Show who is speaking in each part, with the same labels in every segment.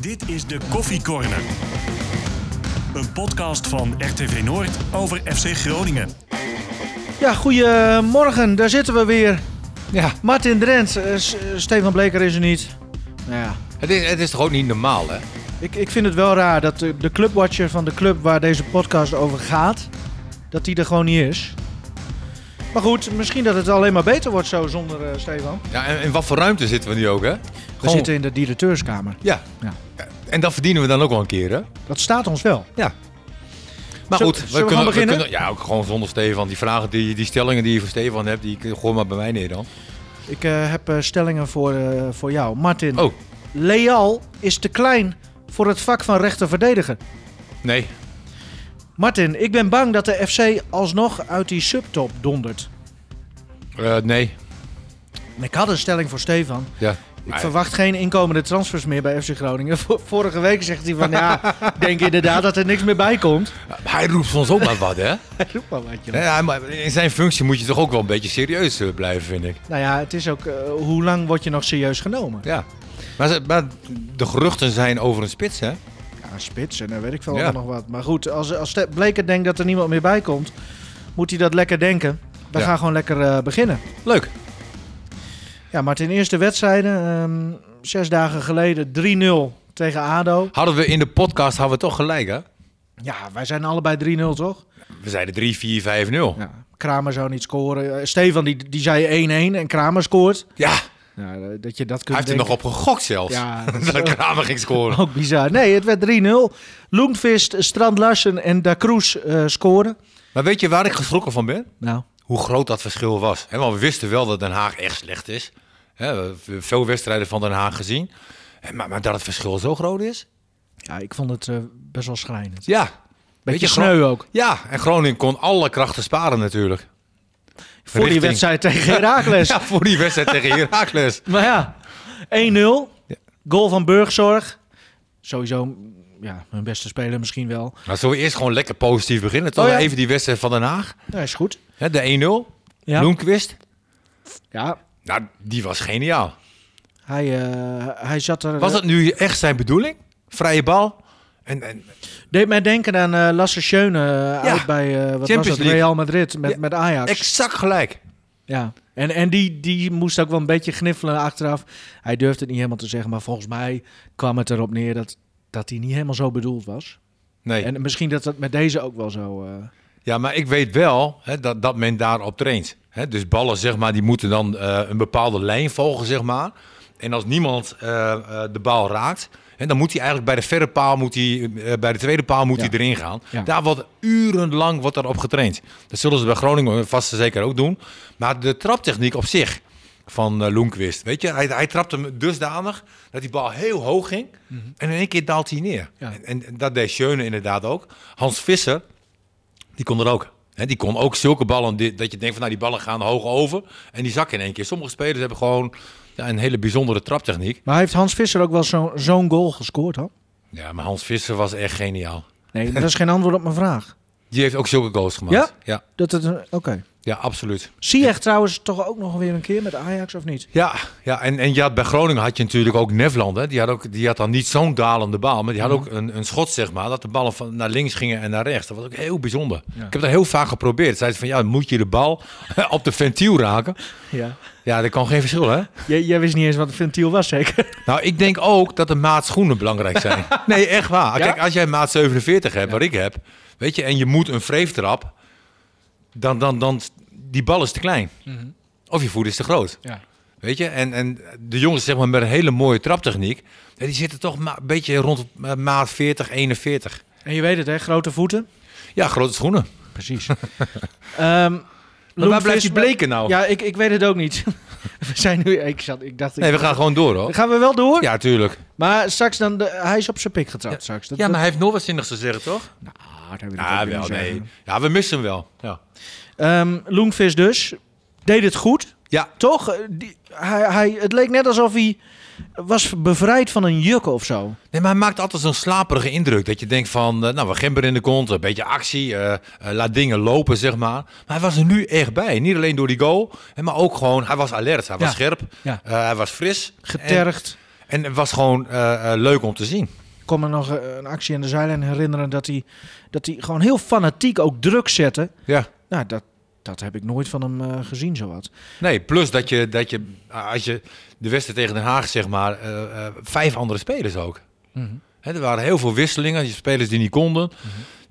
Speaker 1: Dit is de Koffiekorner. Een podcast van RTV Noord over FC Groningen.
Speaker 2: Ja, goedemorgen, daar zitten we weer. Ja. Martin Drent, eh, S- eh, Stefan Bleker is er niet. Nou ja,
Speaker 3: Het is, het is toch ook niet normaal, hè?
Speaker 2: ik, ik vind het wel raar dat de, de clubwatcher van de club waar deze podcast over gaat, dat die er gewoon niet is. Maar goed, misschien dat het alleen maar beter wordt zo zonder eh, Stefan.
Speaker 3: Ja, en in wat voor ruimte zitten we nu ook, hè?
Speaker 2: We zitten in de directeurskamer.
Speaker 3: Ja.
Speaker 2: Ja.
Speaker 3: En dat verdienen we dan ook wel een keer, hè?
Speaker 2: Dat staat ons wel.
Speaker 3: Maar
Speaker 2: Zullen-
Speaker 3: goed,
Speaker 2: zullen we gaan beginnen?
Speaker 3: kunnen- ja, ook gewoon zonder Stefan. Die vragen, die, die stellingen die je voor Stefan hebt, die kun je gewoon maar bij mij neer dan.
Speaker 2: Ik eh, heb eh, stellingen voor, eh, voor jou. Martin,
Speaker 3: Oh.
Speaker 2: Leal is te klein voor het vak van rechterverdediger.
Speaker 3: Nee.
Speaker 2: Martin, ik ben bang dat de FC alsnog uit die subtop dondert.
Speaker 3: Eh, nee.
Speaker 2: En Ik had een stelling voor Stefan.
Speaker 3: Ja.
Speaker 2: Ik
Speaker 3: Maar-
Speaker 2: verwacht geen inkomende transfers meer bij FC Groningen. Vo- Vorige week zegt hij van ja, ik denk inderdaad dat er niks meer bij komt.
Speaker 3: maar hij roept soms ook maar wat, hè?
Speaker 2: Roep maar wat, joh.
Speaker 3: Ja, maar in zijn functie moet je toch ook wel een beetje serieus eh, blijven, vind ik.
Speaker 2: Nou ja, het is ook eh, hoe lang word je nog serieus genomen?
Speaker 3: Ja. Maar, ze- maar de geruchten zijn over een spits, hè?
Speaker 2: Ja, spits en dan weet ik veel
Speaker 3: Ja.
Speaker 2: allemaal nog wat. Maar goed, als, als Ste- Bleker denkt dat er niemand meer bij komt, moet hij dat lekker denken. We
Speaker 3: Ja.
Speaker 2: gaan gewoon lekker eh, beginnen.
Speaker 3: Leuk.
Speaker 2: Ja, Martin, eerste wedstrijden. ehm, zes dagen geleden 3-0 tegen ADO.
Speaker 3: Hadden we in de podcast hadden we toch gelijk, hè?
Speaker 2: Ja, wij zijn allebei 3-0, toch?
Speaker 3: We zeiden 3, 4, 5, 0. Ja.
Speaker 2: Ja. Kramer zou niet scoren. Eh, Stefan die, die zei 1-1 en Kramer scoort. Ja, eh, dat je dat
Speaker 3: Hij
Speaker 2: kunt
Speaker 3: heeft er nog op gegokt zelfs.
Speaker 2: Ja, dat is
Speaker 3: dat Kramer ging scoren.
Speaker 2: ook bizar. Nee, het werd 3-0. Loentvist, Strand Larsen en Da Cruz eh, scoren.
Speaker 3: Maar weet je waar ik geschrokken van ben?
Speaker 2: Nou,
Speaker 3: Hoe groot dat verschil was. Hè, want we wisten wel dat Den Haag echt slecht is. Hè, we hebben veel wedstrijden van Den Haag gezien. Hè, Maar, maar dat het verschil zo groot is?
Speaker 2: ja, ik vond het eh, best wel schrijnend.
Speaker 3: Ja. Beetje,
Speaker 2: Beetje sneu ook.
Speaker 3: Ja, en Groningen kon alle krachten sparen natuurlijk.
Speaker 2: Voor die
Speaker 3: Richting.
Speaker 2: wedstrijd tegen Herakles.
Speaker 3: Ja, voor die wedstrijd tegen Heracles.
Speaker 2: Maar ja, 1-0.
Speaker 3: Ja.
Speaker 2: Goal van Burgzorg. Sowieso mm, ja, mijn beste speler misschien wel.
Speaker 3: Maar zullen we eerst gewoon lekker positief beginnen? Toch
Speaker 2: Oh ja.
Speaker 3: even die wedstrijd van Den Haag.
Speaker 2: Ja, is goed.
Speaker 3: Hè, de 1-0.
Speaker 2: Ja.
Speaker 3: Bloemquist.
Speaker 2: Ja,
Speaker 3: Nou, die was geniaal.
Speaker 2: hij, eh, hij zat er...
Speaker 3: Was dat nu echt zijn bedoeling? Vrije bal? En, en,
Speaker 2: Deed mij denken aan eh, Lasse Schöne eh,
Speaker 3: Ja.
Speaker 2: uit bij eh, wat was
Speaker 3: Champions
Speaker 2: dat?
Speaker 3: League.
Speaker 2: Real Madrid met,
Speaker 3: Ja,
Speaker 2: met Ajax.
Speaker 3: exact gelijk.
Speaker 2: Ja. En, en die, die moest ook wel een beetje gniffelen achteraf. Hij durfde het niet helemaal te zeggen, maar volgens mij kwam het erop neer dat, dat hij niet helemaal zo bedoeld was.
Speaker 3: Nee.
Speaker 2: En misschien dat dat met deze ook wel zo... eh,
Speaker 3: Ja, maar ik weet wel hè, dat, dat men daarop traint. Hè, dus ballen, zeg maar, die moeten dan eh, een bepaalde lijn volgen, zeg maar. En als niemand eh, eh, de bal raakt, hè, dan moet hij eigenlijk bij de verre paal, moet hij, eh, bij de tweede paal moet
Speaker 2: Ja.
Speaker 3: hij erin gaan.
Speaker 2: Ja.
Speaker 3: Daar wordt urenlang wordt daarop getraind. Dat zullen ze bij Groningen vast en zeker ook doen. Maar de traptechniek op zich van eh Loenquist, weet je, hij, hij trapte hem dusdanig dat die bal heel hoog ging. En in één keer daalt hij neer.
Speaker 2: Mhm. Ja.
Speaker 3: En, en dat deed Schöne inderdaad ook. Hans Visser, die kon er ook. Hè, die kon ook zulke ballen di- dat je denkt van nou die ballen gaan hoog over en die zakken in één keer. Sommige spelers hebben gewoon ja, een hele bijzondere traptechniek.
Speaker 2: Maar heeft Hans Visser ook wel zo- zo'n goal gescoord, hoor?
Speaker 3: Ja, maar Hans Visser was echt geniaal.
Speaker 2: Nee, dat is geen antwoord op mijn vraag.
Speaker 3: Die heeft ook zulke goals gemaakt.
Speaker 2: Ja?
Speaker 3: Ja,
Speaker 2: Dat het een- Oké.
Speaker 3: ja absoluut.
Speaker 2: Ziyech trouwens toch ook nog weer een keer met Ajax of niet?
Speaker 3: Ja, ja en, en je had, bij Groningen had je natuurlijk ook Nefland. Hè? Die, had ook, die had dan niet zo'n dalende bal, maar die had ook een, een schot, zeg maar. Dat de ballen van naar links gingen en naar rechts. Dat was ook heel bijzonder.
Speaker 2: Ja.
Speaker 3: Ik heb dat heel vaak geprobeerd. Zeiden ze van, ja, moet je de bal op de ventiel raken?
Speaker 2: Ja.
Speaker 3: Ja, dat kan geen verschil, hè?
Speaker 2: jij wist niet eens wat een ventiel was, zeker?
Speaker 3: Nou, ik denk ook dat de maat schoenen belangrijk zijn. nee, echt waar.
Speaker 2: Ja?
Speaker 3: Kijk, als jij maat 47 hebt, wat ik heb, weet je, en je moet een vreeftrap, dan, dan, dan, die bal is te klein.
Speaker 2: Mhm.
Speaker 3: Of je voet is te groot.
Speaker 2: Ja.
Speaker 3: Weet je, en, en de jongens zeg maar, met een hele mooie traptechniek, ja, die zitten toch ma- een beetje rond eh, maat 40, 41.
Speaker 2: En je weet het, hè? Grote voeten.
Speaker 3: Ja, grote schoenen.
Speaker 2: Precies. Ehm
Speaker 3: Maar waar blijft
Speaker 2: Loenvis-
Speaker 3: die bleken nou?
Speaker 2: Ja, ik, ik weet het ook niet. we zijn nu... Ik, zat, ik dacht... Ik,
Speaker 3: nee, we gaan gewoon door hoor.
Speaker 2: Gaan we wel door?
Speaker 3: Ja, tuurlijk.
Speaker 2: Maar straks dan... De, hij is op zijn pik getrapt straks. Dat,
Speaker 3: Ja, maar hij heeft nog wat zinnigs te zeggen, toch?
Speaker 2: dat- Nou, dat wil ik ook
Speaker 3: Ja,
Speaker 2: weer
Speaker 3: wel,
Speaker 2: niet
Speaker 3: nee.
Speaker 2: zeggen.
Speaker 3: Ja, we missen hem wel. Ja.
Speaker 2: Ehm, Loenvis dus. Deed het goed.
Speaker 3: Ja.
Speaker 2: Toch? Eh, Die, hij, hij, het leek net alsof hij was bevrijd van een juk of zo.
Speaker 3: Nee, maar hij maakt altijd zo'n slaperige indruk. Dat je denkt van, eh, nou, we gember in de kont, een beetje actie, eh, eh, laat dingen lopen, zeg maar. Maar hij was er nu echt bij. Niet alleen door die goal, hè, maar ook gewoon, hij was alert, hij was
Speaker 2: Ja.
Speaker 3: scherp,
Speaker 2: Ja.
Speaker 3: eh, hij was fris.
Speaker 2: Getergd.
Speaker 3: En, En het was gewoon eh, eh, leuk om te zien.
Speaker 2: Ik kon me nog eh, een actie in de zijlijn herinneren dat hij, dat hij gewoon heel fanatiek ook druk zette.
Speaker 3: Ja.
Speaker 2: Nou, dat, dat heb ik nooit van hem eh, gezien, zowat.
Speaker 3: Nee, plus dat je, dat je als je de wedstrijd tegen Den Haag, zeg maar, eh, eh, vijf andere spelers ook. Hè, er waren heel veel wisselingen, spelers die niet konden.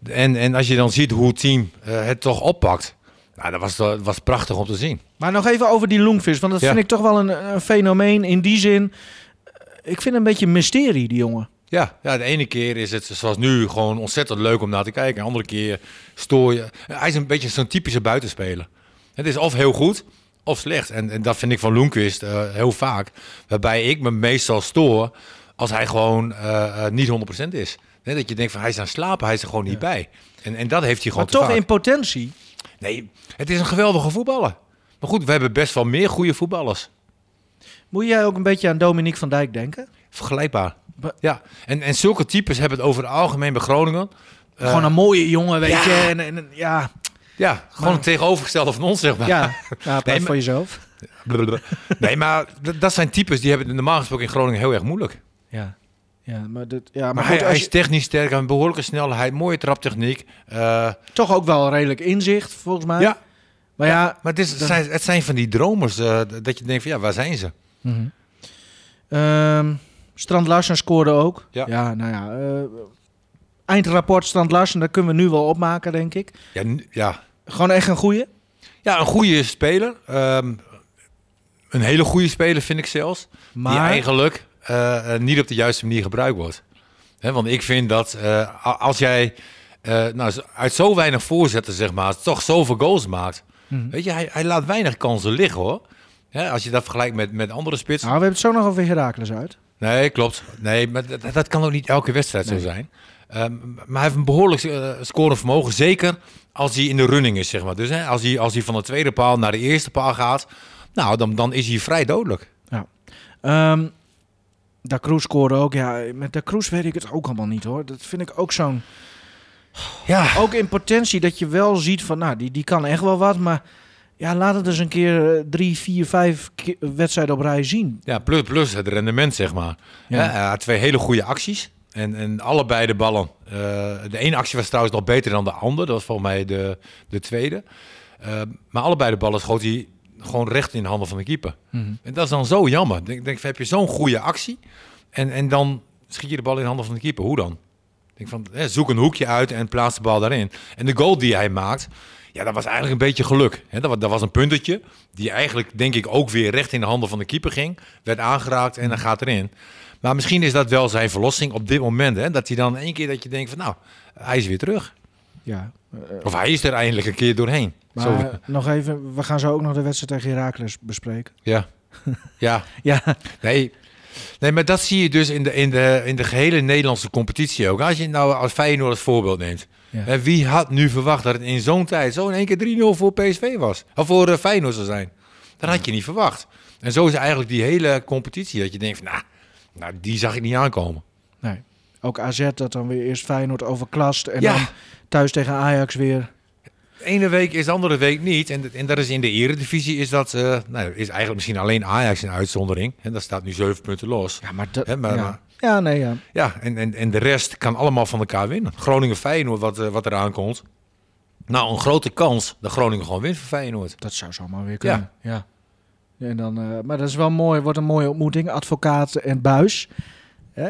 Speaker 3: En, en als je dan ziet hoe het team eh, het toch oppakt, nou, dat was, dat was prachtig om te zien.
Speaker 2: Maar nog even over die longvis, want dat
Speaker 3: Ja.
Speaker 2: vind ik toch wel een, een fenomeen in die zin. eh, Ik vind het een beetje een mysterie, die jongen.
Speaker 3: Ja, ja, de ene keer is het zoals nu gewoon ontzettend leuk om naar te kijken. De andere keer stoor je. Hij is een beetje zo'n typische buitenspeler. Het is of heel goed of slecht. En, en dat vind ik van Loenquist eh, heel vaak. Waarbij ik me meestal stoor als hij gewoon eh, eh, niet 100% is. Nee, dat je denkt van hij is aan het slapen, hij is er gewoon niet bij. En, en dat heeft hij
Speaker 2: Maar
Speaker 3: gewoon te
Speaker 2: toch
Speaker 3: vaak.
Speaker 2: in potentie.
Speaker 3: Nee, het is een geweldige voetballer. Maar goed, we hebben best wel meer goede voetballers.
Speaker 2: Moet jij ook een beetje aan Dominique van Dijk denken?
Speaker 3: Vergelijkbaar.
Speaker 2: Ba-
Speaker 3: Ja, en, en zulke types hebben het over het algemeen bij Groningen. Eh,
Speaker 2: Gewoon een mooie jongen, weet je. En, en, en- ja,
Speaker 3: Ja, gewoon
Speaker 2: Maar-
Speaker 3: het tegenovergestelde van ons, zeg maar.
Speaker 2: ja. ja
Speaker 3: maar-
Speaker 2: praat voor jezelf.
Speaker 3: Blablabla. Nee, maar d- dat zijn types die hebben het normaal gesproken in Groningen heel erg moeilijk. Maar,
Speaker 2: Ja, ja maar, dit, ja, maar,
Speaker 3: hij,
Speaker 2: goed,
Speaker 3: hij
Speaker 2: als
Speaker 3: is technisch sterk, hij heeft een behoorlijke snelheid, mooie traptechniek. eh,
Speaker 2: je- toch ook wel redelijk inzicht, volgens mij.
Speaker 3: ja,
Speaker 2: Maar ja,
Speaker 3: maar het, is, het,
Speaker 2: Dan-
Speaker 3: zijn, het zijn van die dromers eh, d- dat je denkt van ja, waar zijn ze?
Speaker 2: Mhm. Ehm, Strand Larsen scoorde ook.
Speaker 3: Ja.
Speaker 2: nou ja. eh, eindrapport Strand Larsen, dat kunnen we nu wel opmaken, denk ik.
Speaker 3: Ja, n- ja.
Speaker 2: Gewoon echt een goeie.
Speaker 3: ja een goede speler. ehm, een hele goede speler vind ik zelfs.
Speaker 2: Maar
Speaker 3: Die eigenlijk eh, eh, niet op de juiste manier gebruikt wordt. Hè, want ik vind dat eh, a- als jij eh, nou, z- uit zo weinig voorzetten, zeg maar, toch zoveel goals maakt.
Speaker 2: Mhm.
Speaker 3: Weet je, hij, hij laat weinig kansen liggen hoor. Hè, als je dat vergelijkt met, met andere spitsen.
Speaker 2: Nou, we hebben het zo nog over Herakles uit.
Speaker 3: Nee, klopt. Nee, maar dat, dat kan ook niet elke wedstrijd zo zijn. Ehm, maar hij heeft een behoorlijk eh, scorend vermogen. Zeker als hij in de running is, zeg maar. Dus hè, als, hij, als hij van de tweede paal naar de eerste paal gaat, nou, dan, dan is hij vrij dodelijk.
Speaker 2: Ehm da Cruz scoorde ook. Ja, met Da Cruz weet ik het ook allemaal niet hoor. Dat vind ik ook zo'n...
Speaker 3: Ja.
Speaker 2: Ook in potentie dat je wel ziet van, nou, die, die kan echt wel wat. Maar ja, laat het eens een keer eh, drie, vier, vijf ke- wedstrijden op rij zien.
Speaker 3: Ja, plus, plus het rendement, zeg maar.
Speaker 2: Ja.
Speaker 3: Ja. hij had twee hele goede acties. En, en allebei de ballen. Eh, de ene actie was trouwens nog beter dan de andere. Dat was volgens mij de, de tweede. Eh, maar allebei de ballen schoot hij gewoon recht in de handen van de keeper. En dat is dan zo jammer. Ik denk, denk, heb je zo'n goede actie en, en dan schiet je de bal in de handen van de keeper. Hoe dan? Ik denk van, hè, zoek een hoekje uit en plaats de bal daarin. En de goal die hij maakt, ja, dat was eigenlijk een beetje geluk. Hè, dat, wa- dat was een puntertje die eigenlijk, denk ik, ook weer recht in de handen van de keeper ging. Werd aangeraakt en dan gaat erin. Maar misschien is dat wel zijn verlossing op dit moment. Hè, dat hij dan één keer dat je denkt van, nou, hij is weer terug.
Speaker 2: Ja,
Speaker 3: Of hij is er eindelijk een keer doorheen.
Speaker 2: maar
Speaker 3: Zo-
Speaker 2: eh, nog even, we gaan zo ook nog de wedstrijd tegen Herakles bespreken.
Speaker 3: ja. ja,
Speaker 2: Ja,
Speaker 3: Nee. Nee, maar dat zie je dus in de, in de, in de gehele Nederlandse competitie ook. Als je nou als Feyenoord als voorbeeld neemt.
Speaker 2: Ja.
Speaker 3: Hè, Wie had nu verwacht dat het in zo'n tijd zo in één keer 3-0 voor PSV was? Of voor eh, Feyenoord zou zijn? Dat had je niet verwacht. En zo is eigenlijk die hele competitie. Dat je denkt, van, nou, nou die zag ik niet aankomen.
Speaker 2: Nee. Ook AZ dat dan weer eerst Feyenoord overklast en
Speaker 3: Ja.
Speaker 2: dan thuis tegen Ajax weer.
Speaker 3: De ene week is de andere week niet. En, en dat is in de eredivisie is dat... eh, nou, is eigenlijk misschien alleen Ajax een uitzondering. En dat staat nu zeven punten los.
Speaker 2: Ja, maar dat...
Speaker 3: Hè, maar-
Speaker 2: ja.
Speaker 3: maar-
Speaker 2: ja, nee, ja.
Speaker 3: Ja, en, en, en de rest kan allemaal van elkaar winnen. Groningen Feyenoord, wat, eh, wat eraan komt. Nou, een grote kans dat Groningen gewoon wint van Feyenoord.
Speaker 2: Dat zou zomaar weer kunnen. Ja. En dan, eh, maar dat is wel mooi. Wordt een mooie ontmoeting. Advocaat en Buis. Eh,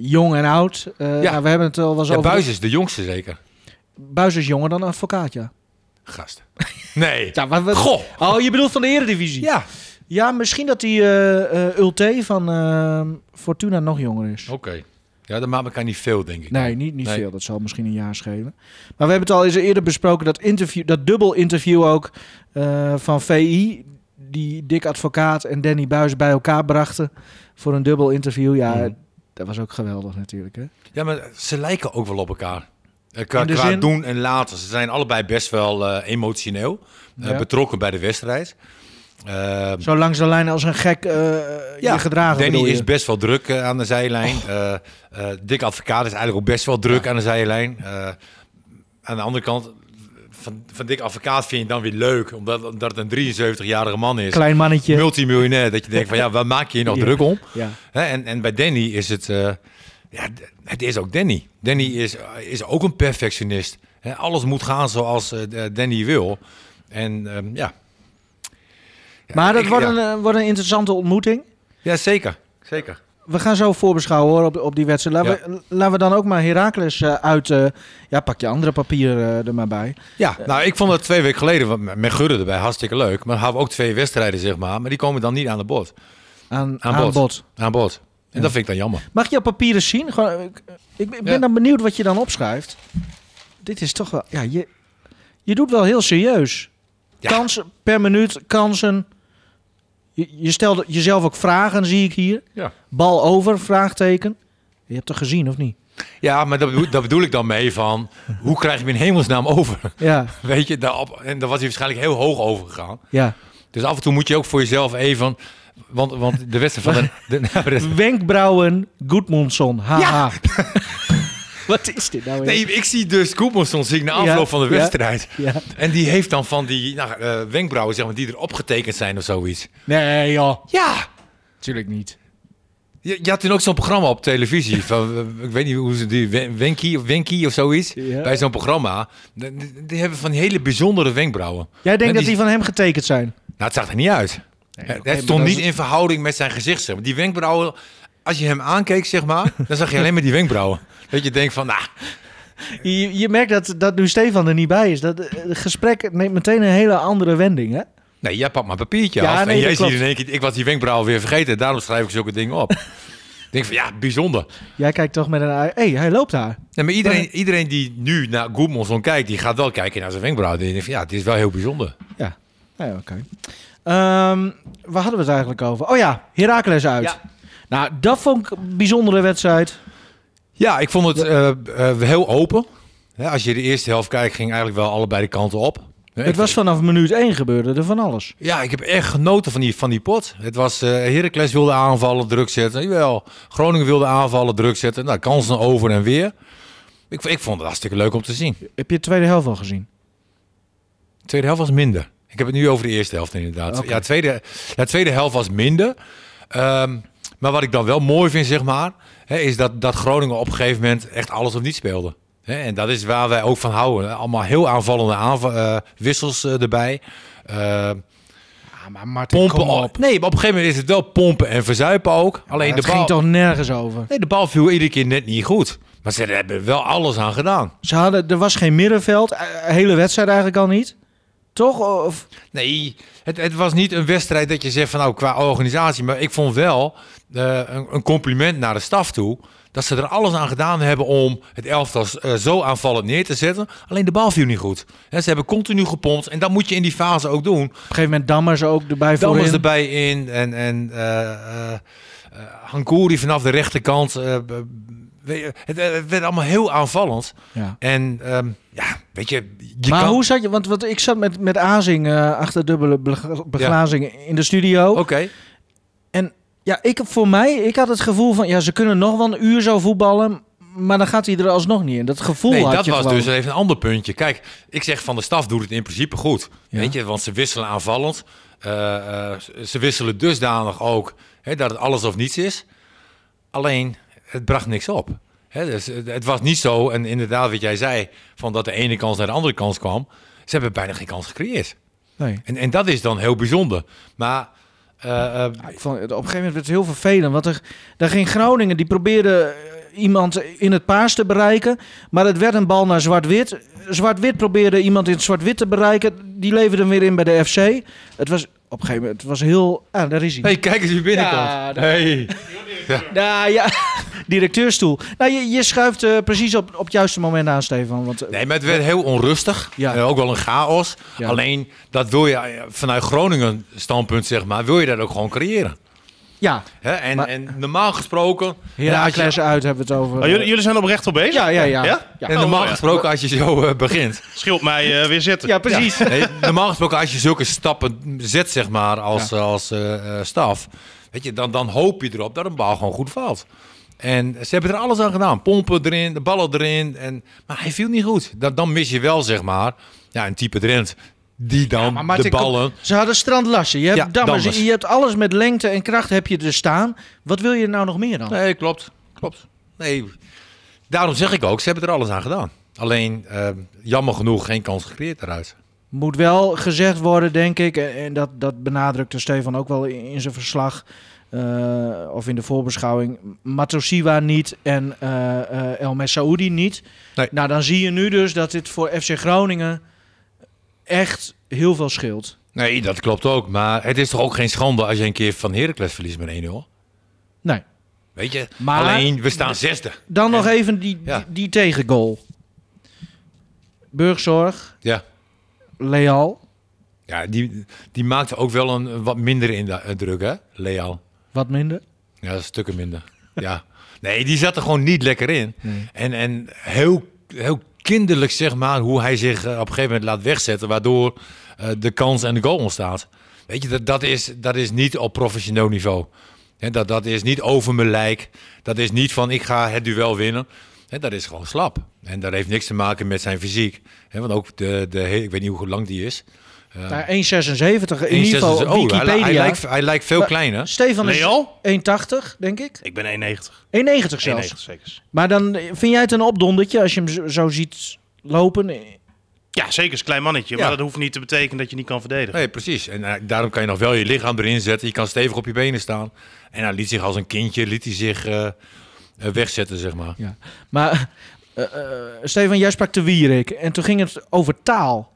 Speaker 2: jong en oud. Eh,
Speaker 3: Ja.
Speaker 2: nou, we hebben het al wel eens
Speaker 3: Ja,
Speaker 2: over...
Speaker 3: Buis is de jongste zeker.
Speaker 2: Buijs is jonger dan advocaat, ja.
Speaker 3: Gast. Nee.
Speaker 2: ja maar we-
Speaker 3: Goh.
Speaker 2: Oh, je bedoelt van de Eredivisie?
Speaker 3: Ja.
Speaker 2: Ja, misschien dat die eh eh, Ulte van eh, Fortuna nog jonger is.
Speaker 3: Oké. Ja, dat maakt elkaar niet veel, denk ik.
Speaker 2: Nee, niet, niet
Speaker 3: Nee.
Speaker 2: veel. Dat zal misschien een jaar schelen. Maar we hebben het al eens eerder besproken, dat, interview, dat dubbel interview ook eh, van VI. Die Dick Advocaat en Danny Buis bij elkaar brachten voor een dubbel interview. Ja,
Speaker 3: Mhm.
Speaker 2: dat was ook geweldig natuurlijk. Hè?
Speaker 3: Ja, maar ze lijken ook wel op elkaar. Eh, Qua,
Speaker 2: In de
Speaker 3: qua
Speaker 2: zin?
Speaker 3: doen en laten. Ze zijn allebei best wel eh, emotioneel. eh,
Speaker 2: Ja.
Speaker 3: betrokken bij de wedstrijd. Ehm,
Speaker 2: Zo langs de lijn als een gek eh
Speaker 3: Ja,
Speaker 2: je gedragen
Speaker 3: Danny
Speaker 2: bedoel je. Oh.
Speaker 3: is best wel druk eh, aan de zijlijn. Eh eh, Dick Advocaat is eigenlijk ook best wel druk aan de zijlijn. Eh, aan de andere kant van, van Dick Advocaat vind je dan weer leuk, omdat, omdat het een 73-jarige man is.
Speaker 2: Klein mannetje.
Speaker 3: Multimiljonair, dat je denkt van ja, waar maak je je nog
Speaker 2: Ja.
Speaker 3: druk om?
Speaker 2: Ja.
Speaker 3: Hè, en, en bij Danny is het, eh, ja, d- het is ook Danny. Danny is, is ook een perfectionist. Hè, alles moet gaan zoals eh, d- Danny wil. En ehm, ja. Ja,
Speaker 2: Maar dat
Speaker 3: ik-
Speaker 2: wordt,
Speaker 3: ja.
Speaker 2: een, eh, wordt een interessante ontmoeting.
Speaker 3: Ja, zeker. Zeker.
Speaker 2: We gaan zo voorbeschouwen hoor, op, op die wedstrijd. Laten, we, laten we dan ook maar Heracles eh, uit... eh, ja, pak je andere papier eh, er maar bij.
Speaker 3: Ja, nou, ik vond dat twee weken geleden want met Gudde erbij hartstikke leuk. Maar dan hadden we ook twee wedstrijden, zeg maar. Maar die komen dan niet aan de bod.
Speaker 2: Aan,
Speaker 3: Aan
Speaker 2: aan, bod.
Speaker 3: bod. Aan bod. En dat vind ik dan jammer.
Speaker 2: Mag je jouw papieren zien? Gewoon, eh, ik, ik ben ik ben
Speaker 3: Ja.
Speaker 2: dan benieuwd wat je dan opschrijft. Dit is toch wel... Ja, je, je doet wel heel serieus.
Speaker 3: Ja.
Speaker 2: Kansen per minuut, kansen. Je, je stelde jezelf ook vragen, zie ik hier.
Speaker 3: Ja.
Speaker 2: Bal over, vraagteken. Je hebt toch gezien, of niet?
Speaker 3: Ja, maar dat bedoel, dat bedoel ik dan mee van... Hoe krijg je hem in hemelsnaam over?
Speaker 2: Ja,
Speaker 3: Weet je, daarop, en daar was hij waarschijnlijk heel hoog over gegaan.
Speaker 2: ja.
Speaker 3: Dus af en toe moet je ook voor jezelf even... Want, want de wedstrijd van de... de- nou, de-
Speaker 2: Wenkbrauwen, Goedmondson. Haha. Wat is dit nou weer?
Speaker 3: nee, ik zie dus Koepelson zie ik na afloop
Speaker 2: Ja,
Speaker 3: van de
Speaker 2: ja.
Speaker 3: wedstrijd.
Speaker 2: Ja.
Speaker 3: En die heeft dan van die nou, eh, wenkbrauwen, zeg maar, die erop getekend zijn of zoiets.
Speaker 2: nee, joh.
Speaker 3: Ja,
Speaker 2: Tuurlijk niet.
Speaker 3: Je, je had toen ook zo'n programma op televisie. Van, eh, ik weet niet hoe ze die. Wen- Wenkie of Wenkie of zoiets.
Speaker 2: Ja.
Speaker 3: Bij zo'n programma. Die, die- die hebben van die hele bijzondere wenkbrauwen.
Speaker 2: Jij denkt
Speaker 3: En
Speaker 2: dat die van hem getekend zijn?
Speaker 3: Nou, het zag er niet uit. het
Speaker 2: oké, maar
Speaker 3: stond
Speaker 2: dat is-
Speaker 3: niet in verhouding met zijn gezicht. Zeg maar. Die wenkbrauwen. Als je hem aankeek, zeg maar. dan zag je alleen maar die wenkbrauwen. Dat je denkt van. Nou,
Speaker 2: Je, je merkt dat, dat nu Stefan er niet bij is. Dat eh, het gesprek neemt meteen een hele andere wending, hè?
Speaker 3: nee, jij pakt maar papiertje
Speaker 2: Ja,
Speaker 3: af.
Speaker 2: nee,
Speaker 3: en
Speaker 2: dat
Speaker 3: jij ziet
Speaker 2: klopt.
Speaker 3: in één keer. Ik was die wenkbrauwen weer vergeten. Daarom schrijf ik zulke dingen op. Ik denk van ja, bijzonder.
Speaker 2: Jij kijkt toch met een... ei- hey, hij loopt daar.
Speaker 3: Nee, maar iedereen, iedereen die nu naar Goedmonson kijkt, die gaat wel kijken naar zijn wenkbrauwen. Die denkt van ja, het is wel heel bijzonder.
Speaker 2: Ja, nou ja, oké. Ehm, waar hadden we het eigenlijk over? Oh ja, Heracles uit.
Speaker 3: Ja.
Speaker 2: Nou, dat vond ik een bijzondere wedstrijd.
Speaker 3: Ja, ik vond het eh, eh, heel open. Hè, als je de eerste helft kijkt, ging eigenlijk wel allebei de kanten op. Hè,
Speaker 2: het
Speaker 3: ik-
Speaker 2: was vanaf minuut 1 gebeurde er van alles.
Speaker 3: Ja, ik heb echt genoten van die, van die pot. Het was eh Heracles wilde aanvallen, druk zetten. Jawel, Groningen wilde aanvallen, druk zetten. Nou, kansen over en weer. Ik, ik vond het hartstikke leuk om te zien.
Speaker 2: Heb je de tweede helft al gezien?
Speaker 3: De tweede helft was minder. Ik heb het nu over de eerste helft inderdaad.
Speaker 2: Oké.
Speaker 3: Ja, tweede, ja, tweede helft was minder. Ehm, maar wat ik dan wel mooi vind, zeg maar, hè, is dat, dat Groningen op een gegeven moment echt alles of niet speelde. Hè, en dat is waar wij ook van houden. hè. Allemaal heel aanvallende aanva- eh, wissels eh, erbij. Eh,
Speaker 2: Ja, Ah, maar Martin,
Speaker 3: pompen op. Nee, maar op een gegeven moment is het wel pompen en verzuipen ook. Alleen de
Speaker 2: het
Speaker 3: bal,
Speaker 2: ging toch nergens over?
Speaker 3: nee, de bal viel iedere keer net niet goed. Maar ze hebben er wel alles aan gedaan.
Speaker 2: Ze hadden, er was geen middenveld. eh, hele wedstrijd eigenlijk al niet. Toch? Of,
Speaker 3: Nee, het, het was niet een wedstrijd dat je zegt van nou qua organisatie. Maar ik vond wel eh, een, een compliment naar de staf toe. Dat ze er alles aan gedaan hebben om het elftal eh, zo aanvallend neer te zetten. Alleen de bal viel niet goed. Hè, ze hebben continu gepompt. En dat moet je in die fase ook doen.
Speaker 2: op een gegeven moment Dammers ook erbij
Speaker 3: Dan was
Speaker 2: voorin.
Speaker 3: erbij in. En, en eh, eh, eh, Hankouri vanaf de rechterkant. eh, b- weet je, het, eh, het werd allemaal heel aanvallend.
Speaker 2: Ja.
Speaker 3: En ehm, ja, weet je. je
Speaker 2: maar
Speaker 3: kan-
Speaker 2: hoe zat je? Want, want ik zat met, met Azing eh, achter dubbele beg- beglazing in de studio.
Speaker 3: Oké.
Speaker 2: Ja, ik, voor mij, ik had het gevoel van... Ja, ze kunnen nog wel een uur zo voetballen... maar dan gaat hij er alsnog niet in. Dat gevoel
Speaker 3: Nee,
Speaker 2: had
Speaker 3: dat
Speaker 2: je
Speaker 3: was
Speaker 2: gewoon.
Speaker 3: dus even een ander puntje. Kijk, ik zeg van de staf doet het in principe goed.
Speaker 2: Ja.
Speaker 3: Weet je, want ze wisselen aanvallend. Eh, eh, ze wisselen dusdanig ook hè, dat het alles of niets is. Alleen, het bracht niks op. Hè, dus, het het was niet zo, en inderdaad wat jij zei, van dat de ene kans naar de andere kans kwam. Ze hebben bijna geen kans gecreëerd.
Speaker 2: Nee.
Speaker 3: En, en dat is dan heel bijzonder. Maar eh, eh,
Speaker 2: Ik vond, het- op een gegeven moment werd het heel vervelend. Want er, daar ging Groningen, die probeerde eh, iemand in het paars te bereiken... maar het werd een bal naar zwart-wit. Zwart-wit probeerde iemand in het zwart-wit te bereiken. Die leverde hem weer in bij de FC. Het was op een gegeven moment het was heel... Ah, daar is hij.
Speaker 3: hey, kijk eens wie binnenkomt.
Speaker 2: Ja, dat-
Speaker 3: hey.
Speaker 2: Nou ja, directeurstoel. Nou, je, je schuift eh, precies op, op het juiste moment aan, Stefan. Want, eh,
Speaker 3: Nee, maar het werd heel onrustig.
Speaker 2: Ja.
Speaker 3: Eh, ook wel een chaos.
Speaker 2: Ja.
Speaker 3: Alleen, dat wil je eh, vanuit Groningen standpunt, zeg maar, wil je dat ook gewoon creëren.
Speaker 2: Ja,
Speaker 3: Hè? En,
Speaker 2: Maar-
Speaker 3: en normaal gesproken... ja, als je-
Speaker 2: Heracles uit hebben we het over. eh,
Speaker 4: Maar jullie, jullie zijn oprecht op bezig?
Speaker 2: Ja, ja, ja.
Speaker 4: Ja?
Speaker 2: Ja.
Speaker 3: en
Speaker 4: Oh,
Speaker 3: normaal
Speaker 4: ja.
Speaker 3: gesproken, als je zo eh, begint.
Speaker 4: Schild mij eh, weer zitten.
Speaker 2: Ja, precies.
Speaker 3: Nee, normaal gesproken, als je zulke stappen zet, zeg maar, als, als eh, eh, staf, weet je, dan, dan hoop je erop dat een bal gewoon goed valt. En ze hebben er alles aan gedaan. Pompen erin, de ballen erin. En, maar hij viel niet goed. Dan, dan mis je wel, zeg maar, ja, een type Drent die dan
Speaker 2: Maar
Speaker 3: de
Speaker 2: Martin, kom-
Speaker 3: ballen...
Speaker 2: Ze hadden strandlassen. Je hebt,
Speaker 3: Ja,
Speaker 2: dammers,
Speaker 3: dammers.
Speaker 2: je hebt alles met lengte en kracht heb je er staan. Wat wil je nou nog meer dan?
Speaker 3: Oh. Nee, klopt. Klopt. Nee. Daarom zeg ik ook, ze hebben er alles aan gedaan. Alleen, eh, jammer genoeg, geen kans gecreëerd daaruit.
Speaker 2: Moet wel gezegd worden, denk ik. En en dat, dat benadrukte Stefan ook wel in, in zijn verslag. eh, of in de voorbeschouwing. Matosiwa niet en eh, eh, El Messaoudi niet.
Speaker 3: Nee.
Speaker 2: Nou, dan zie je nu dus dat dit voor FC Groningen echt heel veel scheelt.
Speaker 3: Nee, dat klopt ook. Maar het is toch ook geen schande als je een keer van Heracles verliest met 1-0?
Speaker 2: Nee.
Speaker 3: Weet je?
Speaker 2: Maar-
Speaker 3: Alleen, we staan zesde.
Speaker 2: Dan nog even die,
Speaker 3: Ja.
Speaker 2: die, die tegengoal. Burgzorg,
Speaker 3: Ja.
Speaker 2: Leal.
Speaker 3: Ja, die, die maakte ook wel een een wat minder indruk, hè? Leal.
Speaker 2: Wat minder.
Speaker 3: Ja, stukken minder. ja. Nee, die zat er gewoon niet lekker in. En, en heel, heel kinderlijk, zeg maar, hoe hij zich eh, op een gegeven moment laat wegzetten, waardoor eh, de kans en de goal ontstaat. Weet je, dat, dat, is, dat is niet op professioneel niveau. Hè, dat, dat is niet over mijn lijk. Dat is niet van ik ga het duel winnen. Hè, dat is gewoon slap. En dat heeft niks te maken met zijn fysiek. Hè, want ook de, de, ik weet niet hoe lang die is.
Speaker 2: Nou, 1,76 in ieder geval
Speaker 3: 1,66
Speaker 2: op
Speaker 3: oh, hij,
Speaker 2: Wikipedia.
Speaker 3: hij, lijkt, hij lijkt veel
Speaker 2: Maar-
Speaker 3: kleiner.
Speaker 2: Stefan is
Speaker 4: Leal?
Speaker 2: 1,80 denk ik.
Speaker 4: Ik ben 1,90.
Speaker 2: 1,90 zelfs.
Speaker 4: 1,90 zeker.
Speaker 2: Maar dan eh, vind jij het een opdondertje als je hem zo- zo ziet lopen? Eh,
Speaker 4: Ja, zeker. Is een klein mannetje.
Speaker 3: Ja.
Speaker 4: Maar dat hoeft niet te betekenen dat je niet kan verdedigen.
Speaker 3: Nee, precies. En eh, daarom kan je nog wel je lichaam erin zetten. Je kan stevig op je benen staan. En hij liet zich als een kindje liet hij zich, eh, eh, wegzetten, zeg maar.
Speaker 2: Maar eh, eh, Stefan, jij sprak te Wierik en toen ging het over taal.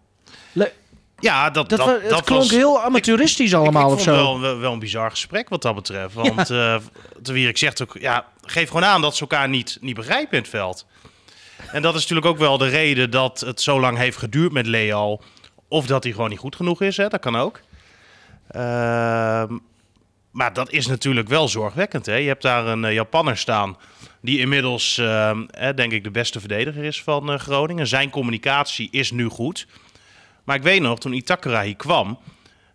Speaker 2: Le-
Speaker 4: Ja, dat,
Speaker 2: dat
Speaker 4: dat,
Speaker 2: wa-
Speaker 4: dat,
Speaker 2: het klonk
Speaker 4: was...
Speaker 2: heel amateuristisch allemaal
Speaker 4: ik,
Speaker 2: of
Speaker 4: ik
Speaker 2: zo.
Speaker 4: vond wel, wel, wel een bizar gesprek wat dat betreft. Want eh de Wierik zegt ook, ja, geef gewoon aan dat ze elkaar niet, niet begrijpen in het veld. En dat is natuurlijk ook wel de reden dat het zo lang heeft geduurd met Leal. Of dat hij gewoon niet goed genoeg is, hè, dat kan ook. Ehm, maar dat is natuurlijk wel zorgwekkend. Hè? Je hebt daar een eh, Japanner staan die inmiddels, ehm, hè, denk ik, de beste verdediger is van eh, Groningen. Zijn communicatie is nu goed. Maar ik weet nog, toen Itakura hier kwam,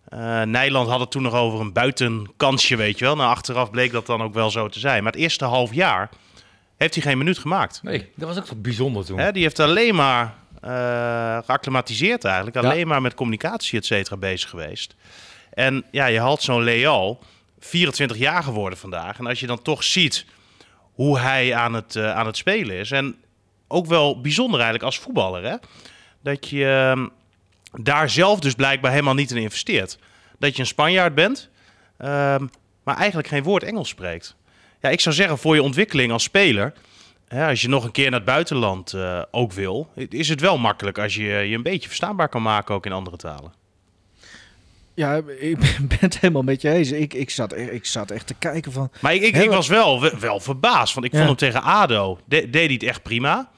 Speaker 4: eh, Nijland had het toen nog over een buitenkansje, weet je wel. Nou, achteraf bleek dat dan ook wel zo te zijn. Maar het eerste half jaar heeft hij geen minuut gemaakt.
Speaker 3: Nee, dat was ook zo bijzonder toen.
Speaker 4: Hè, die heeft alleen maar eh geacclimatiseerd eigenlijk.
Speaker 3: Ja.
Speaker 4: Alleen maar met communicatie, et cetera, bezig geweest. En ja, je haalt zo'n Leal, 24 jaar geworden vandaag. En als je dan toch ziet hoe hij aan het, eh, aan het spelen is. En ook wel bijzonder eigenlijk als voetballer, hè. Dat je ehm, daar zelf dus blijkbaar helemaal niet in investeert. Dat je een Spanjaard bent, ehm, maar eigenlijk geen woord Engels spreekt. Ja, ik zou zeggen, voor je ontwikkeling als speler... Hè, als je nog een keer naar het buitenland eh, ook wil, is het wel makkelijk als je je een beetje verstaanbaar kan maken ook in andere talen.
Speaker 2: Ja, ik ben ben het helemaal met je eens. Ik, ik, zat, e- ik zat echt te kijken van...
Speaker 4: Maar ik, ik,
Speaker 2: Heel-
Speaker 4: ik was wel, we- wel verbaasd, want ik
Speaker 2: Ja.
Speaker 4: vond hem tegen ADO, de- deed hij het echt prima.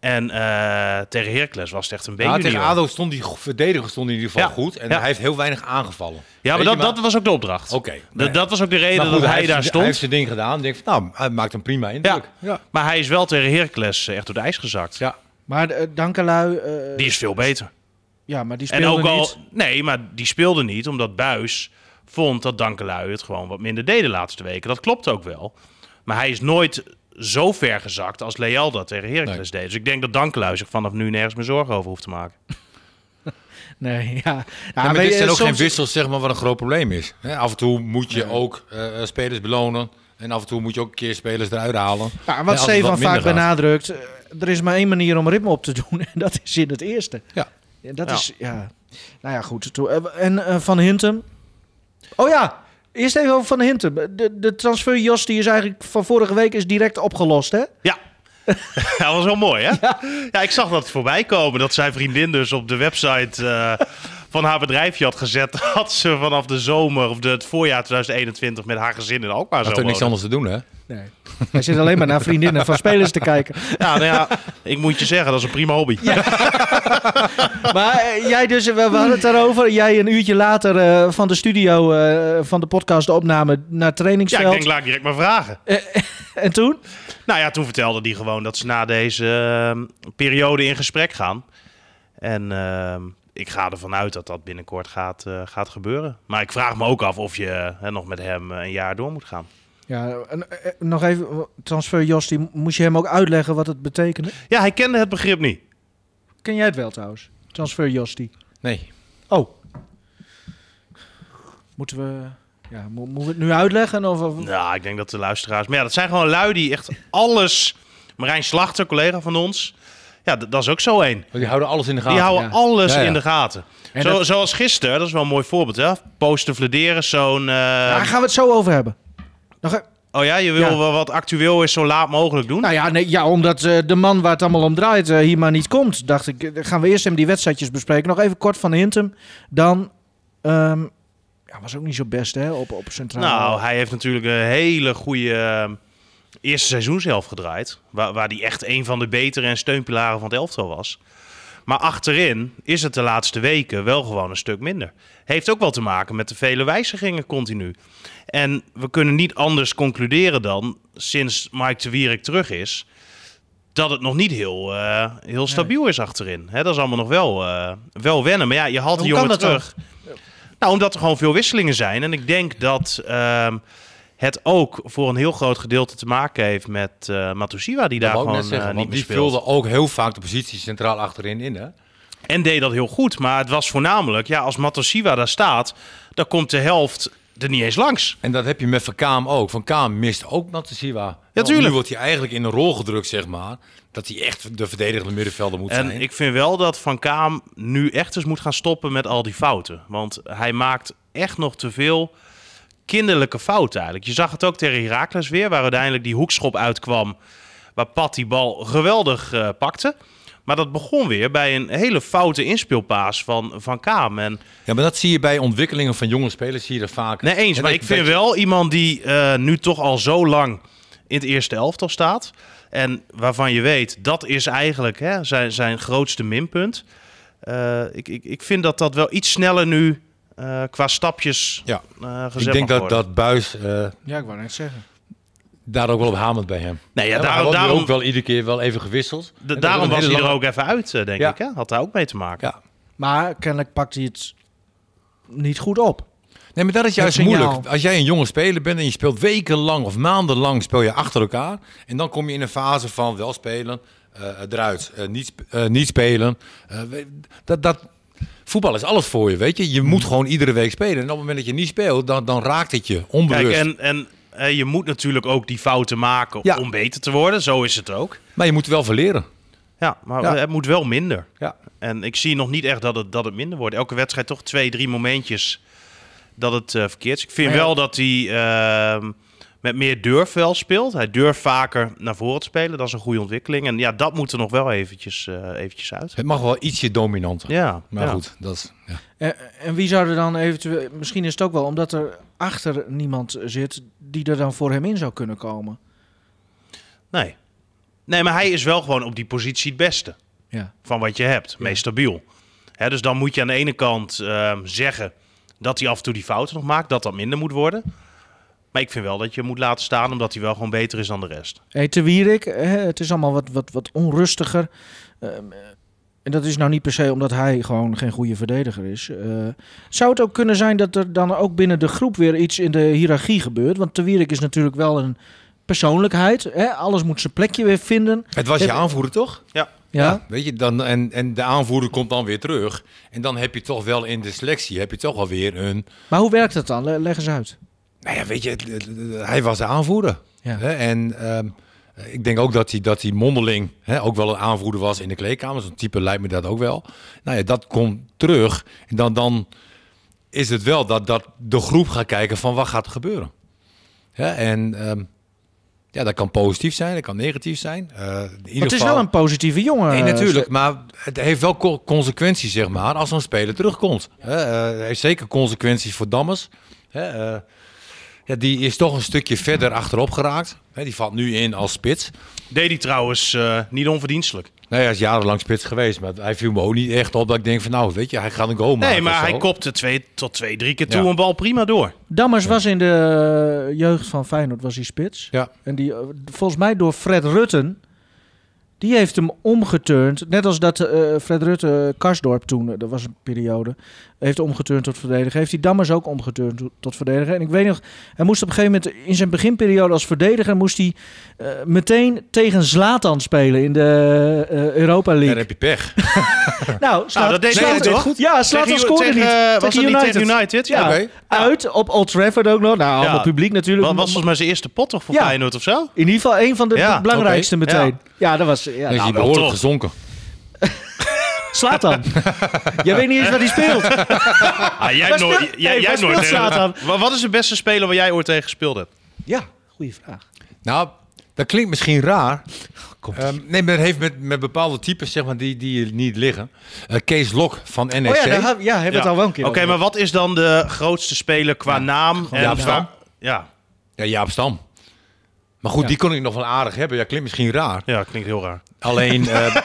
Speaker 4: En eh, tegen Heracles was het echt een
Speaker 3: Ja,
Speaker 4: beetje.
Speaker 3: tegen ADO stond die verdediger stond in ieder geval
Speaker 4: Ja.
Speaker 3: goed. En
Speaker 4: Ja.
Speaker 3: hij heeft heel weinig aangevallen.
Speaker 4: ja, maar
Speaker 3: Weet je,
Speaker 4: dat, dat was ook de opdracht.
Speaker 3: Oké.
Speaker 4: Dat- Dat was ook de reden
Speaker 3: Maar goed,
Speaker 4: dat hij,
Speaker 3: heeft zijn-
Speaker 4: daar stond.
Speaker 3: Hij heeft zijn ding gedaan. Ik denk van, nou, hij maakt een prima indruk.
Speaker 4: ja. Maar hij is wel tegen Heracles eh, echt door de ijs gezakt.
Speaker 3: Ja.
Speaker 2: Maar eh, Dankelui, eh,
Speaker 4: Die is veel beter.
Speaker 2: ja, maar die speelde
Speaker 4: En ook al,
Speaker 2: niet.
Speaker 4: nee, maar die speelde niet omdat Buis vond dat Dankelui het gewoon wat minder deed de laatste weken. Dat klopt ook wel. Maar hij is nooit zo ver gezakt als Leal dat tegen Heracles deed. Dus ik denk dat Dankelui zich vanaf nu nergens meer zorgen over hoeft te maken.
Speaker 2: Nee, ja. Ja,
Speaker 3: Ja, maar
Speaker 2: weet
Speaker 3: dit
Speaker 2: je,
Speaker 3: zijn ook
Speaker 2: soms-
Speaker 3: geen wissels, zeg maar, wat een groot probleem is. Hè, af en toe moet je ook eh, spelers belonen. En af en toe moet je ook een keer spelers eruit halen.
Speaker 2: Ja,
Speaker 3: Hè, als
Speaker 2: wat
Speaker 3: het
Speaker 2: Stefan
Speaker 3: wat minder
Speaker 2: vaak
Speaker 3: gaat.
Speaker 2: benadrukt, eh, er is maar één manier om ritme op te doen en dat is in het eerste.
Speaker 3: Ja.
Speaker 2: En dat
Speaker 4: Ja.
Speaker 2: is, ja. Nou ja, goed. Toen- eh, En eh, Van Hintem. Oh ja, eerst even over Van Hintem. De, de transfer Jos, die is eigenlijk van vorige week is direct opgelost, hè?
Speaker 4: Ja. dat was wel mooi, hè? Ja. ik zag dat voorbij komen. Dat zijn vriendin dus op de website eh, van haar bedrijfje had gezet... dat ze vanaf de zomer of de, het voorjaar 2021 met haar gezin in Alkmaar
Speaker 3: Had
Speaker 4: zou
Speaker 3: er niks
Speaker 4: wonen.
Speaker 3: anders te doen, hè?
Speaker 2: Nee. Hij zit alleen maar naar vriendinnen van spelers te kijken.
Speaker 4: Ja, nou ja, ik moet je zeggen, dat is een prima hobby.
Speaker 2: Maar eh, jij dus, we, we hadden het daarover. Jij een uurtje later eh, van de studio, eh, van de podcast, de opname naar het
Speaker 4: ja
Speaker 2: trainingsveld.
Speaker 4: ik denk, laat ik direct maar vragen.
Speaker 2: En toen?
Speaker 4: Nou ja, toen vertelde hij gewoon dat ze na deze ehm, periode in gesprek gaan. En ehm, ik ga ervan uit dat dat binnenkort gaat, eh, gaat gebeuren. Maar ik vraag me ook af of je hè, nog met hem eh, een jaar door moet gaan.
Speaker 2: Ja, en, eh, eh, nog even, transfer Jos, die moest je hem ook uitleggen wat het betekende?
Speaker 4: Ja, hij kende het begrip niet.
Speaker 2: Ken jij het wel trouwens? Transfer Josti.
Speaker 3: Nee.
Speaker 2: Oh. Moeten we... Ja, mo- moeten we het nu uitleggen? Of, of-
Speaker 4: Nou, ik denk dat de luisteraars... Maar ja, dat zijn gewoon lui die echt alles... Marijn Slachter, collega van ons... Ja, d- dat is ook zo één.
Speaker 3: Want die houden alles in de gaten.
Speaker 4: Die houden
Speaker 2: Ah, ja.
Speaker 4: alles
Speaker 3: Ja, ja.
Speaker 4: in de gaten.
Speaker 2: En
Speaker 4: Zo,
Speaker 2: dat-
Speaker 4: Zoals gisteren, dat is wel een mooi voorbeeld, hè? Post te vlederen, zo'n... eh,
Speaker 2: Daar gaan we het zo over hebben. Nog e-
Speaker 4: Oh ja, je wil
Speaker 2: Ja.
Speaker 4: wel wat actueel is zo laat mogelijk doen?
Speaker 2: nou ja, nee, ja, omdat eh, de man waar het allemaal om draait eh, hier maar niet komt, dacht ik, eh, gaan we eerst hem die wedstrijdjes bespreken. Nog even kort van Hintem. Dan, ehm, ja, was ook niet zo best hè, op, op centraal.
Speaker 4: Nou, hij heeft natuurlijk een hele goede eh, eerste seizoen zelf gedraaid. Waar, waar hij echt een van de betere en steunpilaren van het elftal was. Maar achterin is het de laatste weken wel gewoon een stuk minder. Heeft ook wel te maken met de vele wijzigingen continu. En we kunnen niet anders concluderen dan, sinds Mike de Wierik terug is... dat het nog niet heel, eh, heel stabiel is achterin. Hè, dat is allemaal nog wel, eh, wel wennen. Maar ja, je haalt
Speaker 2: Hoe
Speaker 4: die
Speaker 2: kan
Speaker 4: jongen
Speaker 2: dat dan?
Speaker 4: terug. Nou, omdat er gewoon veel wisselingen zijn. En ik denk dat ehm, het ook voor een heel groot gedeelte te maken heeft met eh Matusiwa, die daar
Speaker 3: Dat wou ik
Speaker 4: gewoon
Speaker 3: net zeggen,
Speaker 4: eh, niet
Speaker 3: want
Speaker 4: meer
Speaker 3: die
Speaker 4: speelt.
Speaker 3: vulde ook heel vaak de positie centraal achterin in. Hè?
Speaker 4: En deed dat heel goed. Maar het was voornamelijk, ja, als Matusiwa daar staat, dan komt de helft er niet eens langs.
Speaker 3: En dat heb je met Van Kaam ook. Van Kaam mist ook Matsiwa. Ja,
Speaker 4: tuurlijk.
Speaker 3: Nu wordt hij eigenlijk in een rol gedrukt, zeg maar. Dat hij echt de verdedigende middenvelder moet
Speaker 4: En
Speaker 3: zijn.
Speaker 4: ik vind wel dat Van Kaam nu echt eens moet gaan stoppen met al die fouten. Want hij maakt echt nog te veel kinderlijke fouten eigenlijk. Je zag het ook tegen Heracles weer, waar uiteindelijk die hoekschop uitkwam. Waar Pat die bal geweldig eh, pakte. Maar dat begon weer bij een hele foute inspeelpaas van Van Kaam. En
Speaker 3: Ja, maar dat zie je bij ontwikkelingen van jonge spelers, zie je dat vaak.
Speaker 4: Nee, eens.
Speaker 3: En
Speaker 4: Maar
Speaker 3: dat-
Speaker 4: ik vind
Speaker 3: dat je-
Speaker 4: wel iemand die eh, nu toch al zo lang in het eerste elftal staat. En waarvan je weet, dat is eigenlijk hè, zijn, zijn grootste minpunt. Eh, ik, ik, ik vind dat dat wel iets sneller nu eh, qua stapjes
Speaker 3: Ja.
Speaker 4: eh, gezet
Speaker 3: Ik denk
Speaker 4: mag
Speaker 3: dat,
Speaker 4: worden.
Speaker 3: dat Buis eh,
Speaker 2: Ja, ik wou net zeggen.
Speaker 3: daar ook wel op hamert bij hem.
Speaker 4: Nee, ja,
Speaker 3: Hè, maar
Speaker 4: daarom,
Speaker 3: hij wordt nu
Speaker 4: daarom,
Speaker 3: ook wel iedere keer wel even gewisseld.
Speaker 4: da-
Speaker 3: En dat
Speaker 4: daarom
Speaker 3: een
Speaker 4: was
Speaker 3: hele
Speaker 4: hij er
Speaker 3: lange-
Speaker 4: ook even uit, eh, denk
Speaker 3: Ja.
Speaker 4: ik. Hè? Had daar ook mee te maken.
Speaker 3: Ja.
Speaker 2: Maar kennelijk pakt hij het niet goed op.
Speaker 3: Nee, maar dat is juist
Speaker 2: Dat signaal.
Speaker 3: moeilijk. Als jij een jonge speler bent en je speelt wekenlang of maandenlang speel je achter elkaar. En dan kom je in een fase van wel spelen, eh, eruit, eh, niet, sp- eh, niet spelen. Eh, we- dat, dat, voetbal is alles voor je, weet je. Je moet gewoon iedere week spelen. En op het moment dat je niet speelt, dan, dan raakt het je onbewust.
Speaker 4: Kijk, en, en eh, je moet natuurlijk ook die fouten maken
Speaker 3: Ja.
Speaker 4: om beter te worden. Zo is het ook.
Speaker 3: Maar je moet wel verleren.
Speaker 4: Ja, maar
Speaker 3: Ja.
Speaker 4: het moet wel minder.
Speaker 3: Ja.
Speaker 4: En ik zie nog niet echt dat het, dat het minder wordt. Elke wedstrijd toch twee, drie momentjes dat het eh, verkeerd is. Ik vind
Speaker 2: Maar ja.
Speaker 4: wel dat hij ehm, met meer durf wel speelt. Hij durft vaker naar voren te spelen. Dat is een goede ontwikkeling. En ja, dat moet er nog wel eventjes, eh, eventjes uit.
Speaker 3: Het mag wel ietsje dominanter.
Speaker 4: Ja,
Speaker 3: Maar
Speaker 4: ja.
Speaker 3: goed, dat is... Ja.
Speaker 2: En, Eh, en wie zou er dan eventueel... Misschien is het ook wel omdat er achter niemand zit die er dan voor hem in zou kunnen komen.
Speaker 4: Nee. nee, maar hij is wel gewoon op die positie het beste.
Speaker 2: Ja.
Speaker 4: van wat je hebt, meest stabiel. Hè, dus dan moet je aan de ene kant ehm, zeggen dat hij af en toe die fouten nog maakt, dat dat minder moet worden. Maar ik vind wel dat je hem moet laten staan, omdat hij wel gewoon beter is dan de rest.
Speaker 2: Hey, te Wierik, hè, het is allemaal wat, wat, wat onrustiger. Ehm, eh, en dat is nou niet per se omdat hij gewoon geen goede verdediger is. Eh, zou het ook kunnen zijn dat er dan ook binnen de groep weer iets in de hiërarchie gebeurt? Want Te Wierik is natuurlijk wel een persoonlijkheid. Hè? Alles moet zijn plekje weer vinden.
Speaker 3: Het was
Speaker 2: Het-
Speaker 3: je aanvoerder, toch?
Speaker 2: Ja.
Speaker 3: Weet je, dan, en, en de aanvoerder komt dan weer terug. En dan heb je toch wel in de selectie, heb je toch wel weer een...
Speaker 2: Maar hoe werkt dat dan? Le- Leg eens uit.
Speaker 3: Nou ja, weet je, het- het- het- hij was de aanvoerder.
Speaker 2: Ja.
Speaker 3: Hè? En ehm, ik denk ook dat hij, dat hij mondeling hè, ook wel een aanvoerder was in de kleedkamer. Zo'n type lijkt me dat ook wel. Nou ja, dat komt terug. En dan, dan is het wel dat, dat de groep gaat kijken van wat gaat er gebeuren. Hè? En ehm, ja, dat kan positief zijn, dat kan negatief zijn. Eh, in ieder
Speaker 2: Maar het is
Speaker 3: geval-
Speaker 2: wel een positieve jongen.
Speaker 3: Nee,
Speaker 2: eh,
Speaker 3: natuurlijk. Maar het heeft wel co- consequenties, zeg maar, als zo'n speler terugkomt. Hè, eh, Het heeft zeker consequenties voor Dammers. Hè, eh, ja, die is toch een stukje verder achterop geraakt. Hè, die valt nu in als spits.
Speaker 4: Deed hij trouwens eh, niet onverdienstelijk.
Speaker 3: Nou, hij is jarenlang spits geweest, maar hij viel me ook niet echt op dat ik denk van, nou, weet je, hij gaat een goal maken.
Speaker 4: nee, maar
Speaker 3: of zo.
Speaker 4: hij kopte twee tot twee, drie keer toe
Speaker 3: Ja.
Speaker 4: een bal prima door.
Speaker 2: Dammers was in de eh, jeugd van Feyenoord was hij spits.
Speaker 3: Ja.
Speaker 2: En die eh, volgens mij door Fred Rutten Die heeft hem omgeturnd. Net als dat eh, Fred Rutte Karsdorp toen, eh, dat was een periode, heeft omgeturnd tot verdediger. Heeft hij Dammers ook omgeturnd to- tot verdediger. En ik weet nog, hij moest op een gegeven moment in zijn beginperiode als verdediger, moest hij eh, meteen tegen Zlatan spelen in de eh, Europa
Speaker 3: Daar
Speaker 2: League.
Speaker 3: heb je pech.
Speaker 2: Nou, Zlatan-
Speaker 4: dat deed hij
Speaker 2: Zlatan-
Speaker 4: toch?
Speaker 2: goed. Ja, Ah, Zlatan
Speaker 4: Tegen-
Speaker 2: scoorde
Speaker 4: tegen,
Speaker 2: niet.
Speaker 4: eh,
Speaker 2: Tegen
Speaker 4: was dat niet tegen United?
Speaker 2: Ja.
Speaker 3: Oké.
Speaker 2: Uit op Old Trafford ook nog. Nou, allemaal
Speaker 4: Ja.
Speaker 2: publiek natuurlijk.
Speaker 4: Wat was volgens mij zijn eerste pot toch voor
Speaker 2: Ja.
Speaker 4: Feyenoord of zo?
Speaker 2: In ieder geval een van de
Speaker 4: Ja,
Speaker 2: belangrijkste
Speaker 4: oké,
Speaker 2: meteen. Ja. dat was... Ja,
Speaker 3: Dan is
Speaker 2: nou,
Speaker 3: hij
Speaker 4: wel
Speaker 3: behoorlijk
Speaker 4: toch.
Speaker 3: gezonken.
Speaker 2: slaat dan. Jij weet niet eens wat hij speelt.
Speaker 4: Ah, jij
Speaker 2: Waar
Speaker 4: hebt nooit,
Speaker 2: speelt-
Speaker 4: jij,
Speaker 2: Hey,
Speaker 4: jij
Speaker 2: waar
Speaker 4: hebt nooit
Speaker 2: speelt
Speaker 4: tegen-
Speaker 2: Zlatan?
Speaker 4: Wa- Wat is de beste speler waar jij ooit tegen gespeeld hebt?
Speaker 2: Ja, goede vraag.
Speaker 3: Nou, dat klinkt misschien raar.
Speaker 4: Oh,
Speaker 3: Ehm, nee, maar dat heeft met, met bepaalde types, zeg maar, die, die hier niet liggen. Eh, Kees Lok van E NEC.
Speaker 2: Oh ja, daar heb- ja, hebben we het
Speaker 4: Ja.
Speaker 2: al wel een keer
Speaker 4: Oké,
Speaker 2: over.
Speaker 4: maar wat is dan de grootste speler qua naam? En
Speaker 3: Jaap
Speaker 4: qua-
Speaker 3: Stam.
Speaker 4: Ja.
Speaker 3: Ja, Jaap Stam. Maar goed,
Speaker 2: Ja.
Speaker 3: die kon ik nog wel aardig hebben. Ja, klinkt misschien raar.
Speaker 4: ja, klinkt heel raar.
Speaker 3: Alleen, eh,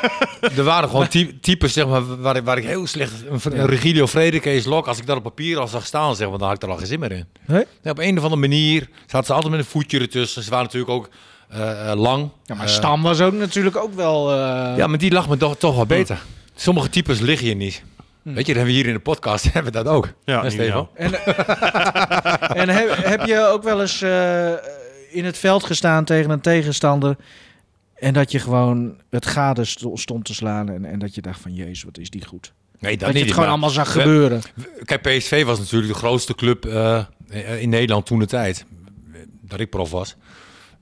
Speaker 3: er waren gewoon ty- types zeg maar, waar, ik- waar ik heel slecht... Een, een Regilio Vrede, Kees Lok, als ik dat op papier al zag staan, zeg maar, dan had ik er al geen zin meer in.
Speaker 2: Nee?
Speaker 3: Ja, op een of andere manier zaten ze altijd met een voetje ertussen. Ze waren natuurlijk ook eh, eh, lang.
Speaker 2: Ja, maar
Speaker 3: Eh,
Speaker 2: Stam was ook natuurlijk ook wel... eh,
Speaker 3: ja, maar die lag me toch, toch wel beter. Sommige types liggen hier niet.
Speaker 2: Hm.
Speaker 3: Weet je, dat hebben we hier in de podcast hebben we dat ook.
Speaker 4: Ja,
Speaker 3: Hè,
Speaker 4: niet
Speaker 3: Stefan?
Speaker 2: En, en heb, heb je ook wel eens eh, in het veld gestaan tegen een tegenstander... en dat je gewoon het gade st- stond te slaan... en, en dat je dacht van, jezus, wat is die goed.
Speaker 3: Nee, dat,
Speaker 2: Dat je het
Speaker 3: niet.
Speaker 2: gewoon
Speaker 3: maar-
Speaker 2: allemaal zag
Speaker 3: we-
Speaker 2: gebeuren.
Speaker 3: Kijk, PSV was natuurlijk de grootste club eh, in Nederland toen de tijd. Dat ik prof was.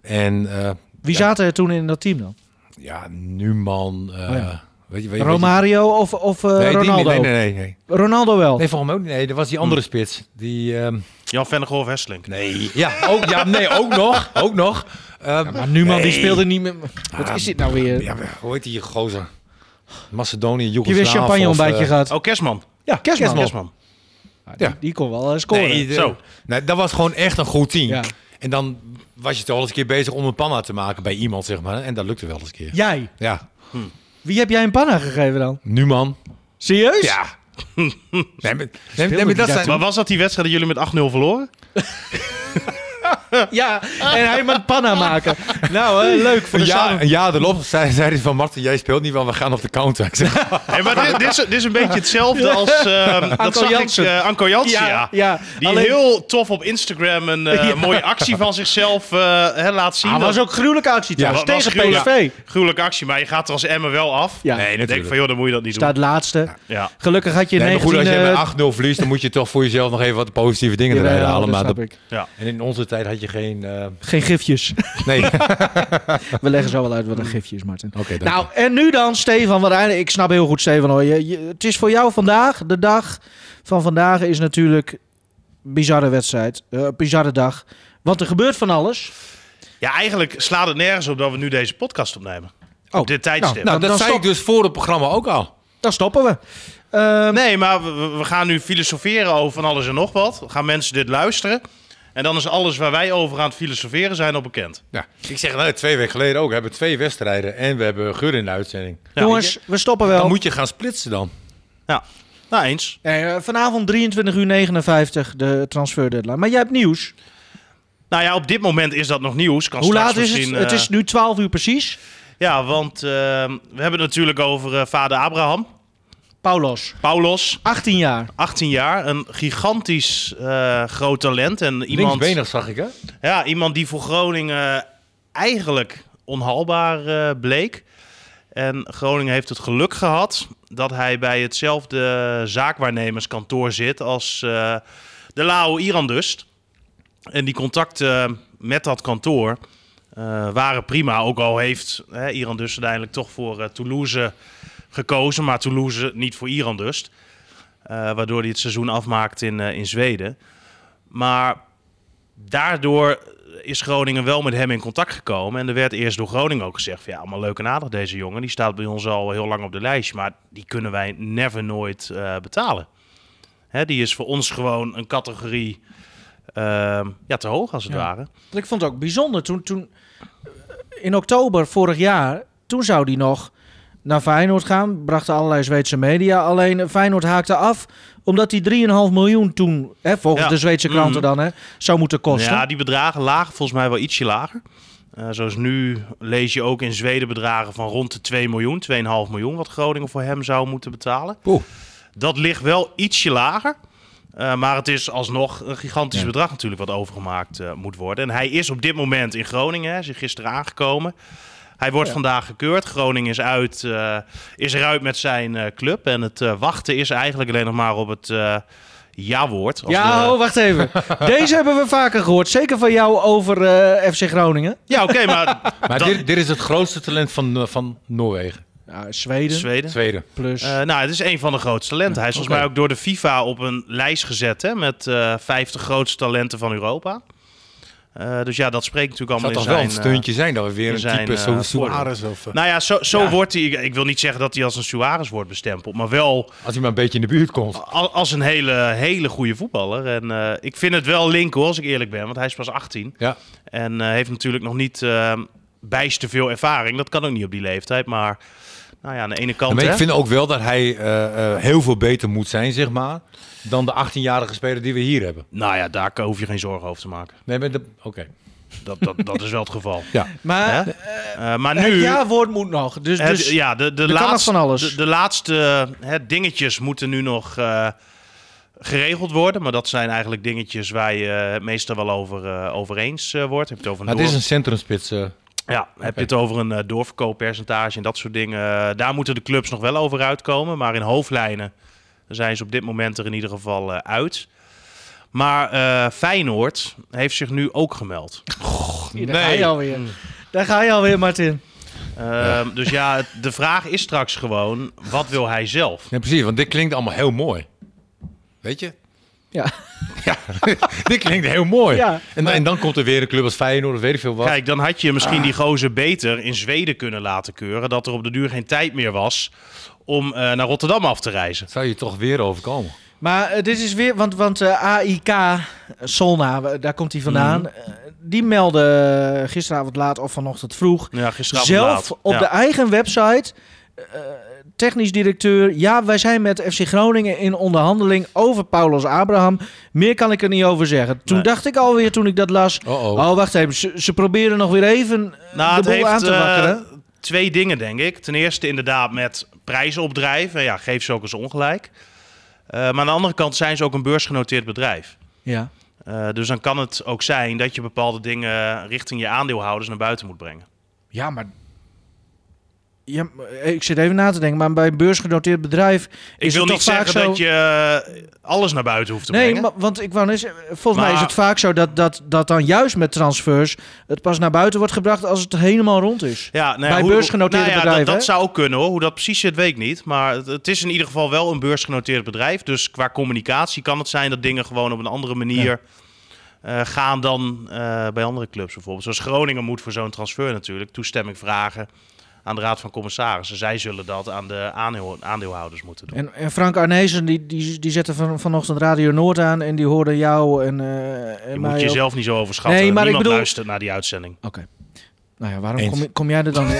Speaker 3: En eh
Speaker 2: Wie
Speaker 3: ja.
Speaker 2: zaten er toen in dat team dan?
Speaker 3: ja, Numan. eh
Speaker 2: Oh ja.
Speaker 3: weet je, weet je,
Speaker 2: Romario of, of eh,
Speaker 3: weet je- nee, die niet.
Speaker 2: Ronaldo?
Speaker 3: Nee, nee, nee, nee. Hm.
Speaker 2: Ronaldo wel.
Speaker 3: Nee, volgens mij ook niet. Nee, dat was die andere spits. Die, ehm,
Speaker 4: Jan Vennegoor of Hesselink?
Speaker 3: nee. Ja, ook, ja, nee, ook nog. Ook nog. Ehm,
Speaker 2: Maar Numan Oh, die
Speaker 3: Nee.
Speaker 2: speelde niet meer. Wat is dit nou weer?
Speaker 3: Ja, maar hoe heet die gozer? Macedonië,
Speaker 2: Heb je
Speaker 3: Joegoslaaf.
Speaker 2: weer champagne
Speaker 3: of,
Speaker 2: ontbijtje
Speaker 3: eh,
Speaker 2: gehad?
Speaker 4: Oh, Kerstman.
Speaker 2: ja, kerstman.
Speaker 4: Kerstman.
Speaker 2: Ja, Die,
Speaker 3: Ja.
Speaker 2: die kon wel eh, scoren.
Speaker 3: Nee, de-
Speaker 4: Zo.
Speaker 3: nee, dat was gewoon echt een goed team.
Speaker 2: Ja.
Speaker 3: En dan was je toch wel eens een keer bezig om een panna te maken bij iemand, zeg maar. En dat lukte wel eens een keer.
Speaker 2: Jij,
Speaker 3: Ja.
Speaker 2: wie heb jij een panna gegeven dan?
Speaker 3: Numan.
Speaker 2: Serieus?
Speaker 3: Ja. nee, maar,
Speaker 2: Speelde
Speaker 3: nee, nee,
Speaker 2: die
Speaker 3: maar dat
Speaker 2: daar
Speaker 3: zijn...
Speaker 4: Maar was dat die wedstrijd dat jullie met 8-0 verloren?
Speaker 2: Ja, en hij moet panna maken. Nou, eh, leuk voor de
Speaker 3: Een jaar,
Speaker 2: samen-
Speaker 3: een jaar erop zei, zei hij van Marten, jij speelt niet, want we gaan op de counter. Ik zeg,
Speaker 4: Nee, maar dit, dit, is, dit is een beetje hetzelfde als ehm, dat zag
Speaker 2: Jansen.
Speaker 4: Ik, eh, Anko Jansen, ja.
Speaker 2: Ja, ja.
Speaker 4: Die
Speaker 2: alleen-
Speaker 4: heel tof op Instagram een eh, mooie actie van zichzelf eh, hè, laat zien.
Speaker 2: Ah,
Speaker 4: Dat-
Speaker 2: was ook gruwelijke actie trouwens,
Speaker 4: was
Speaker 2: tegen
Speaker 4: gruwelijk.
Speaker 2: PSV.
Speaker 4: gruwelijke actie, maar je gaat er als Emmen wel af.
Speaker 2: Ja.
Speaker 3: nee,
Speaker 4: Ik denk
Speaker 3: natuurlijk.
Speaker 4: van, joh, dan moet je dat niet
Speaker 2: Staat laatste.
Speaker 4: doen. Ja.
Speaker 2: Gelukkig had je
Speaker 3: Nee, maar
Speaker 2: 19...
Speaker 3: goed, als je
Speaker 2: eh,
Speaker 3: met 8-0 verliest, dan moet je toch voor jezelf nog even wat positieve dingen
Speaker 2: jawel,
Speaker 3: eruit halen.
Speaker 2: dat
Speaker 3: Maar
Speaker 2: snap
Speaker 3: dat-
Speaker 2: ik.
Speaker 3: en in onze tijd had je geen... eh, Nou,
Speaker 2: Geen gifjes.
Speaker 3: nee, oké.
Speaker 2: We leggen zo wel uit
Speaker 3: Mm.
Speaker 2: wat een gifje is, Martin.
Speaker 3: dank je. Ah,
Speaker 2: Nou, en nu dan, Stefan. Want eigenlijk- ik snap heel goed, Stefan. Hoor. Je, je- het is voor jou vandaag. De dag van vandaag is natuurlijk bizarre wedstrijd. eh, bizarre dag. Want er gebeurt van alles.
Speaker 4: ja, eigenlijk slaat het nergens op dat we nu deze podcast opnemen.
Speaker 2: Oh,
Speaker 4: Op dit tijdstip.
Speaker 3: Nou,
Speaker 2: Dan-
Speaker 3: dat
Speaker 2: dan
Speaker 3: zei ik
Speaker 2: stop.
Speaker 3: dus voor het programma ook al.
Speaker 2: Dan stoppen we. Ehm,
Speaker 3: Nou,
Speaker 4: Nee, maar we, we- we gaan nu filosoferen over van alles en nog wat. Gaan mensen dit luisteren? En dan is alles waar wij over aan het filosoferen zijn al bekend.
Speaker 3: Ja. Ik zeg, nou, twee weken geleden ook. We hebben twee wedstrijden en we hebben Geur in de uitzending.
Speaker 4: Ja,
Speaker 2: jongens, we stoppen wel.
Speaker 3: Dan moet je gaan splitsen dan.
Speaker 4: Ja, nou eens.
Speaker 2: Nee, eh, vanavond 23 uur 59 de transfer deadline. Maar jij hebt nieuws.
Speaker 4: Nou ja, op dit moment is dat nog nieuws. Kan
Speaker 2: Hoe
Speaker 4: straks
Speaker 2: laat is het?
Speaker 4: misschien,
Speaker 2: Het
Speaker 4: eh,
Speaker 2: is nu 12 uur precies.
Speaker 4: Ja, want eh, we hebben het natuurlijk over eh, vader Abraham.
Speaker 2: Paulos,
Speaker 4: Paulos,
Speaker 2: 18 jaar.
Speaker 4: 18 jaar. Een gigantisch eh, groot talent. En iemand...
Speaker 3: Linksbenig zag ik, hè?
Speaker 4: Ja, iemand die voor Groningen eigenlijk onhaalbaar eh, bleek. En Groningen heeft het geluk gehad dat hij bij hetzelfde zaakwaarnemerskantoor zit als eh, de Lao Irandust. En die contacten met dat kantoor eh, waren prima. Ook al heeft hè, Irandust uiteindelijk toch voor eh, Toulouse gekozen, maar Toulouse niet voor Irandust. Eh waardoor hij het seizoen afmaakt in, eh, in Zweden. Maar daardoor is Groningen wel met hem in contact gekomen. En er werd eerst door Groningen ook gezegd: van, ja, allemaal leuk en aardig deze jongen. Die staat bij ons al heel lang op de lijst. Maar die kunnen wij never nooit eh, betalen. Hè, die is voor ons gewoon een categorie ehm, ja, te hoog als het
Speaker 2: Ja.
Speaker 4: ware.
Speaker 2: Ik vond het ook bijzonder. Toen, toen, in oktober vorig jaar, toen zou die nog naar Feyenoord gaan. Brachten allerlei Zweedse media. Alleen Feyenoord haakte af omdat hij 3,5 miljoen toen, hè, volgens
Speaker 4: Ja.
Speaker 2: de Zweedse kranten
Speaker 4: Mhm.
Speaker 2: dan, hè, zou moeten kosten.
Speaker 4: Ja, die bedragen lagen volgens mij wel ietsje lager. Eh, Eh, zoals nu lees je ook in Zweden bedragen van rond de 2 miljoen, 2,5 miljoen, wat Groningen voor hem zou moeten betalen.
Speaker 3: Poeh.
Speaker 4: Dat ligt wel ietsje lager. eh, maar het is alsnog een gigantisch
Speaker 2: Ja.
Speaker 4: bedrag natuurlijk wat overgemaakt eh, moet worden. En hij is op dit moment in Groningen, hè, is hij gisteren aangekomen. Hij wordt vandaag gekeurd. Groningen is, uit, eh, is eruit met zijn eh, club. En het eh, wachten is eigenlijk alleen nog maar op het eh, ja-woord. Als
Speaker 2: Ja,
Speaker 4: de-
Speaker 2: oh, wacht even. Deze hebben we vaker gehoord. Zeker van jou over eh, FC Groningen.
Speaker 4: ja oké, maar
Speaker 3: Maar
Speaker 4: Dat-
Speaker 3: dit, dit is het grootste talent van, eh, van Noorwegen.
Speaker 2: Ja, Zweden.
Speaker 4: Zweden.
Speaker 3: Tweede.
Speaker 2: Plus.
Speaker 4: Eh, nou, het is een van de grootste talenten. Hij is volgens
Speaker 3: oké.
Speaker 4: mij ook door de FIFA op een lijst gezet hè, met eh 50 grootste talenten van Europa. Eh, dus ja, dat spreekt natuurlijk
Speaker 3: Zou
Speaker 4: allemaal
Speaker 3: toch
Speaker 4: in
Speaker 3: wel
Speaker 4: zijn...
Speaker 3: een steuntje zijn dat we
Speaker 4: in
Speaker 3: weer een
Speaker 4: zijn,
Speaker 3: type
Speaker 4: eh,
Speaker 3: zoals
Speaker 4: voordeel.
Speaker 3: Suarez of... eh,
Speaker 4: eh, nou ja, zo, zo
Speaker 3: Ja.
Speaker 4: wordt hij... Ik wil niet zeggen dat hij als een Suarez wordt bestempeld, maar wel
Speaker 3: als hij maar een beetje in de buurt komt.
Speaker 4: al- als een hele, hele goede voetballer. En eh, ik vind het wel linken, hoor, als ik eerlijk ben, want hij is pas 18.
Speaker 3: Ja.
Speaker 4: En eh, heeft natuurlijk nog niet eh, bijst te veel ervaring. Dat kan ook niet op die leeftijd, maar... Nou ja, aan de ene kant...
Speaker 3: Maar ik
Speaker 4: hè,
Speaker 3: vind ook wel dat hij eh, eh, heel veel beter moet zijn, zeg maar, dan de 18-jarige speler die we hier hebben.
Speaker 4: Nou ja, daar hoef je geen zorgen over te maken.
Speaker 3: Nee, maar de- oké.
Speaker 4: Dat, dat, dat is wel het geval.
Speaker 3: Ja.
Speaker 4: Hè?
Speaker 2: maar
Speaker 4: Eh, maar
Speaker 2: het
Speaker 4: nu...
Speaker 2: ja-woord moet nog. Dus,
Speaker 4: het-
Speaker 2: dus
Speaker 4: ja, de, de,
Speaker 2: kan nog
Speaker 4: laatste,
Speaker 2: van alles.
Speaker 4: de, de laatste hè, dingetjes moeten nu nog eh, geregeld worden. Maar dat zijn eigenlijk dingetjes waar je eh, het meestal wel over, eh, over eens eh, wordt. Heb je het over een,
Speaker 3: Maar het is
Speaker 4: door-
Speaker 3: een centrumspits. eh.
Speaker 4: ja, heb je het over een eh, doorverkooppercentage en dat soort dingen. Eh, daar moeten de clubs nog wel over uitkomen. Maar in hoofdlijnen zijn ze op dit moment er in ieder geval eh, uit. Maar eh, Feyenoord heeft zich nu ook gemeld.
Speaker 2: Hier, daar ga je alweer.
Speaker 4: Mm.
Speaker 2: Daar ga je alweer, Martin.
Speaker 4: Ehm, Dus ja, het- de vraag is straks gewoon, wat wil hij zelf?
Speaker 3: Ja, precies, want dit klinkt allemaal heel mooi. Weet je?
Speaker 2: Ja.
Speaker 3: Ja, dit klinkt heel mooi.
Speaker 2: Ja.
Speaker 3: en, en dan komt er weer een club als Feyenoord of weet ik veel wat.
Speaker 4: Kijk, dan had je
Speaker 2: Ah.
Speaker 4: misschien die gozer beter in Zweden kunnen laten keuren. Dat er op de duur geen tijd meer was om eh, naar Rotterdam af te reizen.
Speaker 3: Zou je toch weer overkomen?
Speaker 2: Maar eh, dit is weer, want, want eh, AIK, eh, Solna, eh, daar komt hij vandaan.
Speaker 4: Mhm.
Speaker 2: Eh, die meldde eh, gisteravond laat of vanochtend vroeg.
Speaker 4: Ja, gisteravond
Speaker 2: zelf
Speaker 4: laat.
Speaker 2: op
Speaker 4: Ja.
Speaker 2: de eigen website, eh, technisch directeur. Ja, wij zijn met FC Groningen in onderhandeling over Paulus Abraham. Meer kan ik er niet over zeggen. Toen
Speaker 4: Nee.
Speaker 2: dacht ik alweer, toen ik dat las.
Speaker 3: Oh, oh.
Speaker 2: Oh, wacht even. Ze, ze proberen nog weer even eh,
Speaker 4: Nou,
Speaker 2: de
Speaker 4: het
Speaker 2: boel
Speaker 4: heeft
Speaker 2: aan te
Speaker 4: eh,
Speaker 2: wakkeren.
Speaker 4: twee dingen, denk ik. Ten eerste inderdaad met prijzen opdrijven. Ja, geef ze ook eens ongelijk. Eh, maar aan de andere kant zijn ze ook een beursgenoteerd bedrijf.
Speaker 2: ja.
Speaker 4: Eh, dus dan kan het ook zijn dat je bepaalde dingen richting je aandeelhouders naar buiten moet brengen.
Speaker 2: ja, maar... Ja, maar, eh, ik zit even na te denken, maar bij een beursgenoteerd bedrijf
Speaker 4: Ik
Speaker 2: is
Speaker 4: wil
Speaker 2: het
Speaker 4: niet
Speaker 2: toch vaak
Speaker 4: zeggen
Speaker 2: zo...
Speaker 4: dat je eh, alles naar buiten hoeft te
Speaker 2: Nee,
Speaker 4: brengen.
Speaker 2: maar, want ik wou net zeggen, volgens mij is
Speaker 4: Maar-
Speaker 2: het vaak zo dat, dat, dat dan juist met transfers het pas naar buiten wordt gebracht als het helemaal rond is.
Speaker 4: Ja, nou ja,
Speaker 2: Bij
Speaker 4: hoe-
Speaker 2: beursgenoteerde
Speaker 4: nou ja,
Speaker 2: bedrijven,
Speaker 4: Dat,
Speaker 2: hè?
Speaker 4: dat zou ook kunnen hoor. Hoe dat precies zit, weet ik niet. Maar het, het is in ieder geval wel een beursgenoteerd bedrijf. Dus qua communicatie kan het zijn dat dingen gewoon op een andere manier eh, gaan dan eh, bij andere clubs bijvoorbeeld. Zoals Groningen moet voor zo'n transfer natuurlijk toestemming vragen aan de Raad van Commissarissen. Zij zullen dat aan de aandeel- aandeelhouders moeten doen.
Speaker 2: En, en Frank Arnezen, die, die, die zette van, vanochtend Radio Noord aan en die hoorde jou en, eh en
Speaker 4: Je
Speaker 2: mij
Speaker 4: moet
Speaker 2: ook.
Speaker 4: jezelf niet zo overschatten.
Speaker 2: Nee, maar ik
Speaker 4: Niemand
Speaker 2: bedoel-
Speaker 4: luistert naar die uitzending.
Speaker 2: Oké. Nou ja, waarom
Speaker 3: Eens.
Speaker 2: kom, kom jij er dan in?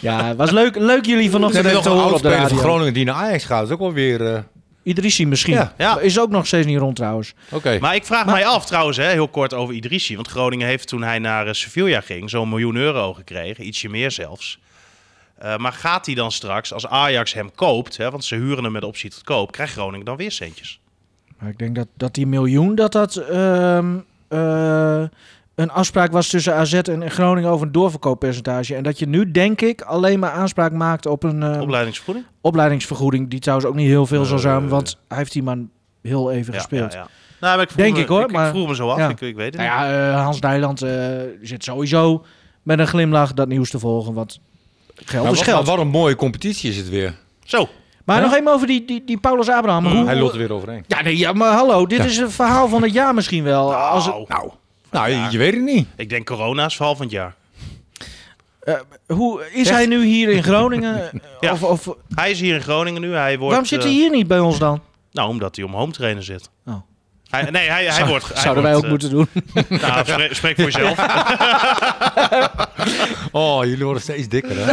Speaker 2: ja, het was leuk, leuk jullie
Speaker 3: We
Speaker 2: vanochtend
Speaker 3: hebben
Speaker 2: even
Speaker 3: nog
Speaker 2: te
Speaker 3: een
Speaker 2: horen
Speaker 3: oude
Speaker 2: op de
Speaker 3: speler
Speaker 2: radio.
Speaker 3: van Groningen die naar Ajax gaat. Dat is ook wel weer... eh,
Speaker 2: Idrissi misschien.
Speaker 3: Ja.
Speaker 4: Ja.
Speaker 2: Is ook nog steeds niet rond trouwens.
Speaker 3: Oké.
Speaker 4: Maar ik vraag mij af trouwens, hè, heel kort over Idrissi. Want Groningen heeft toen hij naar eh, Sevilla ging zo'n miljoen euro gekregen. Ietsje meer zelfs. Eh, maar gaat hij dan straks, als Ajax hem koopt, hè, want ze huren hem met optie tot koop, krijgt Groningen dan weer centjes?
Speaker 2: Maar ik denk dat, dat die miljoen, dat dat ehm, eh, een afspraak was tussen AZ en Groningen over een doorverkooppercentage. En dat je nu, denk ik, alleen maar aanspraak maakt op een eh,
Speaker 4: Opleidingsvergoeding?
Speaker 2: opleidingsvergoeding. Die trouwens ook niet heel veel zal zijn,
Speaker 4: Eh.
Speaker 2: want hij heeft die man heel even gespeeld.
Speaker 4: ja. Nou, maar ik vroeg
Speaker 2: Denk
Speaker 4: me,
Speaker 2: ik, hoor, maar-
Speaker 4: Ik vroeg me zo af,
Speaker 2: ja.
Speaker 4: ik, ik weet het
Speaker 2: Nou ja, eh, Hans Nijland eh, zit sowieso met een glimlach dat nieuws te volgen, want geld
Speaker 3: Maar
Speaker 2: is
Speaker 3: wat, maar
Speaker 2: geld. Maar,
Speaker 3: wat een mooie competitie is het weer.
Speaker 4: niet. Zo,
Speaker 2: nog even over die, die, die Paulus Abraham.
Speaker 4: Mm.
Speaker 2: Hoe-
Speaker 3: Hij lult er weer overheen.
Speaker 2: ja, nee, ja, maar hallo, dit is een verhaal van het jaar misschien wel. Als het-
Speaker 4: Nou,
Speaker 3: Nou, je, je weet het niet.
Speaker 4: ik denk corona is verhaal van het jaar.
Speaker 2: Hoe is hij nu hier in Groningen?
Speaker 4: Ja.
Speaker 2: Of, of waarom
Speaker 4: Hij is hier in Groningen nu. Hij wordt,
Speaker 2: zit hij
Speaker 4: eh,
Speaker 2: hier niet bij ons dan?
Speaker 4: Nou, omdat hij om home trainer zit.
Speaker 2: Oh.
Speaker 4: Hij Hij, nee, hij, hij wordt... hij
Speaker 2: Zouden wij ook
Speaker 4: wordt,
Speaker 2: moeten doen.
Speaker 4: eh, Nou, spreek, spreek voor jezelf.
Speaker 3: Oh, jullie worden steeds dikker, hè?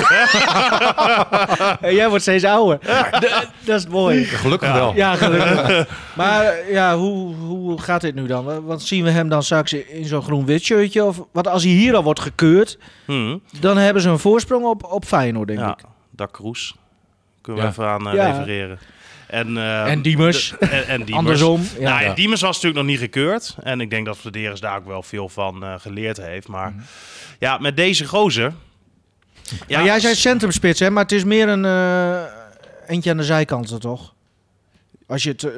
Speaker 2: En jij wordt steeds ouder. D- Dat is mooi.
Speaker 3: Gelukkig wel. Nou,
Speaker 2: Ja, gelukkig. Maar eh, ja, hoe, hoe gaat dit nu dan? Want zien we hem dan straks in in zo'n groen-wit shirtje? Of, want als hij hier al wordt gekeurd,
Speaker 4: Hm.
Speaker 2: dan hebben ze een voorsprong op, op Feyenoord, denk
Speaker 4: Ja,
Speaker 2: ik.
Speaker 4: Dak Kroes. Kunnen we
Speaker 3: Ja.
Speaker 4: even aan eh,
Speaker 2: Ja.
Speaker 4: refereren. En, eh,
Speaker 2: En Diemers.
Speaker 4: de- en, en Diemers.
Speaker 2: Andersom. Ja.
Speaker 4: nou,
Speaker 3: Ja.
Speaker 4: en Diemers was natuurlijk nog niet gekeurd. En ik denk dat Vladeris daar ook wel veel van eh, geleerd heeft. Maar ja, met deze gozer... Ja,
Speaker 2: Mhm. maar jij zei centrumspits, hè? Maar het is meer een eh, eentje aan de zijkanten, toch? Als je het, eh,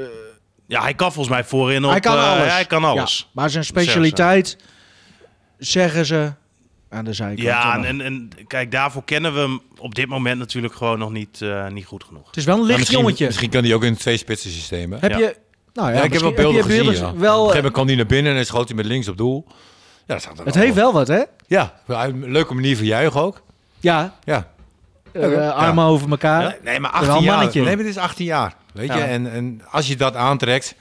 Speaker 4: ja, hij kan volgens mij voorin op...
Speaker 2: hij kan
Speaker 4: eh,
Speaker 2: alles.
Speaker 4: hij kan
Speaker 2: Ja,
Speaker 4: alles.
Speaker 2: maar zijn specialiteit, zeggen ze, aan de zijkant.
Speaker 4: Ja, en, en, en kijk, daarvoor kennen we hem op dit moment natuurlijk gewoon nog niet, eh, niet goed genoeg.
Speaker 2: het is wel een
Speaker 3: Maar
Speaker 2: licht
Speaker 3: misschien,
Speaker 2: jongetje.
Speaker 3: misschien kan die ook in het twee-spitsen systeem, hè?
Speaker 2: heb
Speaker 4: Ja.
Speaker 2: je... Nou ja,
Speaker 3: Ja, ik heb wel
Speaker 2: misschien-
Speaker 3: beelden
Speaker 2: heb je
Speaker 3: gezien,
Speaker 2: beelden-
Speaker 3: ja. Op een
Speaker 2: wel, eh,
Speaker 3: gegeven moment kwam hij naar binnen en schoot hij met links op doel. Ja, dat staat er
Speaker 2: Het heeft wel wat, hè?
Speaker 3: Ja, een leuke manier van juichen ook.
Speaker 2: Ja,
Speaker 3: Ja.
Speaker 2: eh, armen over elkaar.
Speaker 3: Nee, maar
Speaker 2: Wel
Speaker 3: 18
Speaker 2: een
Speaker 3: jaar.
Speaker 2: mannetje.
Speaker 3: Nee, maar dit is 18 jaar. Weet
Speaker 2: Ja.
Speaker 3: je, en, en als je dat aantrekt,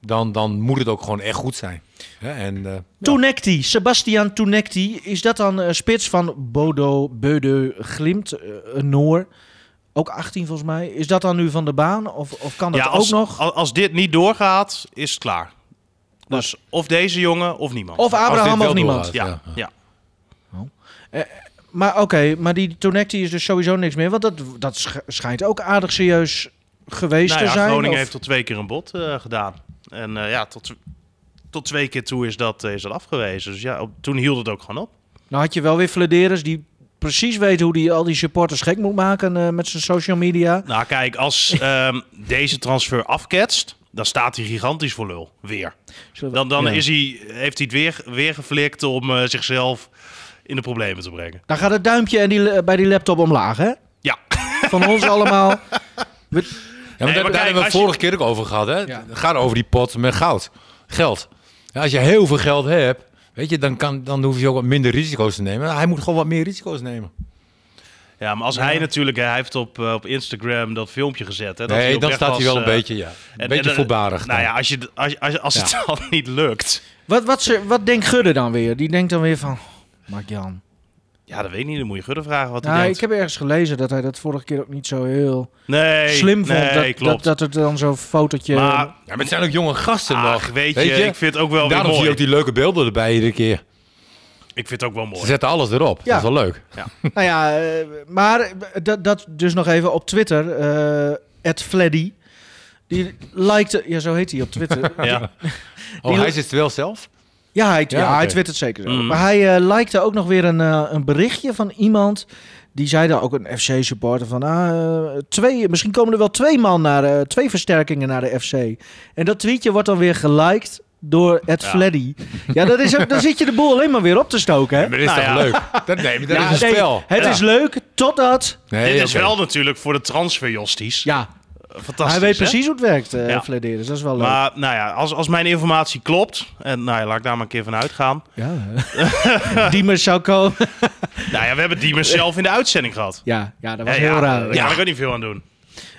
Speaker 3: dan, dan moet het ook gewoon echt goed zijn. Ja, en, eh,
Speaker 2: Toenekti, Sebastian Toenekti. Is dat dan een spits van Bodo Beude Glimt, eh, een Noor? Ook 18 volgens mij. Is dat dan nu van de baan? Of, of kan dat
Speaker 4: ja, als,
Speaker 2: ook nog?
Speaker 4: al- Als dit niet doorgaat, is het klaar. Dus of deze jongen of niemand.
Speaker 2: Of
Speaker 3: als dit
Speaker 2: Abraham
Speaker 3: wel
Speaker 2: of niemand?
Speaker 3: doorgaat,
Speaker 4: ja,
Speaker 3: ja.
Speaker 4: ja.
Speaker 2: Maar oké, maar die Toenekti is dus sowieso niks meer. Want dat, dat sch- schijnt ook aardig serieus geweest
Speaker 4: Nou ja,
Speaker 2: te zijn.
Speaker 4: Groningen
Speaker 2: of-
Speaker 4: heeft tot twee keer een bod eh, gedaan. En eh, ja, tot, tot twee keer toe is dat, eh, is dat afgewezen. Dus ja, op- toen hield het ook gewoon op.
Speaker 2: Nou had je wel weer Vladeres die precies weet hoe die al die supporters gek moet maken eh, met zijn social media.
Speaker 4: Nou kijk, als ehm, deze transfer afketst, dan staat hij gigantisch voor lul. Weer.
Speaker 2: Zullen we-
Speaker 4: Dan, dan
Speaker 2: ja.
Speaker 4: is hij, heeft hij het weer, weer geflikt om eh, zichzelf in de problemen te brengen.
Speaker 2: Dan gaat het duimpje en die, eh, bij die laptop omlaag, hè?
Speaker 4: Ja.
Speaker 2: Van ons allemaal.
Speaker 3: Ja, maar
Speaker 4: Nee,
Speaker 3: daar,
Speaker 4: maar
Speaker 3: daar
Speaker 4: kijk,
Speaker 3: hebben we
Speaker 4: als je-
Speaker 3: vorige keer ook over gehad. Hè?
Speaker 2: Ja.
Speaker 3: Het gaat over die pot met goud. Geld. Ja, als je heel veel geld hebt, weet je, dan, kan, dan hoef je ook wat minder risico's te nemen. Hij moet gewoon wat meer risico's nemen.
Speaker 4: Ja, maar als hij natuurlijk, hè, hij heeft op, eh, op Instagram dat filmpje gezet. Hè, dat hij
Speaker 3: nee,
Speaker 4: op
Speaker 3: dan
Speaker 4: weg
Speaker 3: staat
Speaker 4: was,
Speaker 3: hij wel een
Speaker 4: eh,
Speaker 3: beetje, ja. Een
Speaker 4: en-
Speaker 3: beetje
Speaker 4: en, eh,
Speaker 3: voorbarig.
Speaker 4: Nou
Speaker 3: dan.
Speaker 4: ja, als, je, als, als, als het dan niet lukt.
Speaker 2: Wat, wat, ze, wat denkt Gudde dan weer? Die denkt dan weer van, Mark Jan.
Speaker 4: Ja, dat weet ik niet. Dan moet je Gudde vragen wat hij
Speaker 2: Nou,
Speaker 4: denkt.
Speaker 2: ik heb ergens gelezen dat hij dat vorige keer ook niet zo heel
Speaker 4: Nee,
Speaker 2: slim vond.
Speaker 4: nee,
Speaker 2: dat,
Speaker 4: klopt.
Speaker 2: Dat, eh, dat het dan zo'n fotootje...
Speaker 4: maar
Speaker 3: Ja, maar het zijn ook jonge gasten nog.
Speaker 4: ach, weet, je, ik vind het ook wel weer
Speaker 3: Daarom zie
Speaker 4: mooi.
Speaker 3: je ook die leuke beelden erbij iedere keer.
Speaker 4: Ik vind het ook wel
Speaker 3: Ze
Speaker 4: mooi.
Speaker 3: zetten alles erop.
Speaker 2: Ja.
Speaker 3: Dat is wel leuk.
Speaker 2: Nou ja, eh, maar dat, dat dus nog even op Twitter. eh @fleddy. Die likte... Ja, zo heet hij op Twitter.
Speaker 4: Ja.
Speaker 3: Oh,
Speaker 2: Die-
Speaker 3: hij zit wel zelf?
Speaker 2: Ja, hij, ja,
Speaker 3: Ja, oké.
Speaker 2: hij twittert zeker zo.
Speaker 4: Mhm.
Speaker 2: Maar hij eh, likte ook nog weer een, eh, een berichtje van iemand. Die zei daar ook een FC-supporter van... Ah, eh, twee, misschien komen er wel twee man naar... eh, twee versterkingen naar de FC. En dat tweetje wordt dan weer geliked door Ed
Speaker 4: Ja.
Speaker 2: Fleddy. Ja, dat is, ook- dan zit je de boel alleen maar weer op te stoken, hè?
Speaker 3: Maar dat is
Speaker 4: Nou
Speaker 3: toch
Speaker 4: ja.
Speaker 3: leuk? Dat, nee, maar dat
Speaker 2: Ja,
Speaker 3: is een
Speaker 2: nee,
Speaker 3: spel.
Speaker 2: het
Speaker 4: Ja.
Speaker 2: is leuk, totdat...
Speaker 3: Nee,
Speaker 4: Dit is
Speaker 3: oké.
Speaker 4: wel natuurlijk voor de transfer Josties.
Speaker 2: Ja,
Speaker 4: Fantastisch,
Speaker 2: hij weet
Speaker 4: hè?
Speaker 2: precies hoe het werkt, eh
Speaker 4: Ja.
Speaker 2: Flederis. Dat is wel leuk.
Speaker 4: Maar nou ja, als, als mijn informatie klopt, en nou ja, laat ik daar maar een keer van uitgaan.
Speaker 2: Ja. eh. Diemers zou komen.
Speaker 4: Nou ja, we hebben Diemers zelf in de uitzending gehad.
Speaker 2: Ja, ja, dat was
Speaker 4: Ja,
Speaker 2: heel
Speaker 4: ja,
Speaker 2: raar.
Speaker 4: Daar kan ik ook niet veel aan doen.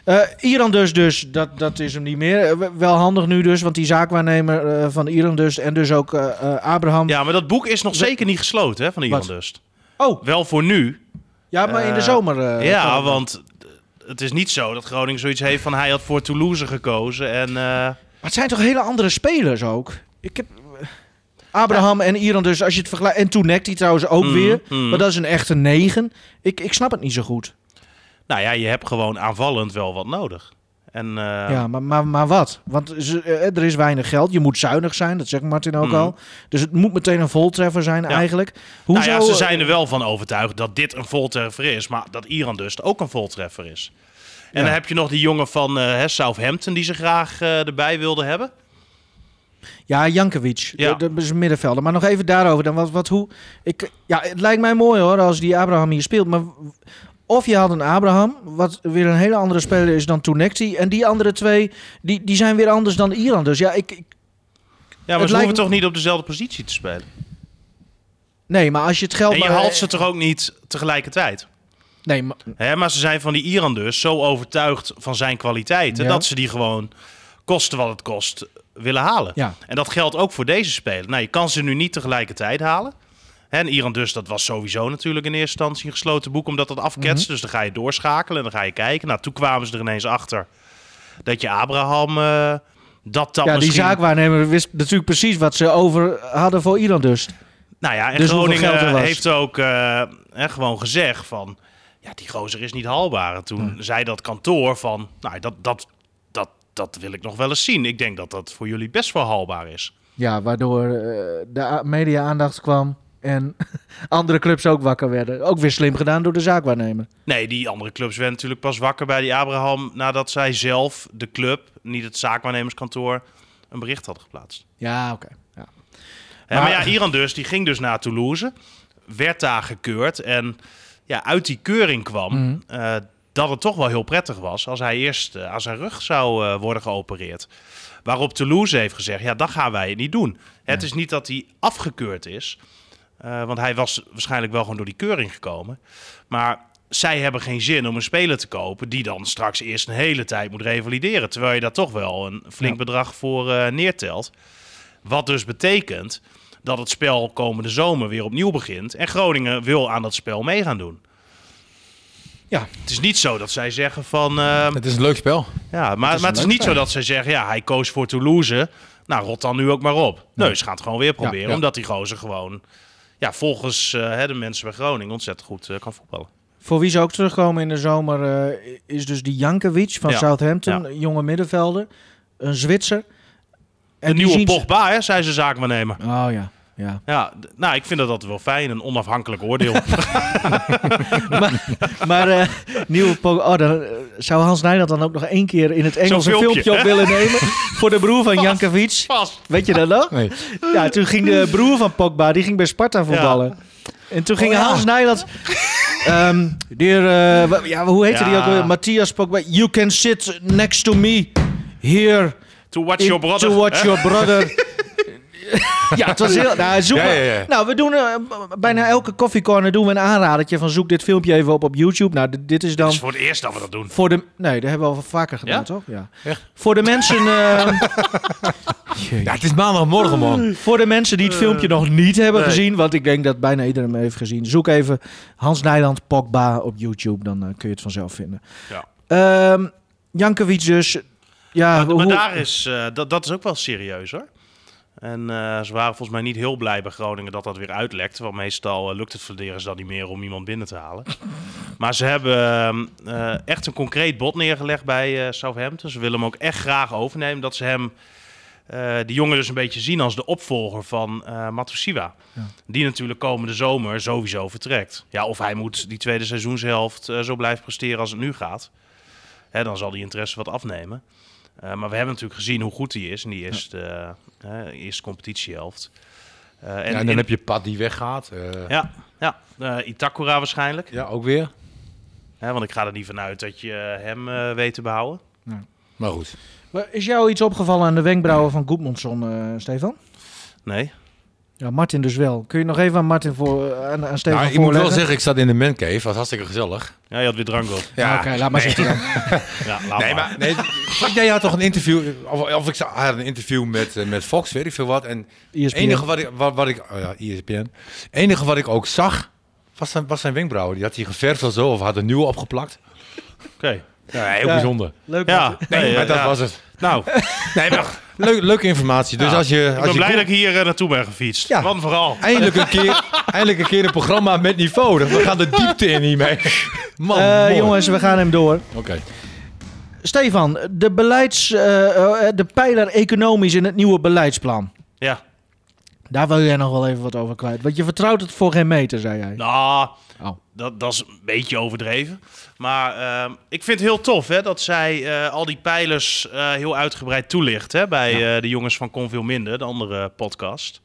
Speaker 2: Eh, Iran dus, dus dat, dat is hem niet meer. Eh, we- wel handig nu dus, want die zaakwaarnemer eh, van Iran dus en dus ook eh, eh, Abraham.
Speaker 4: Ja, maar dat boek is nog zeker niet gesloten hè, van Ivan
Speaker 2: Wat?
Speaker 4: Dust.
Speaker 2: Oh,
Speaker 4: Wel voor nu.
Speaker 2: ja, maar in de
Speaker 4: Eh,
Speaker 2: zomer. eh, kan
Speaker 4: ja,
Speaker 2: het.
Speaker 4: want eh, het is niet zo dat Groningen zoiets heeft van hij had voor Toulouse gekozen. En, eh,
Speaker 2: Maar het zijn toch hele andere spelers ook? Ik heb... eh, Abraham en Iran dus, als je het vergelijkt... En Toenek die trouwens ook
Speaker 4: Mhm,
Speaker 2: weer.
Speaker 4: mhm.
Speaker 2: Maar dat is een echte negen. Ik, ik snap het niet zo goed.
Speaker 4: nou ja, je hebt gewoon aanvallend wel wat nodig. En, eh,
Speaker 2: Ja, maar, maar, maar wat? Want ze- eh, er is weinig geld. Je moet zuinig zijn, dat zegt Martin ook
Speaker 4: Mhm.
Speaker 2: al. Dus het moet meteen een voltreffer zijn
Speaker 4: Ja.
Speaker 2: eigenlijk. Hoezo, eh,
Speaker 4: Nou ja, ze zijn er wel van overtuigd dat dit een voltreffer is, maar dat Iran dus ook een voltreffer is. En
Speaker 2: Ja.
Speaker 4: dan heb je nog die jongen van eh, hè, Southampton die ze graag eh, erbij wilden hebben.
Speaker 2: Ja, Jankovic. eh,
Speaker 4: Ja.
Speaker 2: Dat is een middenvelder. Maar nog even daarover dan. Wat, wat, hoe, ik, ja, het lijkt mij mooi hoor als die Abraham hier speelt. Maar w- of je haalt een Abraham, wat weer een hele andere speler is dan Toenekti. En die andere twee, die, die zijn weer anders dan Iran. Dus ja, ik, ik-
Speaker 4: Ja, maar
Speaker 2: Het lijkt
Speaker 4: ze hoeven
Speaker 2: me-
Speaker 4: toch niet op dezelfde positie te spelen.
Speaker 2: Nee, maar als je het geld...
Speaker 4: En je
Speaker 2: Oh, maar- eh,
Speaker 4: haalt ze toch ook niet tegelijkertijd.
Speaker 2: Nee, maar,
Speaker 4: Hè, maar ze zijn van die Iran dus zo overtuigd van zijn kwaliteiten
Speaker 2: Ja.
Speaker 4: dat ze die gewoon kosten wat het kost willen halen.
Speaker 2: Ja.
Speaker 4: En dat geldt ook voor deze speler. Nou, je kan ze nu niet tegelijkertijd halen. Hè, En Iran dus, dat was sowieso natuurlijk in eerste instantie een gesloten boek, omdat dat afketst.
Speaker 2: Mhm.
Speaker 4: Dus dan ga je doorschakelen en dan ga je kijken. Nou, toen kwamen ze er ineens achter dat je Abraham eh, dat dat
Speaker 2: ja,
Speaker 4: misschien...
Speaker 2: die zaakwaarnemer wist natuurlijk precies wat ze over hadden voor Iran dus.
Speaker 4: Nou ja, en
Speaker 2: Dus hoeveel geld er
Speaker 4: Groningen
Speaker 2: was.
Speaker 4: heeft ook eh, hè, gewoon gezegd van... Ja, die gozer is niet haalbaar. En toen zei dat kantoor van... Nou, dat, dat, dat, dat wil ik nog wel eens zien. Ik denk dat dat voor jullie best wel haalbaar is.
Speaker 2: Ja, waardoor eh, de a- media-aandacht kwam en andere clubs ook wakker werden. Ook weer slim gedaan door de zaakwaarnemer.
Speaker 4: Nee, die andere clubs werden natuurlijk pas wakker bij die Abraham... nadat zij zelf, de club, niet het zaakwaarnemerskantoor... een bericht had geplaatst.
Speaker 2: Ja, oké. Ja.
Speaker 4: Hè, maar,
Speaker 2: Maar-
Speaker 4: ja, Iran dus, die ging dus naar Toulouse. Werd daar gekeurd. En ja, uit die keuring kwam eh, dat het toch wel heel prettig was... als hij eerst eh, aan zijn rug zou eh, worden geopereerd. Waarop Toulouse heeft gezegd, ja, dat gaan wij niet doen. Het is niet dat hij afgekeurd is. eh, want hij was waarschijnlijk wel gewoon door die keuring gekomen. Maar zij hebben geen zin om een speler te kopen... die dan straks eerst een hele tijd moet revalideren. Terwijl je daar toch wel een flink bedrag voor eh, neertelt. Wat dus betekent dat het spel komende zomer weer opnieuw begint. En Groningen wil aan dat spel mee gaan doen.
Speaker 2: Ja.
Speaker 4: Het is niet zo dat zij zeggen van. ehm,
Speaker 3: Het is een leuk spel.
Speaker 4: ja, maar het is, maar het is
Speaker 2: leuk
Speaker 4: niet zo dat zij zeggen. Ja, hij koos voor Toulouse. Nou, rot dan nu ook maar op. Nee, ze gaan het gewoon weer proberen.
Speaker 3: ja.
Speaker 4: Omdat die gozer gewoon. Ja, volgens eh, hè, de mensen bij Groningen ontzettend goed eh, kan voetballen.
Speaker 2: Voor wie ze ook terugkomen in de zomer eh, is dus die Jankovic van
Speaker 4: Ja.
Speaker 2: Southampton.
Speaker 4: Ja.
Speaker 2: Een jonge middenvelder. Een Zwitser.
Speaker 4: De
Speaker 2: die
Speaker 4: nieuwe
Speaker 2: zien ze-
Speaker 4: Pogba, hè, zei ze zaakwaarnemer.
Speaker 2: Oh ja, ja.
Speaker 4: Ja, d- nou, ik vind dat altijd wel fijn. Een onafhankelijk oordeel.
Speaker 2: maar maar eh, nieuwe po- oh, dan, eh, zou Hans Nijland dan ook nog één keer in het Engels
Speaker 4: Zo'n
Speaker 2: een
Speaker 4: filmpje,
Speaker 2: filmpje op willen nemen voor de broer van Jankovic?
Speaker 4: Vast.
Speaker 2: Weet je dat nog?
Speaker 3: Nee.
Speaker 2: Ja, toen ging de broer van Pogba, die ging bij Sparta voetballen. En toen ging
Speaker 3: Oh, ja.
Speaker 2: Hans Nijland... ehm dear, eh, wa- ja, hoe heette die
Speaker 4: Ja.
Speaker 2: ook weer? Matthias Pogba. You can sit next to me here
Speaker 4: To watch
Speaker 2: in-
Speaker 4: your brother.
Speaker 2: to watch
Speaker 4: hè?
Speaker 2: your brother. ja, het was heel... Nou, zoek
Speaker 3: Ja,
Speaker 2: maar-
Speaker 3: ja, ja.
Speaker 2: nou we doen eh, b- bijna elke koffiecorner doen we een aanradertje van zoek dit filmpje even op op YouTube. Nou, dit- dit is dan...
Speaker 4: Het is voor het eerst dat we dat doen.
Speaker 2: Voor de... Nee, dat hebben we al vaker gedaan,
Speaker 4: Ja?
Speaker 2: toch? Ja.
Speaker 3: Echt?
Speaker 2: Voor de mensen... eh,
Speaker 3: Ja, het is maandagmorgen,
Speaker 4: Mm.
Speaker 3: man.
Speaker 2: Voor de mensen die het filmpje nog niet hebben
Speaker 4: nee.
Speaker 2: gezien, want ik denk dat bijna iedereen hem heeft gezien, zoek even Hans Nijland Pogba op YouTube, dan eh, kun je het vanzelf vinden.
Speaker 4: Ja.
Speaker 2: Ehm, Jankovic dus, ja,
Speaker 4: Maar, maar
Speaker 2: hoe-
Speaker 4: daar is, eh, dat, dat is ook wel serieus hoor. En eh, ze waren volgens mij niet heel blij bij Groningen dat dat weer uitlekt. Want meestal eh, lukt het verdedigers dan niet meer om iemand binnen te halen. maar ze hebben ehm, eh, echt een concreet bod neergelegd bij eh, Southampton. Ze willen hem ook echt graag overnemen. Dat ze hem, eh, die jongen dus een beetje zien als de opvolger van eh Matusiwa. Die natuurlijk komende zomer sowieso vertrekt. Ja, of hij moet die tweede seizoenshelft eh, zo blijven presteren als het nu gaat. Hè, dan zal die interesse wat afnemen. Eh, maar we hebben natuurlijk gezien hoe goed hij is in die eerste, eh, eh, eerste competitiehelft. Eh, en
Speaker 3: Ja, en
Speaker 4: in-
Speaker 3: dan heb je Pat die weggaat. eh,
Speaker 4: ja, ja. Eh, Itakura waarschijnlijk.
Speaker 3: ja, ook weer.
Speaker 4: Hè, want ik ga er niet vanuit dat je eh, hem eh, weet te behouden.
Speaker 3: Maar goed.
Speaker 2: Maar is jou iets opgevallen aan de wenkbrauwen van Goedmondson, eh, Stefan?
Speaker 4: Nee.
Speaker 2: Ja, Martin dus wel. Kun je nog even aan Martin voor, eh, aan, aan Stefan
Speaker 3: Nou, ik moet
Speaker 2: voorleggen?
Speaker 3: wel zeggen, ik zat in de mancave. was hartstikke gezellig.
Speaker 4: Ja, je had weer drank op.
Speaker 3: Nou,
Speaker 2: Ja, Nou, oké, laat maar zitten.
Speaker 4: Ja, laat
Speaker 3: Nee, maar nee, Frank, jij had toch een interview, of, of ik zag- had een interview met, eh, met Fox, weet ik veel wat. En het
Speaker 2: ESPN.
Speaker 3: enige wat ik, wat, wat ik oh ja, ESPN. enige wat ik ook zag, was zijn, was zijn wenkbrauwen. Die had hij geverfd of zo, of had een nieuwe opgeplakt.
Speaker 4: Oké.
Speaker 3: Ja, heel
Speaker 2: Ja.
Speaker 3: bijzonder.
Speaker 2: Leuk.
Speaker 4: Ja,
Speaker 3: Nee,
Speaker 4: eh,
Speaker 3: maar dat
Speaker 4: ja.
Speaker 3: was het.
Speaker 4: Nou,
Speaker 3: Nee, maar leuk, leuke informatie. Dus
Speaker 4: Ja,
Speaker 3: als je,
Speaker 4: ik
Speaker 3: als
Speaker 4: ben
Speaker 3: je
Speaker 4: blij dat
Speaker 3: Goe-
Speaker 4: ik hier eh, naartoe ben gefietst.
Speaker 3: Ja.
Speaker 4: Want vooral.
Speaker 3: eindelijk, een keer, eindelijk een keer een programma met niveau. We gaan de diepte in hiermee. Man,
Speaker 2: Eh,
Speaker 3: Oh, mooi.
Speaker 2: jongens, we gaan hem door.
Speaker 3: Oké.
Speaker 2: Stefan, de, beleids, eh, eh, de pijler economisch in het nieuwe beleidsplan.
Speaker 4: Ja.
Speaker 2: Daar wil jij nog wel even wat over kwijt. Want je vertrouwt het voor geen meter, zei jij.
Speaker 4: Nou,
Speaker 2: Oh.
Speaker 4: dat, dat is een beetje overdreven. Maar ehm, ik vind het heel tof hè, dat zij eh, al die pijlers eh, heel uitgebreid toelicht. Hè, bij eh, de jongens van Kon Veel Minder, de andere podcast.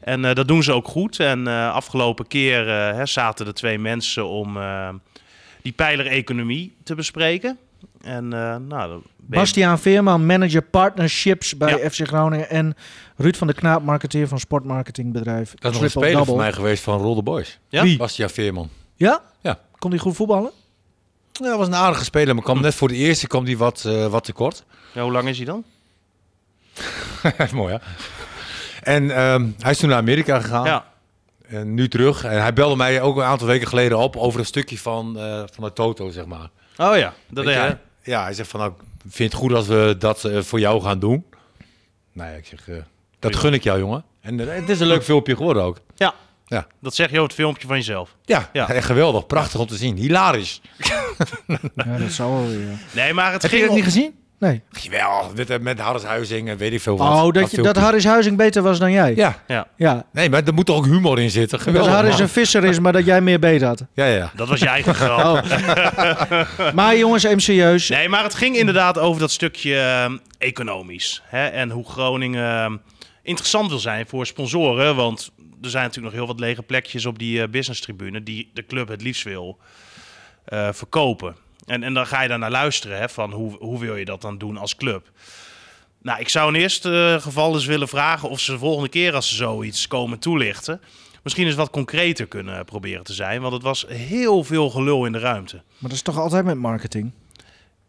Speaker 4: En eh, dat doen ze ook goed. En eh, afgelopen keer eh, hè, zaten er twee mensen om eh, die pijler economie te bespreken. En eh, nou, dan ben je-
Speaker 2: Bastiaan Veerman, manager partnerships bij
Speaker 4: Ja.
Speaker 2: FC Groningen. En Ruud van der Knaap, marketeer van sportmarketingbedrijf.
Speaker 3: Dat is nog een
Speaker 2: Triple
Speaker 3: speler
Speaker 2: Double.
Speaker 3: van mij geweest van Rolde Boys.
Speaker 4: Ja?
Speaker 2: Wie?
Speaker 3: Bastiaan Veerman.
Speaker 2: Ja?
Speaker 3: Ja.
Speaker 2: Kon hij goed voetballen?
Speaker 3: Ja, dat was een aardige Hm. speler, maar kwam net voor de eerste kwam die wat, eh, wat tekort.
Speaker 4: ja, hoe lang is hij dan?
Speaker 3: Mooi, hè? En ehm, hij is toen naar Amerika gegaan.
Speaker 4: Ja.
Speaker 3: En nu terug. En hij belde mij ook een aantal weken geleden op over een stukje van, eh, van de Toto, zeg maar.
Speaker 4: Oh ja, dat
Speaker 3: Weet je?
Speaker 4: ja.
Speaker 3: Ja, hij zegt van, nou, ik vind het goed als we dat eh, voor jou gaan doen? Nou ja, ik zeg, eh, dat gun ik jou, jongen. En eh, het is een leuk filmpje geworden ook.
Speaker 4: ja.
Speaker 3: Ja.
Speaker 4: Dat zeg je op het filmpje van jezelf.
Speaker 3: Ja,
Speaker 4: Ja.
Speaker 3: echt geweldig. Prachtig om te zien. Hilarisch.
Speaker 2: Ja, dat zou wel weer.
Speaker 4: Nee, maar het
Speaker 3: Heb je
Speaker 4: ging
Speaker 3: dat
Speaker 4: om-
Speaker 3: niet gezien?
Speaker 2: Nee.
Speaker 3: Jawel, met, met Harris Huizing en weet ik veel wat.
Speaker 2: Oh, dat, je, dat
Speaker 3: filmpje.
Speaker 2: Harris Huizing beter was dan jij.
Speaker 3: Ja,
Speaker 4: Ja,
Speaker 2: ja.
Speaker 3: nee, maar er moet toch ook humor in zitten.
Speaker 2: Dat
Speaker 3: Geweldig.
Speaker 2: Harris
Speaker 3: man.
Speaker 2: een visser is, maar dat jij meer beter had.
Speaker 3: Ja, ja, ja.
Speaker 4: dat was je eigen
Speaker 3: Oh.
Speaker 4: grap.
Speaker 2: Maar jongens, even serieus.
Speaker 4: Nee, maar het ging inderdaad over dat stukje ehm, economisch. Hè? En hoe Groningen ehm, interessant wil zijn voor sponsoren. Want er zijn natuurlijk nog heel wat lege plekjes op die eh, business tribune die de club het liefst wil eh, verkopen. En, en dan ga je daar naar luisteren, hè, van hoe, hoe wil je dat dan doen als club? Nou, ik zou in eerste eh, geval dus willen vragen of ze de volgende keer als ze zoiets komen toelichten... misschien eens wat concreter kunnen eh, proberen te zijn. Want het was heel veel gelul in de ruimte.
Speaker 2: Maar dat is toch altijd met marketing?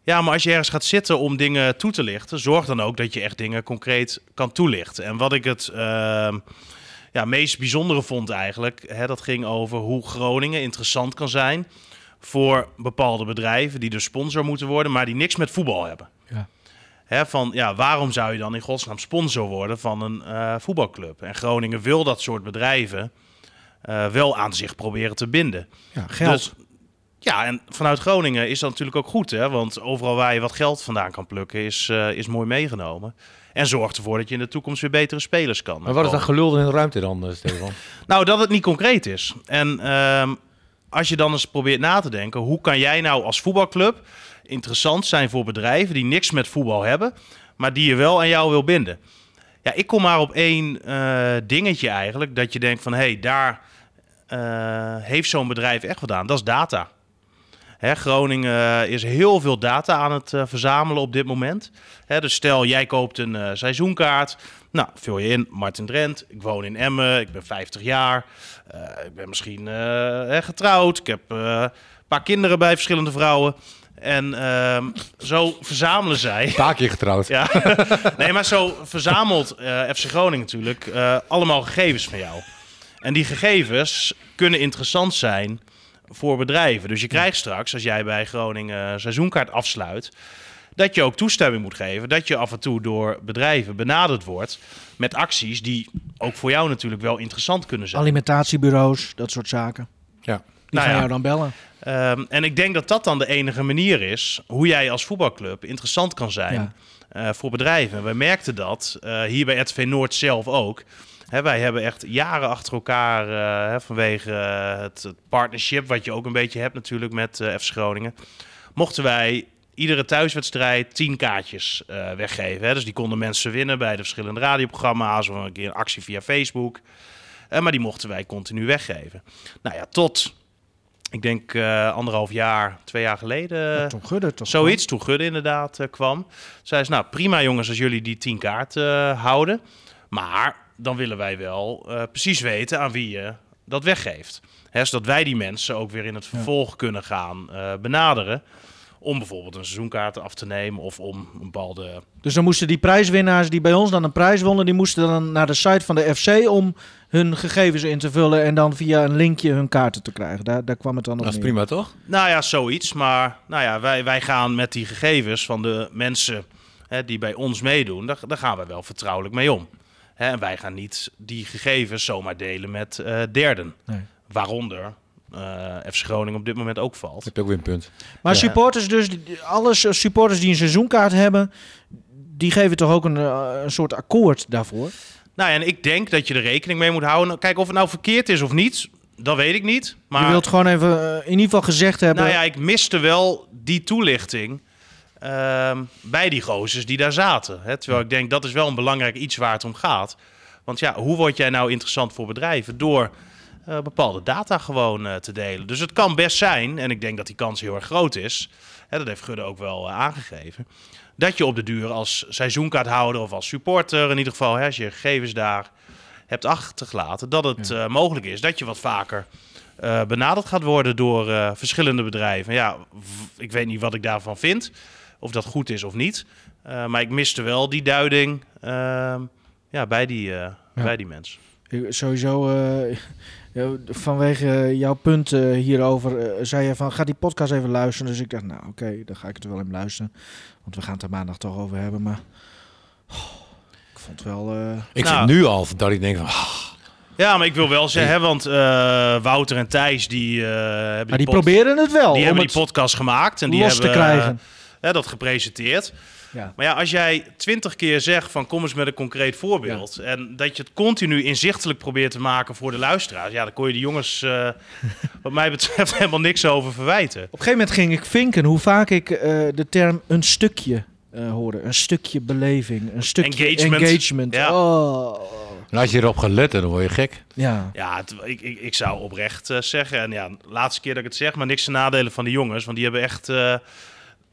Speaker 4: Ja, maar als je ergens gaat zitten om dingen toe te lichten, zorg dan ook dat je echt dingen concreet kan toelichten. En wat ik het ehm, ja, meest bijzondere vond eigenlijk, hè, dat ging over hoe Groningen interessant kan zijn voor bepaalde bedrijven die dus sponsor moeten worden, maar die niks met voetbal hebben.
Speaker 2: Ja.
Speaker 4: Hè, van ja, waarom zou je dan in godsnaam sponsor worden van een eh, voetbalclub? En Groningen wil dat soort bedrijven eh, wel aan zich proberen te binden.
Speaker 2: Ja, geld.
Speaker 4: Dus, ja, en vanuit Groningen is dat natuurlijk ook goed, hè? Want overal waar je wat geld vandaan kan plukken, is, eh, is mooi meegenomen. En zorgt ervoor dat je in de toekomst weer betere spelers kan. eh,
Speaker 3: Maar wat is dat
Speaker 4: komen.
Speaker 3: gelul in de ruimte dan, eh, Stefan?
Speaker 4: Nou, dat het niet concreet is. En ehm, als je dan eens probeert na te denken, hoe kan jij nou als voetbalclub interessant zijn voor bedrijven die niks met voetbal hebben, maar die je wel aan jou wil binden? Ja, ik kom maar op één eh, dingetje eigenlijk, dat je denkt van hé, hey, daar eh, heeft zo'n bedrijf echt wat aan. Dat is data. Hè, Groningen eh, is heel veel data aan het eh, verzamelen op dit moment. Hè, dus stel, jij koopt een eh, seizoenkaart. Nou, vul je in Martin Drent. Ik woon in Emmen. Ik ben 50 jaar. eh, ik ben misschien eh, hè, getrouwd. Ik heb eh, een paar kinderen bij verschillende vrouwen. En ehm, zo verzamelen zij.
Speaker 3: Een paar keer getrouwd.
Speaker 4: Ja. Nee, maar zo verzamelt eh, FC Groningen natuurlijk eh, allemaal gegevens van jou. En die gegevens kunnen interessant zijn voor bedrijven. Dus je krijgt straks, als jij bij Groningen een seizoenkaart afsluit, dat je ook toestemming moet geven dat je af en toe door bedrijven benaderd wordt met acties die ook voor jou natuurlijk wel interessant kunnen zijn.
Speaker 2: Alimentatiebureaus, dat soort zaken.
Speaker 3: Ja.
Speaker 2: Die gaan
Speaker 4: Nou ja.
Speaker 2: jou dan bellen.
Speaker 4: Ehm, en ik denk dat dat dan de enige manier is hoe jij als voetbalclub interessant kan zijn
Speaker 2: Ja.
Speaker 4: eh, voor bedrijven. We merkten dat eh, hier bij RTV Noord zelf ook. Hè, wij hebben echt jaren achter elkaar eh, hè, vanwege eh, het, het partnership wat je ook een beetje hebt natuurlijk met eh FC Groningen. Mochten wij iedere thuiswedstrijd tien kaartjes eh, weggeven. Hè? Dus die konden mensen winnen bij de verschillende radioprogramma's of een keer een actie via Facebook. Eh, maar die mochten wij continu weggeven. Nou ja, tot ik denk eh, anderhalf jaar, twee jaar geleden.
Speaker 2: Ja, Tom Gudde toch?
Speaker 4: Eh, Zoiets, toen Gudde inderdaad eh, kwam. Zei ze, nou prima jongens als jullie die tien kaarten eh, houden. Maar dan willen wij wel eh, precies weten aan wie je dat weggeeft. Hè, zodat wij die mensen ook weer in het vervolg kunnen gaan eh, benaderen. Om bijvoorbeeld een seizoenkaart af te nemen of om een bepaalde...
Speaker 2: Dus dan moesten die prijswinnaars die bij ons dan een prijs wonnen, die moesten dan naar de site van de FC om hun gegevens in te vullen en dan via een linkje hun kaarten te krijgen. Daar, daar kwam het dan op
Speaker 3: Dat is
Speaker 2: neer.
Speaker 3: prima, toch?
Speaker 4: Nou ja, zoiets. Maar nou ja, wij, wij gaan met die gegevens van de mensen hè, die bij ons meedoen, daar, daar gaan wij wel vertrouwelijk mee om. Hè, en wij gaan niet die gegevens zomaar delen met eh, derden.
Speaker 2: Nee.
Speaker 4: Waaronder eh FC Groningen op dit moment ook valt.
Speaker 3: Heb je ook weer een punt.
Speaker 2: Maar
Speaker 3: Ja.
Speaker 2: supporters dus, die- alle su- supporters die een seizoenkaart hebben, die geven toch ook een, eh, een soort akkoord daarvoor?
Speaker 4: Nou ja, en ik denk dat je er rekening mee moet houden. Kijk, of het nou verkeerd is of niet, dat weet ik niet. Maar
Speaker 2: Je wilt gewoon even eh, in ieder geval gezegd hebben,
Speaker 4: nou ja, ik miste wel die toelichting ehm, bij die gozers die daar zaten. Hè? Terwijl ik denk, dat is wel een belangrijk iets waar het om gaat. Want ja, hoe word jij nou interessant voor bedrijven? Door eh, bepaalde data gewoon eh, te delen. Dus het kan best zijn, en ik denk dat die kans heel erg groot is... Hè, dat heeft Gudde ook wel eh, aangegeven... dat je op de duur als seizoenkaarthouder of als supporter... in ieder geval, hè, als je gegevens daar hebt achtergelaten... dat het eh, mogelijk is dat je wat vaker eh, benaderd gaat worden door eh, verschillende bedrijven. Ja, v- ik weet niet wat ik daarvan vind. Of dat goed is of niet. Eh, maar ik miste wel die duiding ehm, ja, bij, die, eh, bij die mens.
Speaker 2: Ik- Sowieso, eh, ja, vanwege eh, jouw punt eh, hierover, eh, zei je van ga die podcast even luisteren. Dus ik dacht, nou oké, dan ga ik het wel in luisteren. Want we gaan het er maandag toch over hebben. Maar oh, ik vond het wel. eh,
Speaker 3: Ik
Speaker 4: Nou.
Speaker 3: vind nu al dat ik denk, van, ah,
Speaker 4: Ja, maar ik wil wel zeggen, hè, want eh, Wouter en Thijs die, eh, hebben
Speaker 2: maar die
Speaker 4: pod-
Speaker 2: proberen het wel.
Speaker 4: die
Speaker 2: om
Speaker 4: hebben
Speaker 2: het
Speaker 4: die podcast gemaakt en die
Speaker 2: los te
Speaker 4: hebben eh,
Speaker 2: krijgen.
Speaker 4: hè, dat gepresenteerd.
Speaker 2: ja.
Speaker 4: Maar ja, als jij twintig keer zegt van kom eens met een concreet voorbeeld. En dat je het continu inzichtelijk probeert te maken voor de luisteraars. Ja, dan kon je de jongens eh, wat mij betreft helemaal niks over verwijten.
Speaker 2: Op een gegeven moment ging ik vinken hoe vaak ik eh, de term een stukje eh, hoorde. Een stukje beleving, een stukje engagement.
Speaker 4: Engagement. Ja.
Speaker 2: Oh.
Speaker 3: en als je erop gaat letten, dan word je gek.
Speaker 2: ja.
Speaker 4: Ja, het- ik, ik, ik zou oprecht eh, zeggen. En ja, de laatste keer dat ik het zeg, maar niks te nadelen van de jongens. Want die hebben echt eh,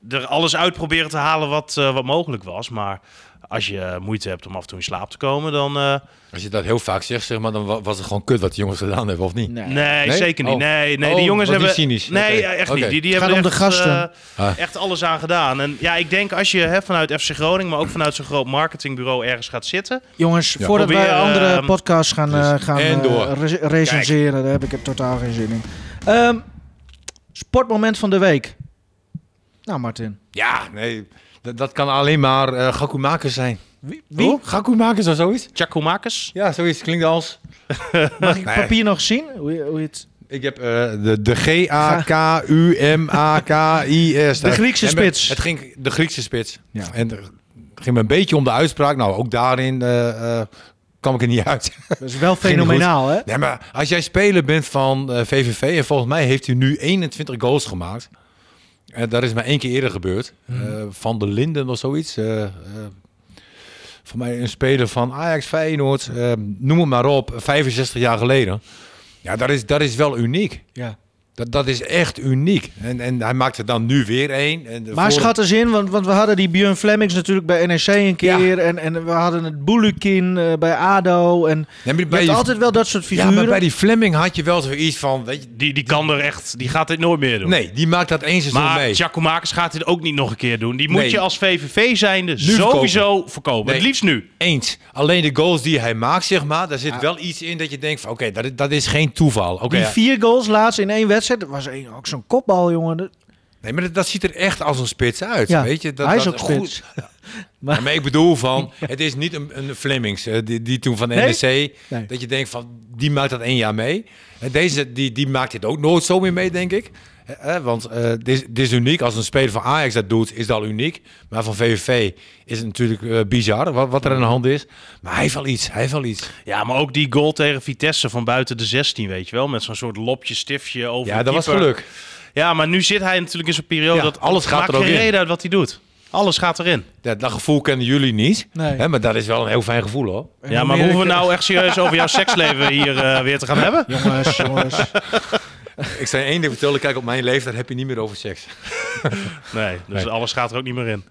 Speaker 4: er alles uit proberen te halen wat, eh, wat mogelijk was. Maar als je moeite hebt om af en toe in slaap te komen, dan... eh,
Speaker 3: Als je dat heel vaak zegt, zeg maar, dan wa- was het gewoon kut wat die jongens gedaan hebben, of niet?
Speaker 2: Nee.
Speaker 4: Nee,
Speaker 3: Nee?
Speaker 4: zeker niet.
Speaker 3: Oh.
Speaker 4: Nee, nee die
Speaker 3: Oh, was
Speaker 4: jongens
Speaker 3: die
Speaker 4: hebben.
Speaker 3: cynisch?
Speaker 4: Nee,
Speaker 3: Oké.
Speaker 4: echt
Speaker 3: Oké.
Speaker 4: niet. Die, die
Speaker 2: Het gaat
Speaker 4: hebben echt,
Speaker 2: om de gasten.
Speaker 4: eh,
Speaker 3: Ah.
Speaker 4: echt alles aan gedaan. En ja, ik denk als je hè, vanuit FC Groningen, maar
Speaker 3: Mm.
Speaker 4: ook vanuit zo'n groot marketingbureau ergens gaat zitten.
Speaker 2: Jongens,
Speaker 3: Ja.
Speaker 2: voordat
Speaker 4: Probeer,
Speaker 2: wij andere
Speaker 4: ehm,
Speaker 2: podcasts gaan, eh,
Speaker 3: dus
Speaker 2: gaan
Speaker 3: en
Speaker 2: eh,
Speaker 3: door.
Speaker 2: re- recenseren, daar heb ik er totaal geen zin in. Ehm, sportmoment van de week. Nou, Martin.
Speaker 3: Ja, nee, dat, dat kan alleen maar eh Gakumakers zijn.
Speaker 2: Wie?
Speaker 3: Oh, Gakumakers of zoiets?
Speaker 4: Chakumakis.
Speaker 3: Ja, zoiets klinkt als...
Speaker 2: Mag ik het
Speaker 3: Nee.
Speaker 2: papier nog zien? Hoe, je- hoe je het...
Speaker 3: Ik heb eh, de, de G-A-K-U-M-A-K-I-S.
Speaker 2: De Griekse
Speaker 3: En met-
Speaker 2: spits.
Speaker 3: Het ging de Griekse spits.
Speaker 2: Ja.
Speaker 3: En het ging me een beetje om de uitspraak. Nou, ook daarin eh, eh, kwam ik er niet uit.
Speaker 2: Dat is wel
Speaker 3: niet
Speaker 2: fenomenaal, hè?
Speaker 3: nee, maar als jij speler bent van eh, VVV... en volgens mij heeft hij nu 21 goals gemaakt. Eh dat is maar één keer eerder gebeurd.
Speaker 2: Mhm.
Speaker 3: Eh, van de Linden of zoiets. Eh, eh, voor mij een speler van Ajax, Feyenoord... eh, noem het maar op, 65 jaar geleden. Ja, dat is, dat is wel uniek.
Speaker 2: Ja.
Speaker 3: Dat, dat is echt uniek. En, en hij maakt er dan nu weer één. En de
Speaker 2: Maar
Speaker 3: vorige-
Speaker 2: schat eens in, want, want we hadden die Björn Flemmings natuurlijk bij NEC een keer. En, en we hadden het Bulukin eh, bij ADO. En
Speaker 3: Nee, maar
Speaker 2: je
Speaker 3: bij
Speaker 2: hebt
Speaker 3: die-
Speaker 2: altijd wel dat soort
Speaker 3: ja,
Speaker 2: figuren.
Speaker 3: maar bij die Fleming had je wel zoiets van... Weet je,
Speaker 4: Die, die kan er echt. Die gaat dit nooit meer doen.
Speaker 3: nee, die maakt dat één seizoen
Speaker 4: Maar
Speaker 3: mee.
Speaker 4: Chakumakis gaat dit ook niet nog een keer doen. Die moet
Speaker 3: Nee.
Speaker 4: je als VVV zijnde sowieso verkopen.
Speaker 3: Nee.
Speaker 4: Het liefst nu.
Speaker 3: Eens. Alleen de goals die hij maakt, zeg maar... daar zit wel iets in dat je denkt van... oké, dat, is- dat is geen toeval. Oké,
Speaker 2: Die
Speaker 3: ja.
Speaker 2: vier goals laatst in één wedstrijd. Dat was één, ook zo'n kopbal, jongen. Dat-
Speaker 3: Nee, maar dat, dat ziet er echt als een spits uit.
Speaker 2: Ja,
Speaker 3: weet je? Dat,
Speaker 2: hij is
Speaker 3: dat
Speaker 2: ook
Speaker 3: goed-
Speaker 2: spits.
Speaker 3: Ja, maar ik bedoel van... het is niet een, een Flemings eh, die, die toen van NEC...
Speaker 2: Nee.
Speaker 3: dat je denkt van... die maakt dat één jaar mee. En deze die, die maakt dit ook nooit zo meer mee, denk ik. Eh, eh, want eh, dit, is, dit is uniek. Als een speler van Ajax dat doet, is dat al uniek. Maar van VVV is het natuurlijk eh, bizar wat, wat er aan de hand is. Maar hij heeft wel iets. Hij heeft wel iets.
Speaker 4: Ja, maar ook die goal tegen Vitesse van buiten de 16, weet je wel. Met zo'n soort lopje, stiftje over.
Speaker 3: Ja,
Speaker 4: de
Speaker 3: dat was
Speaker 4: keeper.
Speaker 3: geluk.
Speaker 4: Ja, maar nu zit hij natuurlijk in zo'n periode
Speaker 3: Ja,
Speaker 4: dat
Speaker 3: alles gaat
Speaker 4: maakt
Speaker 3: er ook
Speaker 4: geen
Speaker 3: in.
Speaker 4: reden uit wat hij doet. Alles gaat erin.
Speaker 3: Dat, dat gevoel kennen jullie niet.
Speaker 2: Nee.
Speaker 3: Hè, maar dat is wel een heel fijn gevoel, hoor.
Speaker 2: En
Speaker 4: Ja,
Speaker 2: hoe
Speaker 4: maar
Speaker 2: meer
Speaker 4: hoeven we
Speaker 2: ik-
Speaker 4: nou echt serieus over jouw seksleven hier eh, weer te gaan hebben?
Speaker 2: Jongens, jongens.
Speaker 3: Ik zei één ding vertellen. Kijk, op mijn leeftijd heb je niet meer over seks.
Speaker 4: Nee, dus alles gaat er ook niet meer in.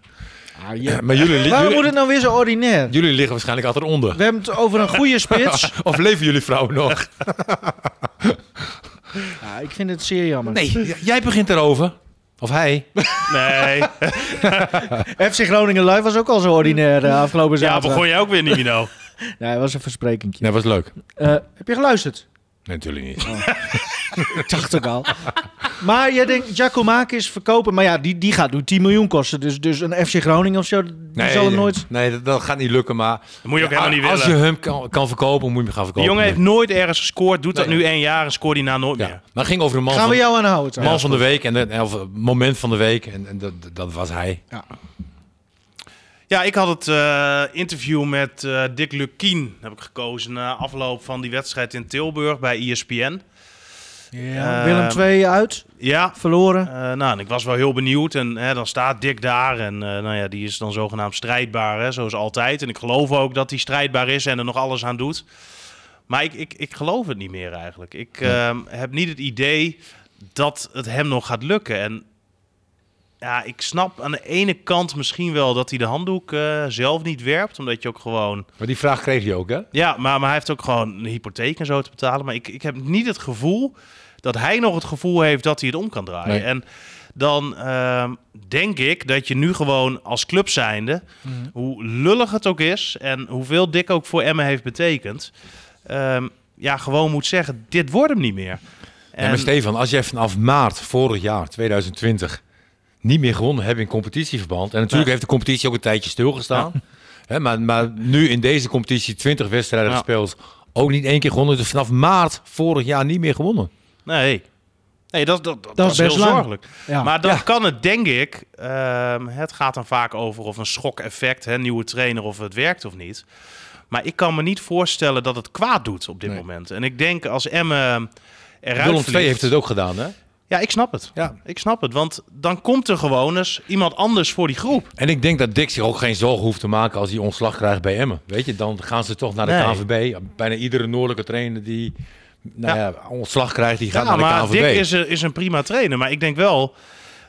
Speaker 2: Ah, je-
Speaker 3: Maar jullie, li-
Speaker 2: Waarom
Speaker 3: jullie,
Speaker 2: wordt het nou weer zo ordinair?
Speaker 3: jullie liggen waarschijnlijk altijd onder.
Speaker 2: We hebben het over een goede spits.
Speaker 3: Of leven jullie vrouwen nog?
Speaker 2: Ja, ik vind het zeer jammer.
Speaker 3: Nee, j- jij begint erover. Of hij.
Speaker 4: Nee.
Speaker 2: FC Groningen Live was ook al zo ordinair eh, afgelopen
Speaker 4: Ja,
Speaker 2: zaterdag.
Speaker 4: begon jij ook weer niet, Mino.
Speaker 2: Nee, dat was een versprekingje.
Speaker 3: Dat was leuk.
Speaker 2: Eh, heb je geluisterd?
Speaker 3: Nee, natuurlijk niet.
Speaker 2: Ik dacht ook al. Maar jij denkt, Giacomakis verkopen. Maar ja, die, die gaat nu 10 miljoen kosten. Dus, dus een FC Groningen of zo, die
Speaker 3: Nee,
Speaker 2: zal hem nooit...
Speaker 3: nee dat, dat gaat niet lukken. Maar
Speaker 4: Dat moet je ook helemaal niet
Speaker 3: als
Speaker 4: willen.
Speaker 3: je hem kan, kan verkopen, moet je hem gaan
Speaker 4: Die
Speaker 3: verkopen.
Speaker 4: jongen heeft nooit ergens gescoord, doet dat
Speaker 3: Nee.
Speaker 4: nu één jaar en scoort die na nooit
Speaker 3: Ja.
Speaker 4: meer.
Speaker 3: Maar het ging over de man,
Speaker 2: Gaan
Speaker 3: van,
Speaker 2: we jou aanhouden?
Speaker 3: man
Speaker 2: trouwens?
Speaker 3: van de week. En de, of moment van de week. En, en dat, dat was hij.
Speaker 4: Ja, ik had het eh, interview met eh, Dick Lukien, heb ik gekozen, na afloop van die wedstrijd in Tilburg bij E ESPN.
Speaker 2: Ja,
Speaker 4: Eh,
Speaker 2: Willem 2 uit,
Speaker 4: Ja,
Speaker 2: verloren.
Speaker 4: Eh, nou, en ik was wel heel benieuwd. En hè, dan staat Dick daar. En eh, nou ja, die is dan zogenaamd strijdbaar, hè, zoals altijd. En ik geloof ook dat hij strijdbaar is en er nog alles aan doet. Maar ik, ik, ik geloof het niet meer eigenlijk. Ik ehm, heb niet het idee dat het hem nog gaat lukken. En ja, ik snap aan de ene kant misschien wel dat hij de handdoek eh, zelf niet werpt. Omdat je ook gewoon
Speaker 3: Maar die vraag kreeg je ook, hè?
Speaker 4: ja, maar, maar hij heeft ook gewoon een hypotheek en zo te betalen. Maar ik, ik heb niet het gevoel dat hij nog het gevoel heeft dat hij het om kan draaien.
Speaker 3: Nee.
Speaker 4: En dan ehm, denk ik dat je nu gewoon als club zijnde, hoe lullig het ook is en hoeveel Dick ook voor Emmen heeft betekend, ehm, ja, gewoon moet zeggen, dit wordt hem niet meer.
Speaker 3: Ja, maar Stefan, als jij vanaf maart vorig jaar, 2020, niet meer gewonnen hebt in competitieverband. En natuurlijk
Speaker 4: Nee.
Speaker 3: heeft de competitie ook een tijdje stilgestaan. Hè, maar, maar nu in deze competitie 20 wedstrijden
Speaker 4: Ja.
Speaker 3: gespeeld. Ook niet één keer gewonnen. Dus vanaf maart vorig jaar niet meer gewonnen.
Speaker 4: Nee. Nee, dat, dat,
Speaker 2: is
Speaker 4: dat, is
Speaker 2: best
Speaker 4: heel
Speaker 2: lang.
Speaker 4: zorgelijk.
Speaker 2: Ja.
Speaker 4: Maar dan
Speaker 3: Ja.
Speaker 4: kan het, denk ik, ehm, het gaat dan vaak over of een schok-effect, hè, nieuwe trainer, of het werkt of niet. Maar ik kan me niet voorstellen dat het kwaad doet op dit
Speaker 3: Nee.
Speaker 4: moment. En ik denk als Emme ehm, eruit
Speaker 3: Willem II
Speaker 4: vliegt-
Speaker 3: heeft het ook gedaan, hè?
Speaker 4: Ja, ik snap het.
Speaker 3: Ja.
Speaker 4: Ik snap het, want dan komt er gewoon eens iemand anders voor die groep.
Speaker 3: En ik denk dat Dick zich ook geen zorgen hoeft te maken als hij ontslag krijgt bij Emmen. Weet je, dan gaan ze toch naar de
Speaker 4: Nee.
Speaker 3: KNVB. Bijna iedere noordelijke trainer die nou
Speaker 4: Ja.
Speaker 3: ja. ontslag krijgt, die gaat
Speaker 4: ja,
Speaker 3: naar
Speaker 4: maar
Speaker 3: de
Speaker 4: Dick
Speaker 3: KNVB.
Speaker 4: is, een- is een prima trainer. Maar ik denk wel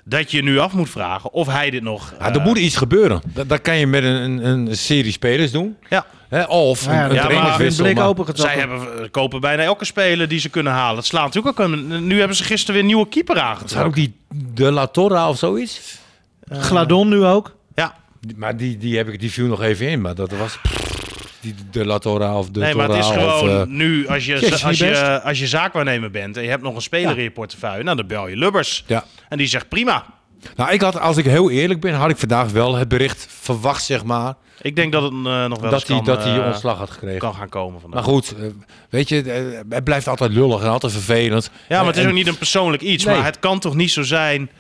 Speaker 4: dat je nu af moet vragen of hij dit nog...
Speaker 3: Ja, Ah, er
Speaker 4: eh,
Speaker 3: moet iets gebeuren. Dat, dat kan je met een, een, een serie spelers doen.
Speaker 4: ja.
Speaker 3: Hè, of
Speaker 2: Nou ja,
Speaker 3: een, een
Speaker 4: ja, maar-
Speaker 3: trainingswissel.
Speaker 2: blik
Speaker 3: maar-
Speaker 2: opengetrokken.
Speaker 4: Zij hebben, eh, kopen bijna elke speler die ze kunnen halen. Het slaat natuurlijk ook een. Nu hebben ze gisteren weer een nieuwe keeper
Speaker 3: Zou
Speaker 4: aangetrokken.
Speaker 3: ook die De La Torre of zoiets?
Speaker 2: Gladon nu ook.
Speaker 4: Ja,
Speaker 3: Die- Maar die, die, heb ik, die viel nog even in. Maar dat was... Die De La Torre of De
Speaker 4: nee, maar het is
Speaker 3: Torre of,
Speaker 4: gewoon
Speaker 3: eh,
Speaker 4: nu als je,
Speaker 3: Jezus,
Speaker 4: als,
Speaker 3: niet
Speaker 4: je, als je zaakwaarnemer bent en je hebt nog een speler in je portefeuille, nou dan bel je Lubbers.
Speaker 3: ja.
Speaker 4: En die zegt prima.
Speaker 3: Nou, ik had, als ik heel eerlijk ben, had ik vandaag wel het bericht verwacht, zeg maar,
Speaker 4: Ik denk dat het eh, nog wel eens
Speaker 3: dat hij,
Speaker 4: kan,
Speaker 3: dat hij
Speaker 4: eh,
Speaker 3: ontslag had gekregen.
Speaker 4: kan gaan komen vandaag.
Speaker 3: Maar goed, eh, weet je, eh, het blijft altijd lullig en altijd vervelend.
Speaker 4: ja, maar het is
Speaker 3: En-
Speaker 4: ook niet een persoonlijk iets.
Speaker 3: Nee.
Speaker 4: Maar het kan toch niet zo zijn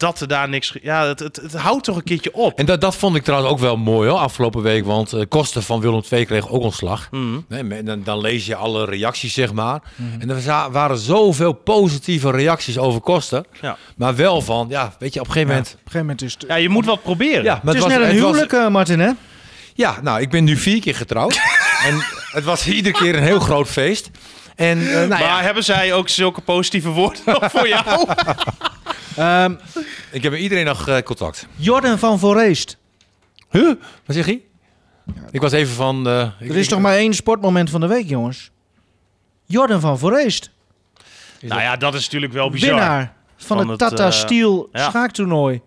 Speaker 4: dat er daar niks. ge- Ja, het, het, het houdt toch een keertje op.
Speaker 3: En dat, dat vond ik trouwens ook wel mooi hoor, afgelopen week. Want eh, Kosten van Willem II kreeg ook ontslag. Nee, maar dan, dan lees je alle reacties, zeg maar. En er za- waren zoveel positieve reacties over Kosten.
Speaker 4: Ja.
Speaker 3: Maar wel van, ja, weet je, op een gegeven
Speaker 2: Op
Speaker 3: moment...
Speaker 2: een gegeven moment is het...
Speaker 4: Ja, je moet wat proberen.
Speaker 3: Ja,
Speaker 2: het
Speaker 3: maar
Speaker 2: is
Speaker 3: was-
Speaker 2: net een
Speaker 3: het was-
Speaker 2: huwelijk, eh, Martin, hè?
Speaker 3: ja, nou, ik ben nu vier keer getrouwd. en het was iedere keer een heel groot feest. En eh, nou
Speaker 4: maar
Speaker 3: ja,
Speaker 4: hebben zij ook zulke positieve woorden nog voor jou?
Speaker 2: Ehm,
Speaker 3: ik heb met iedereen nog eh, contact.
Speaker 2: Jordan van Voorheest.
Speaker 3: Huh? Wat zeg je? Ik was even van... eh, ik-
Speaker 2: Er is
Speaker 3: ik-
Speaker 2: toch maar één sportmoment van de week, jongens. Jordan van Voorheest.
Speaker 4: Nou ja, dat is natuurlijk wel bizar.
Speaker 2: Winnaar van,
Speaker 4: Van
Speaker 2: het,
Speaker 4: het,
Speaker 2: Tata
Speaker 4: eh,
Speaker 2: Steel
Speaker 4: ja.
Speaker 2: schaaktoernooi.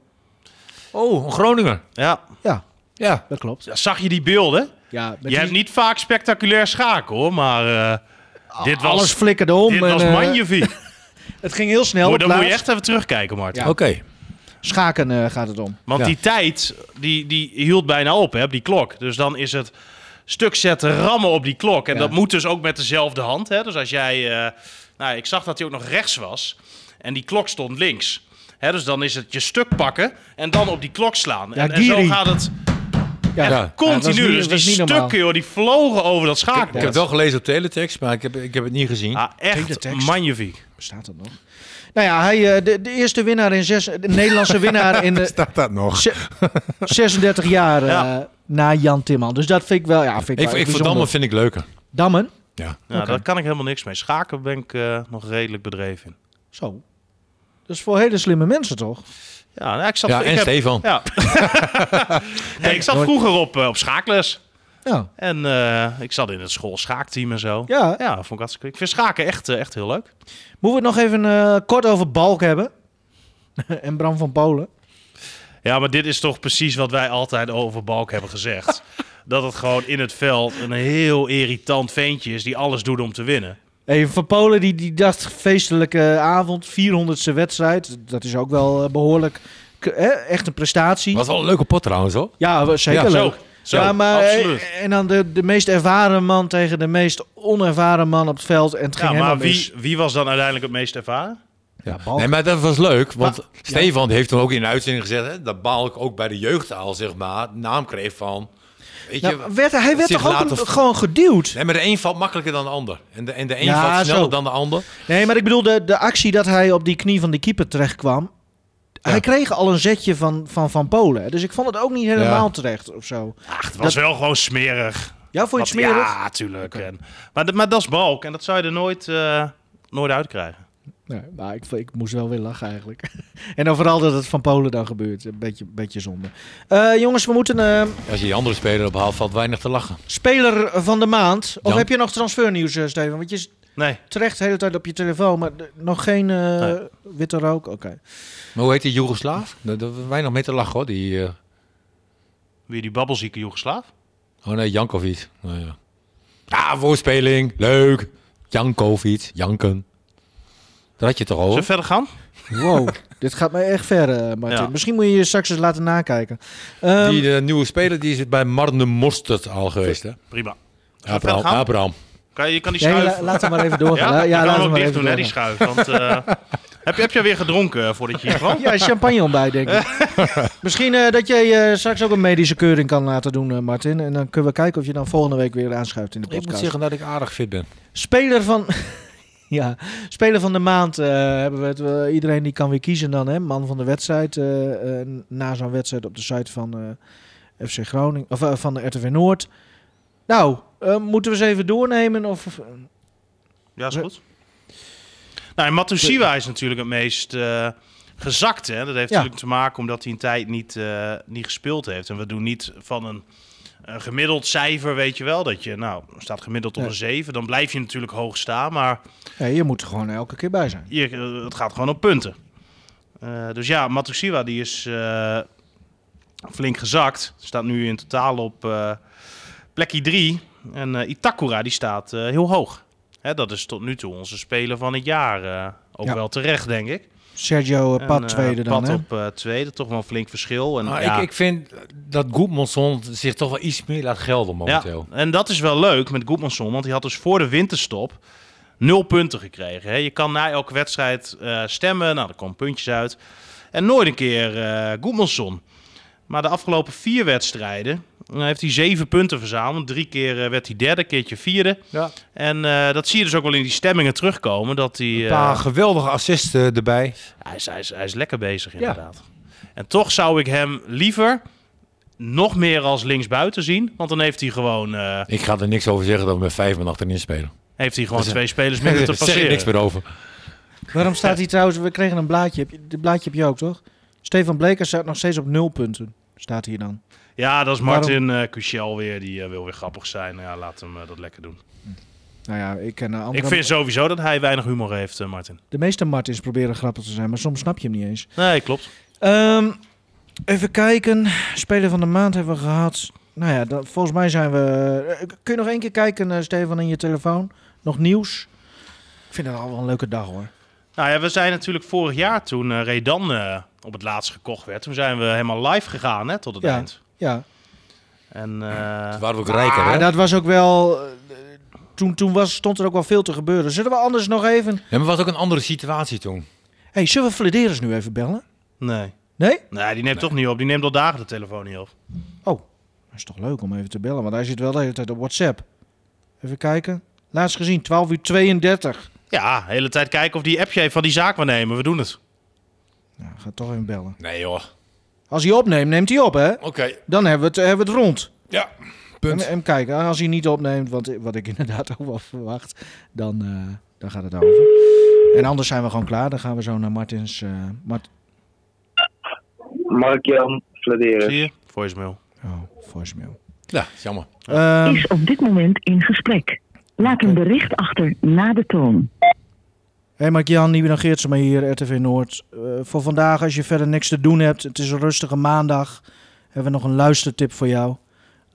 Speaker 3: Oh, een Groninger.
Speaker 4: Ja.
Speaker 2: Ja,
Speaker 3: Ja.
Speaker 2: dat klopt.
Speaker 4: Zag je die beelden?
Speaker 2: Ja,
Speaker 4: je hebt niet vaak spectaculair schaken hoor, maar eh, dit was,
Speaker 2: Alles flikkerde om.
Speaker 4: dit
Speaker 2: en,
Speaker 4: was
Speaker 2: eh,
Speaker 4: magnifiek.
Speaker 2: het ging heel snel.
Speaker 4: Moet-
Speaker 2: op
Speaker 4: Dan moet je
Speaker 2: laatst.
Speaker 4: echt even terugkijken, Martin.
Speaker 2: Ja.
Speaker 3: Oké.
Speaker 2: Schaken eh, gaat het om.
Speaker 4: Want
Speaker 3: Ja.
Speaker 4: die tijd, die, die hield bijna op, hè, op die klok. Dus dan is het stuk zetten, rammen op die klok. En
Speaker 2: Ja.
Speaker 4: dat moet dus ook met dezelfde hand. Hè. Dus als jij... eh, nou, ik zag dat hij ook nog rechts was. En die klok stond links. Hè, dus dan is het je stuk pakken en dan op die klok slaan.
Speaker 2: Ja,
Speaker 4: en, en zo
Speaker 2: Giri.
Speaker 4: gaat het
Speaker 2: Ja,
Speaker 3: Ja.
Speaker 2: Ja, dat was
Speaker 4: continu.
Speaker 2: niet-
Speaker 4: dus
Speaker 2: dat
Speaker 4: die
Speaker 2: was niet normaal.
Speaker 4: stukken, joh, die vlogen over dat
Speaker 3: Ik, ik heb
Speaker 4: schaakbord.
Speaker 3: het wel gelezen op teletext, maar ik heb, ik heb het niet gezien.
Speaker 4: Ah,
Speaker 2: Tweede
Speaker 4: echt
Speaker 2: tekst.
Speaker 4: magnifiek.
Speaker 2: bestaat dat nog? Nou ja, hij, eh, de, de eerste winnaar in zes, de Nederlandse winnaar in eh,
Speaker 3: Staat dat nog?
Speaker 2: ze- 36 jaar eh,
Speaker 4: Ja.
Speaker 2: na Jan Timman. Dus dat vind ik wel, ja, vind ik
Speaker 3: Ik,
Speaker 2: wel
Speaker 3: ik
Speaker 2: bijzonder.
Speaker 3: verdammen vind ik leuker.
Speaker 2: Dammen?
Speaker 3: Ja.
Speaker 4: Ja, Daar kan ik helemaal niks mee. Schaken ben ik eh, nog redelijk bedreven in.
Speaker 2: Zo. Dat is voor hele slimme mensen toch?
Speaker 4: Ja, nou, ik zat,
Speaker 3: Ja,
Speaker 4: ik
Speaker 3: en Stefan.
Speaker 4: Ja. nee, ik zat vroeger op, eh, op schaakles.
Speaker 2: Ja.
Speaker 4: En eh, ik zat in het school schaakteam en zo.
Speaker 2: Ja.
Speaker 4: ja vond ik hartstikke leuk. Ik vind schaken echt, eh, echt heel leuk.
Speaker 2: Moeten we het nog even eh, kort over Balk hebben? en Bram van Polen.
Speaker 4: Ja, maar dit is toch precies wat wij altijd over Balk hebben gezegd. dat het gewoon in het veld een heel irritant ventje is die alles doet om te winnen.
Speaker 2: Hey, van Polen die, die dacht feestelijke avond, 400ste wedstrijd. Dat is ook wel eh, behoorlijk, k- hè, echt een prestatie.
Speaker 3: Was wel een leuke pot trouwens hoor.
Speaker 2: Ja, wel zeker
Speaker 3: Ja,
Speaker 2: leuk.
Speaker 4: zo. Zo,
Speaker 2: ja, maar, eh,
Speaker 4: absoluut.
Speaker 2: En dan de, de meest ervaren man tegen de meest onervaren man op het veld. En het ging
Speaker 4: Ja, maar
Speaker 2: helemaal
Speaker 4: wie,
Speaker 2: mis.
Speaker 4: wie was dan uiteindelijk het meest ervaren?
Speaker 2: Ja, Balk.
Speaker 3: Nee, maar dat was leuk, want
Speaker 2: Maar-
Speaker 3: Stefan heeft toen ook in een uitzending gezegd hè, dat Balk ook bij de jeugdtaal zeg maar naam kreeg van. Weet je,
Speaker 2: Nou, werd, hij werd
Speaker 3: zich
Speaker 2: toch ook
Speaker 3: laten
Speaker 2: een-
Speaker 3: v-
Speaker 2: gewoon geduwd?
Speaker 3: nee, maar de een valt makkelijker dan de ander. En de, en de een
Speaker 2: Ja,
Speaker 3: valt sneller
Speaker 2: zo.
Speaker 3: dan de ander.
Speaker 2: Nee, maar ik bedoel, de, de actie dat hij op die knie van de keeper terecht kwam. Hij kreeg al een zetje van Van, van Polen. Dus ik vond het ook niet helemaal
Speaker 3: Ja.
Speaker 2: terecht of zo.
Speaker 4: Ach, het was wel gewoon smerig.
Speaker 2: Ja, vond je het
Speaker 4: Wat-
Speaker 2: smerig?
Speaker 4: Ja, tuurlijk. En, maar, dat- maar dat is balk en dat zou je er nooit, eh, nooit uitkrijgen.
Speaker 2: Nee, maar ik, ik moest wel weer lachen eigenlijk. en dan vooral dat het van Polen dan gebeurt. Een beetje, beetje zonde. Eh, jongens, we moeten eh,
Speaker 3: Als je die andere speler ophaalt, valt weinig te lachen.
Speaker 2: speler van de maand. Of
Speaker 3: Jan.
Speaker 2: heb je nog transfernieuws, eh, Steven? Want je,
Speaker 4: Nee.
Speaker 2: Terecht de hele tijd op je telefoon, maar d- nog geen eh,
Speaker 4: Nee.
Speaker 2: witte rook? Oké.
Speaker 3: Maar hoe heet die Joegoslaaf? Daar daar hebben wij nog mee te lachen hoor. Die, eh,
Speaker 4: Weer die babbelzieke Joegoslaaf.
Speaker 3: oh nee, Jankovic. Nou ja. ja, voorspeling. Leuk. Jankovic. Janken. Daar had je het toch
Speaker 4: Zullen we
Speaker 3: over?
Speaker 4: verder gaan?
Speaker 2: Wow, dit gaat mij echt ver, eh, Martin.
Speaker 4: Ja.
Speaker 2: Misschien moet je je straks eens laten nakijken. Ehm,
Speaker 3: Die eh, nieuwe speler die is bij Marne Mostert al geweest. Hè?
Speaker 4: Prima. Zullen we verder
Speaker 3: Abraham.
Speaker 4: gaan?
Speaker 3: Abraham.
Speaker 4: Kan, je je kan die
Speaker 2: nee,
Speaker 4: schuif...
Speaker 2: la- laat hem maar even doorgaan.
Speaker 4: ja,
Speaker 2: La-
Speaker 4: ja, kan
Speaker 2: laat hem
Speaker 4: hem ook
Speaker 2: maar
Speaker 4: dicht
Speaker 2: even
Speaker 4: doen, hè, die
Speaker 2: doorgaan.
Speaker 4: schuif. Want, eh, heb, je- heb je weer gedronken eh, voordat je hier kwam?
Speaker 2: Ja, champagne ontbijt, denk ik. Misschien eh, dat jij eh, straks ook een medische keuring kan laten doen, eh, Martin. En dan kunnen we kijken of je dan volgende week weer aanschuift in de
Speaker 3: Ik
Speaker 2: podcast.
Speaker 3: moet zeggen dat ik aardig fit ben.
Speaker 2: Speler van... ja, speler van de maand eh, hebben we het. eh, iedereen die kan weer kiezen dan, hè. Man van de wedstrijd. eh, eh, na zo'n wedstrijd op de site van eh, FC Groningen... Of eh, van de RTV Noord. Nou, eh, moeten we eens even doornemen of... eh? of-
Speaker 4: Ja, is goed. Nou, en Matusiwa is natuurlijk het meest eh, gezakt. Hè? Dat heeft
Speaker 2: Ja.
Speaker 4: natuurlijk te maken omdat hij een tijd niet, eh, niet gespeeld heeft. En we doen niet van een, een gemiddeld cijfer, weet je wel. Dat je, nou, staat gemiddeld op
Speaker 2: Nee.
Speaker 4: een 7. Dan blijf je natuurlijk hoog staan. Maar
Speaker 2: Nee, je moet er gewoon elke keer bij zijn.
Speaker 4: hier, eh, het gaat gewoon op punten. Eh, dus ja, Matusiwa die is eh, flink gezakt. Staat nu in totaal op eh, plekje 3. En eh, Itakura die staat eh, heel hoog. Hè, dat is tot nu toe onze speler van het jaar. eh, ook
Speaker 2: Ja.
Speaker 4: wel terecht, denk ik.
Speaker 2: Sergio eh, Pat
Speaker 4: En, eh,
Speaker 2: tweede dan,
Speaker 4: Pat
Speaker 2: hè?
Speaker 4: op eh, tweede, toch wel een flink verschil. En,
Speaker 3: Nou,
Speaker 4: ja,
Speaker 3: ik, ik vind dat Goedmanson zich toch wel iets meer laat gelden momenteel.
Speaker 4: Ja, en dat is wel leuk met Goedmanson, want hij had dus voor de winterstop nul punten gekregen. Hè. Je kan na elke wedstrijd eh, stemmen, nou, er komen puntjes uit. En nooit een keer eh Goedmanson. Maar de afgelopen vier wedstrijden eh, heeft hij zeven punten verzameld. Drie keer eh, werd hij derde, keertje vierde.
Speaker 3: Ja.
Speaker 4: En eh, dat zie je dus ook wel in die stemmingen terugkomen. Dat hij,
Speaker 3: Een
Speaker 4: eh,
Speaker 3: paar geweldige assists eh, erbij.
Speaker 4: hij, is, hij, is, hij is lekker bezig inderdaad. En toch zou ik hem liever nog meer als linksbuiten zien. Want dan heeft hij gewoon... eh,
Speaker 3: Ik ga er niks over zeggen dat we met vijf man achterin spelen.
Speaker 4: heeft hij gewoon
Speaker 3: Dus, eh,
Speaker 4: twee spelers minder te
Speaker 3: Daar zeg ik
Speaker 4: passeren.
Speaker 3: niks meer over.
Speaker 2: Waarom staat hij trouwens... We kregen een blaadje. Heb je- Dit blaadje heb je ook, toch? Stefan Bleker staat nog steeds op nul punten. Staat hier dan.
Speaker 4: Ja, dat is Martin eh Cuchel weer. Die eh, wil weer grappig zijn. Ja, laat hem eh, dat lekker doen.
Speaker 2: Nou ja, ik ken eh, andere...
Speaker 4: Ik vind sowieso dat hij weinig humor heeft, eh, Martin.
Speaker 2: De meeste Martins proberen grappig te zijn, maar soms snap je hem niet eens.
Speaker 4: Nee, klopt.
Speaker 2: Ehm, even kijken. Speler van de maand hebben we gehad. Nou ja, dan, volgens mij zijn we... eh, Kun je nog één keer kijken, eh, Stefan, in je telefoon? Nog nieuws? Ik vind het al wel een leuke dag, hoor.
Speaker 4: Nou ja, we zijn natuurlijk vorig jaar toen eh, Redan eh, op het laatst gekocht werd. Toen zijn we helemaal live gegaan hè, tot het
Speaker 2: Ja.
Speaker 4: eind.
Speaker 2: Ja,
Speaker 4: En eh,
Speaker 3: Toen waren we ook rijker, hè?
Speaker 2: maar dat was ook wel... eh, Toen, toen was, stond er ook wel veel te gebeuren. Zullen we anders nog even...
Speaker 3: Ja, maar het was ook een andere situatie toen.
Speaker 2: hey, zullen we Flederis nu even bellen?
Speaker 4: nee.
Speaker 2: Nee?
Speaker 4: Nee, die neemt toch niet op. Die neemt al dagen de telefoon niet op.
Speaker 2: Oh, Dat is toch leuk om even te bellen, want hij zit wel de hele tijd op WhatsApp. Even kijken. Laatst gezien, 12 uur 32.
Speaker 4: Ja, de hele tijd kijken of die appje heeft van die zaak waarnemen. We doen het.
Speaker 2: Nou, ga toch even bellen.
Speaker 3: Nee, joh. Oké.
Speaker 2: Als hij opneemt, neemt hij op, hè? Dan hebben we het, hebben we het rond.
Speaker 3: Ja.
Speaker 2: En,
Speaker 3: Punt.
Speaker 2: en kijk, als hij niet opneemt, want, wat ik inderdaad ook wel verwacht, dan, eh, dan gaat het over. En anders zijn we gewoon klaar. Dan gaan we zo naar Martins. eh, Mart
Speaker 5: Mark-Jan Fladeren.
Speaker 4: Zie je? Voicemail.
Speaker 2: oh, voicemail.
Speaker 3: Ja, is jammer.
Speaker 2: Ehm,
Speaker 6: is op dit moment in gesprek. Laat een bericht achter na de toon.
Speaker 2: Hey Mark-Jan, Nieuwen Geert ze maar hier, RTV Noord. Eh, voor vandaag, als je verder niks te doen hebt, het is een rustige maandag, hebben we nog een luistertip voor jou.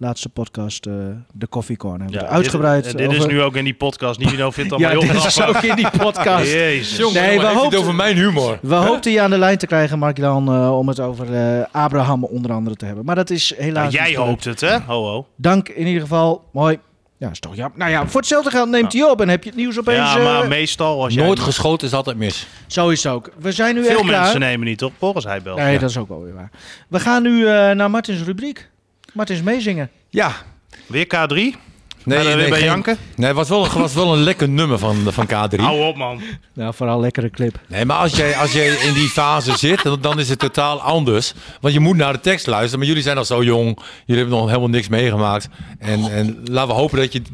Speaker 2: Laatste podcast, eh, de Coffee Corner. Hebben we het uitgebreid.
Speaker 4: Dit, dit is
Speaker 2: over-
Speaker 4: nu ook in die podcast. Nivino vindt
Speaker 2: ja,
Speaker 4: allemaal
Speaker 2: dit
Speaker 4: heel
Speaker 2: is
Speaker 4: grappig.
Speaker 2: ook in die podcast.
Speaker 4: Jezus.
Speaker 3: Jongen,
Speaker 2: Nee,
Speaker 3: nee,
Speaker 2: we
Speaker 3: we het
Speaker 2: hoopten-
Speaker 3: over mijn humor.
Speaker 2: We hoopten je aan de lijn te krijgen, Mark-Jan, eh, om het over eh, Abraham onder andere te hebben. Maar dat is helaas
Speaker 4: Nou,
Speaker 2: niet
Speaker 4: jij
Speaker 2: gelukt.
Speaker 4: hoopt het, hè? Ho, ho.
Speaker 2: Dank in ieder geval. Mooi. Ja, is toch jammer. Nou ja, voor hetzelfde geld neemt hij op en heb je het nieuws opeens...
Speaker 4: ja, maar
Speaker 2: eh,
Speaker 4: meestal als jij...
Speaker 3: Nooit geschoten is altijd mis.
Speaker 2: Zo is het ook. We zijn nu
Speaker 4: Veel
Speaker 2: echt klaar.
Speaker 4: mensen nemen niet op, volgens hij belt.
Speaker 2: Nee, dat is ook wel weer waar. We gaan nu eh, naar Martins rubriek. Martins meezingen.
Speaker 3: Ja.
Speaker 4: Weer K3?
Speaker 3: Nee,
Speaker 4: dan weer eh, bij janken?
Speaker 3: Nee, het was wel, een- was wel een lekker nummer van, van K3.
Speaker 4: Hou op, man.
Speaker 2: Nou, vooral lekkere clip.
Speaker 3: Nee, maar als jij, als jij in die fase zit, dan, dan is het totaal anders. Want je moet naar de tekst luisteren. Maar jullie zijn nog zo jong. Jullie hebben nog helemaal niks meegemaakt. En, en laten we hopen dat je d-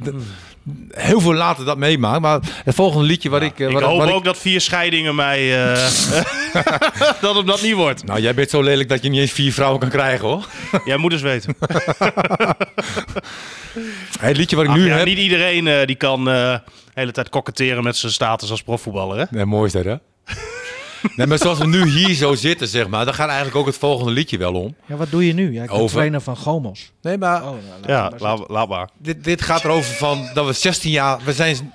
Speaker 3: heel veel later dat meemaakt. Maar het volgende liedje wat ik... eh,
Speaker 4: Ik
Speaker 3: wat,
Speaker 4: hoop
Speaker 3: wat
Speaker 4: ook dat vier scheidingen mij... eh, dat hem dat niet wordt.
Speaker 3: Nou, jij bent zo lelijk dat je niet eens vier vrouwen kan krijgen, hoor.
Speaker 4: Jij moet eens weten.
Speaker 3: Hey, Het liedje wat ik
Speaker 4: Ach,
Speaker 3: nu
Speaker 4: Nou, ja,
Speaker 3: heb...
Speaker 4: niet iedereen eh, die kan eh, hele tijd koketteren met zijn status als profvoetballer. Hè?
Speaker 3: Nee, mooi is dat, hè? nee, maar zoals we nu hier zo zitten, zeg maar, daar gaat eigenlijk ook het volgende liedje wel om.
Speaker 2: Ja, wat doe je nu? Ja, ik ben
Speaker 3: Over.
Speaker 2: trainer van Gomos.
Speaker 3: Nee, maar
Speaker 2: Oh, nou, laat het
Speaker 4: Ja,
Speaker 2: maar zitten.
Speaker 4: laat, laat maar.
Speaker 3: dit, dit gaat erover van dat we 16 jaar, we zijn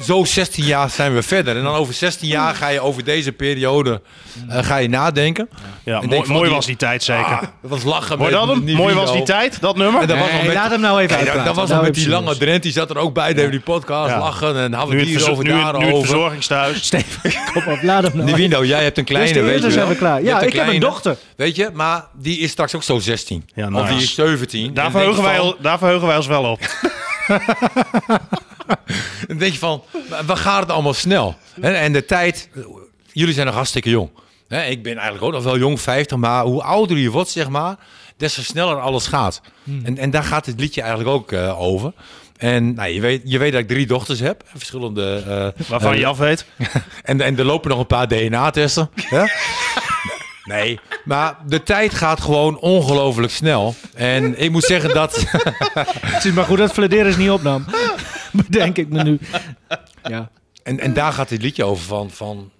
Speaker 3: zo 16 jaar zijn we verder. En dan over 16 jaar ga je over deze periode eh, ga je nadenken.
Speaker 4: Ja,
Speaker 3: denk
Speaker 4: mooi
Speaker 3: van
Speaker 4: mooi
Speaker 3: die-
Speaker 4: was die tijd zeker.
Speaker 3: Ah, dat was lachen.
Speaker 4: mooi
Speaker 3: met
Speaker 4: dat hem?
Speaker 3: Nivino.
Speaker 4: Mooi was die tijd, dat
Speaker 3: En
Speaker 4: nummer.
Speaker 3: dat was nog
Speaker 2: Nee,
Speaker 3: met-
Speaker 2: laat hem nou even
Speaker 3: Nee, dat,
Speaker 2: uitpraten.
Speaker 3: dat
Speaker 2: Nou
Speaker 3: was nog met
Speaker 2: heb
Speaker 3: die
Speaker 2: je
Speaker 3: lange
Speaker 2: zin.
Speaker 3: Drent, die zat er ook bij, deden die podcast,
Speaker 4: Ja.
Speaker 3: lachen en hadden
Speaker 4: Nu
Speaker 3: we
Speaker 4: het,
Speaker 3: het hier
Speaker 4: verzo-
Speaker 3: over
Speaker 4: nu, het-
Speaker 3: daar
Speaker 4: nu het
Speaker 3: over.
Speaker 4: verzorgingstehuis.
Speaker 2: Steven, kom op, laat hem nou.
Speaker 3: Nivino, jij hebt een kleine,
Speaker 2: Dus de
Speaker 3: weet je
Speaker 2: eerder zijn we
Speaker 3: wel.
Speaker 2: klaar.
Speaker 3: Je
Speaker 2: Ja,
Speaker 3: hebt
Speaker 2: ik heb een dochter.
Speaker 3: Weet je, maar die is straks ook zo 16.
Speaker 4: Ja,
Speaker 3: Of die
Speaker 4: nice.
Speaker 3: is 17.
Speaker 4: Daar
Speaker 3: En dan denk je
Speaker 4: verheugen, wij,
Speaker 3: van-
Speaker 4: al- daar verheugen wij ons wel op.
Speaker 3: Dan denk je van, we gaan het allemaal snel. Hè, En de tijd, jullie zijn nog hartstikke jong. Hè, Ik ben eigenlijk ook nog wel jong, 50, maar hoe ouder je wordt, zeg maar, des te sneller alles gaat.
Speaker 4: Hmm.
Speaker 3: En, en daar gaat dit liedje eigenlijk ook eh, over. En nou, je, weet, je weet dat ik drie dochters heb, verschillende. eh,
Speaker 4: Waarvan je af weet.
Speaker 3: en, en er lopen nog een paar DNA-testen. hè? Nee, maar de tijd gaat gewoon ongelooflijk snel. En ik moet zeggen dat.
Speaker 2: Het is maar goed dat Flederis niet opnam. Bedenk ik me nu. Ja.
Speaker 3: En, en daar gaat dit liedje over van, van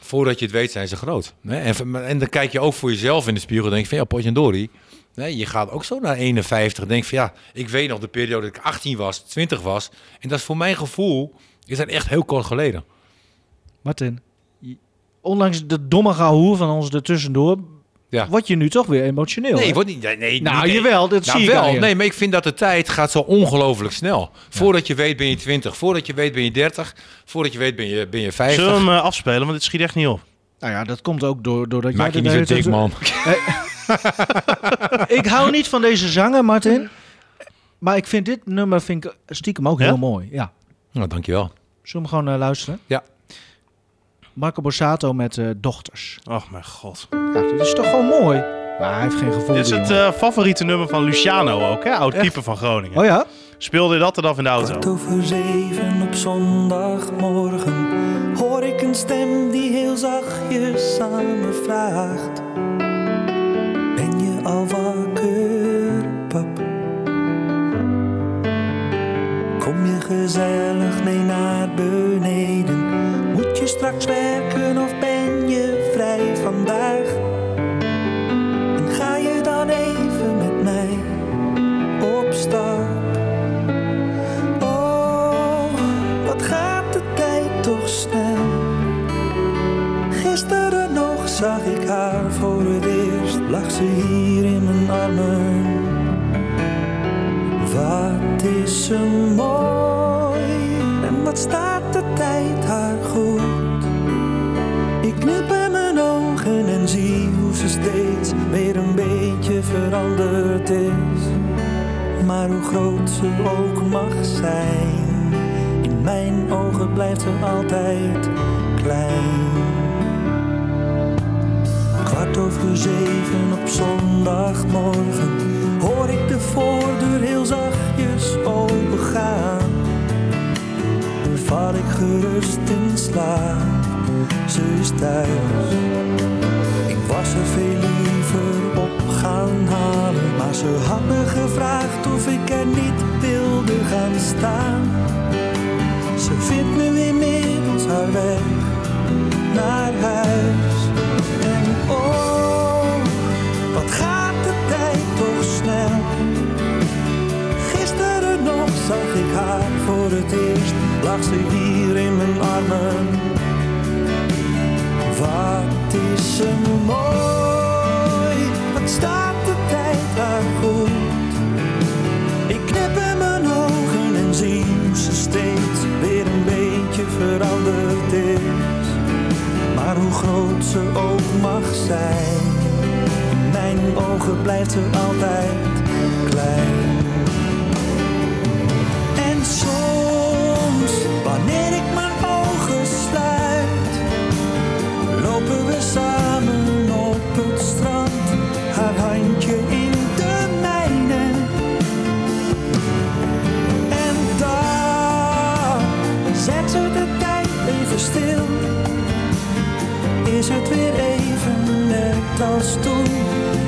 Speaker 3: voordat je het weet zijn ze groot. Hè? En, van- en dan kijk je ook voor jezelf in de spiegel en denk je van ja, potjandori. Nee, je gaat ook zo naar 51 en denk van ja, ik weet nog de periode dat ik 18 was, 20 was. En dat is voor mijn gevoel, is dat echt heel kort geleden.
Speaker 2: Martin, je- ondanks de domme gehoer van ons ertussendoor,
Speaker 3: Ja.
Speaker 2: word je nu toch weer emotioneel.
Speaker 3: Nee,
Speaker 2: hè?
Speaker 3: wordt niet. Nee, nee,
Speaker 2: Nou,
Speaker 3: niet-
Speaker 2: jawel, dat
Speaker 3: Nou,
Speaker 2: zie ik
Speaker 3: wel.
Speaker 2: aan je.
Speaker 3: Nee, maar ik vind dat de tijd gaat zo ongelooflijk snel. Voordat je weet ben je 20, voordat je weet ben je 30, voordat je weet ben je, ben je 50.
Speaker 4: Zullen we hem eh, afspelen, want dit schiet echt niet op.
Speaker 2: Nou ja, dat komt ook door, doordat
Speaker 3: Maak je
Speaker 2: jij...
Speaker 3: niet
Speaker 2: de
Speaker 3: zo
Speaker 2: hele tijd-
Speaker 3: dik, man.
Speaker 2: Ik hou niet van deze zanger, Martin. Maar ik vind dit nummer vind ik stiekem ook
Speaker 4: Ja?
Speaker 2: heel mooi. Ja.
Speaker 3: Nou, dankjewel.
Speaker 2: Zullen we hem gewoon eh, luisteren?
Speaker 3: Ja.
Speaker 2: Marco Borsato met eh, Dochters.
Speaker 4: Oh mijn god.
Speaker 2: Ja, dit is toch gewoon mooi? Maar hij heeft geen gevoel.
Speaker 4: Dit is
Speaker 2: die
Speaker 4: het
Speaker 2: jongen.
Speaker 4: eh, favoriete nummer van Luciano ook, hè? Oud-keeper van Groningen.
Speaker 2: Oh ja?
Speaker 4: Speelde je dat dan af in de auto?
Speaker 5: Kwart over zeven op zondagmorgen hoor ik een stem die heel zachtjes aan me vraagt: Ben je al wakker, pap? Kom je gezellig mee naar beneden? Moet je straks werken of ben je vrij vandaag? En ga je dan even met mij op stap? Oh, wat gaat de tijd toch snel? Gisteren nog zag ik haar voor het eerst, lag ze hier in mijn armen. Wat is ze mooi en wat staat de tijd haar goed? Ik knip in mijn ogen en zie hoe ze steeds weer een beetje veranderd is maar hoe groot ze ook mag zijn. In mijn ogen blijft ze altijd klein. Kwart over zeven op zondagmorgen hoor ik de voordeur heel zachtjes opengaan. Dan val ik gerust in slaap, ze is thuis. Ik was er veel liever op gaan halen, maar ze had me gevraagd of ik er niet wilde gaan staan. Ze vindt nu inmiddels haar weg naar huis. En oh, wat gaat de tijd toch snel? Gisteren nog zag ik haar voor het eerst, lag ze hier in mijn armen. Wat is ze mooi, wat staat de tijd haar goed. Ik knip in mijn ogen en zie hoe ze steeds weer een beetje veranderd is. Maar hoe groot ze ook mag zijn, in mijn ogen blijft ze altijd klein. En soms, wanneer ik mijn ogen sluit lopen we samen op het strand, haar handje in de mijne. En daar zet ze de tijd even stil. Is het weer even net als toen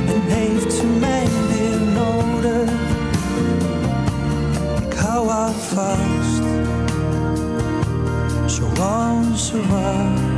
Speaker 5: en heeft ze mij weer nodig? Ik hou haar vast.
Speaker 1: zoals ze waren.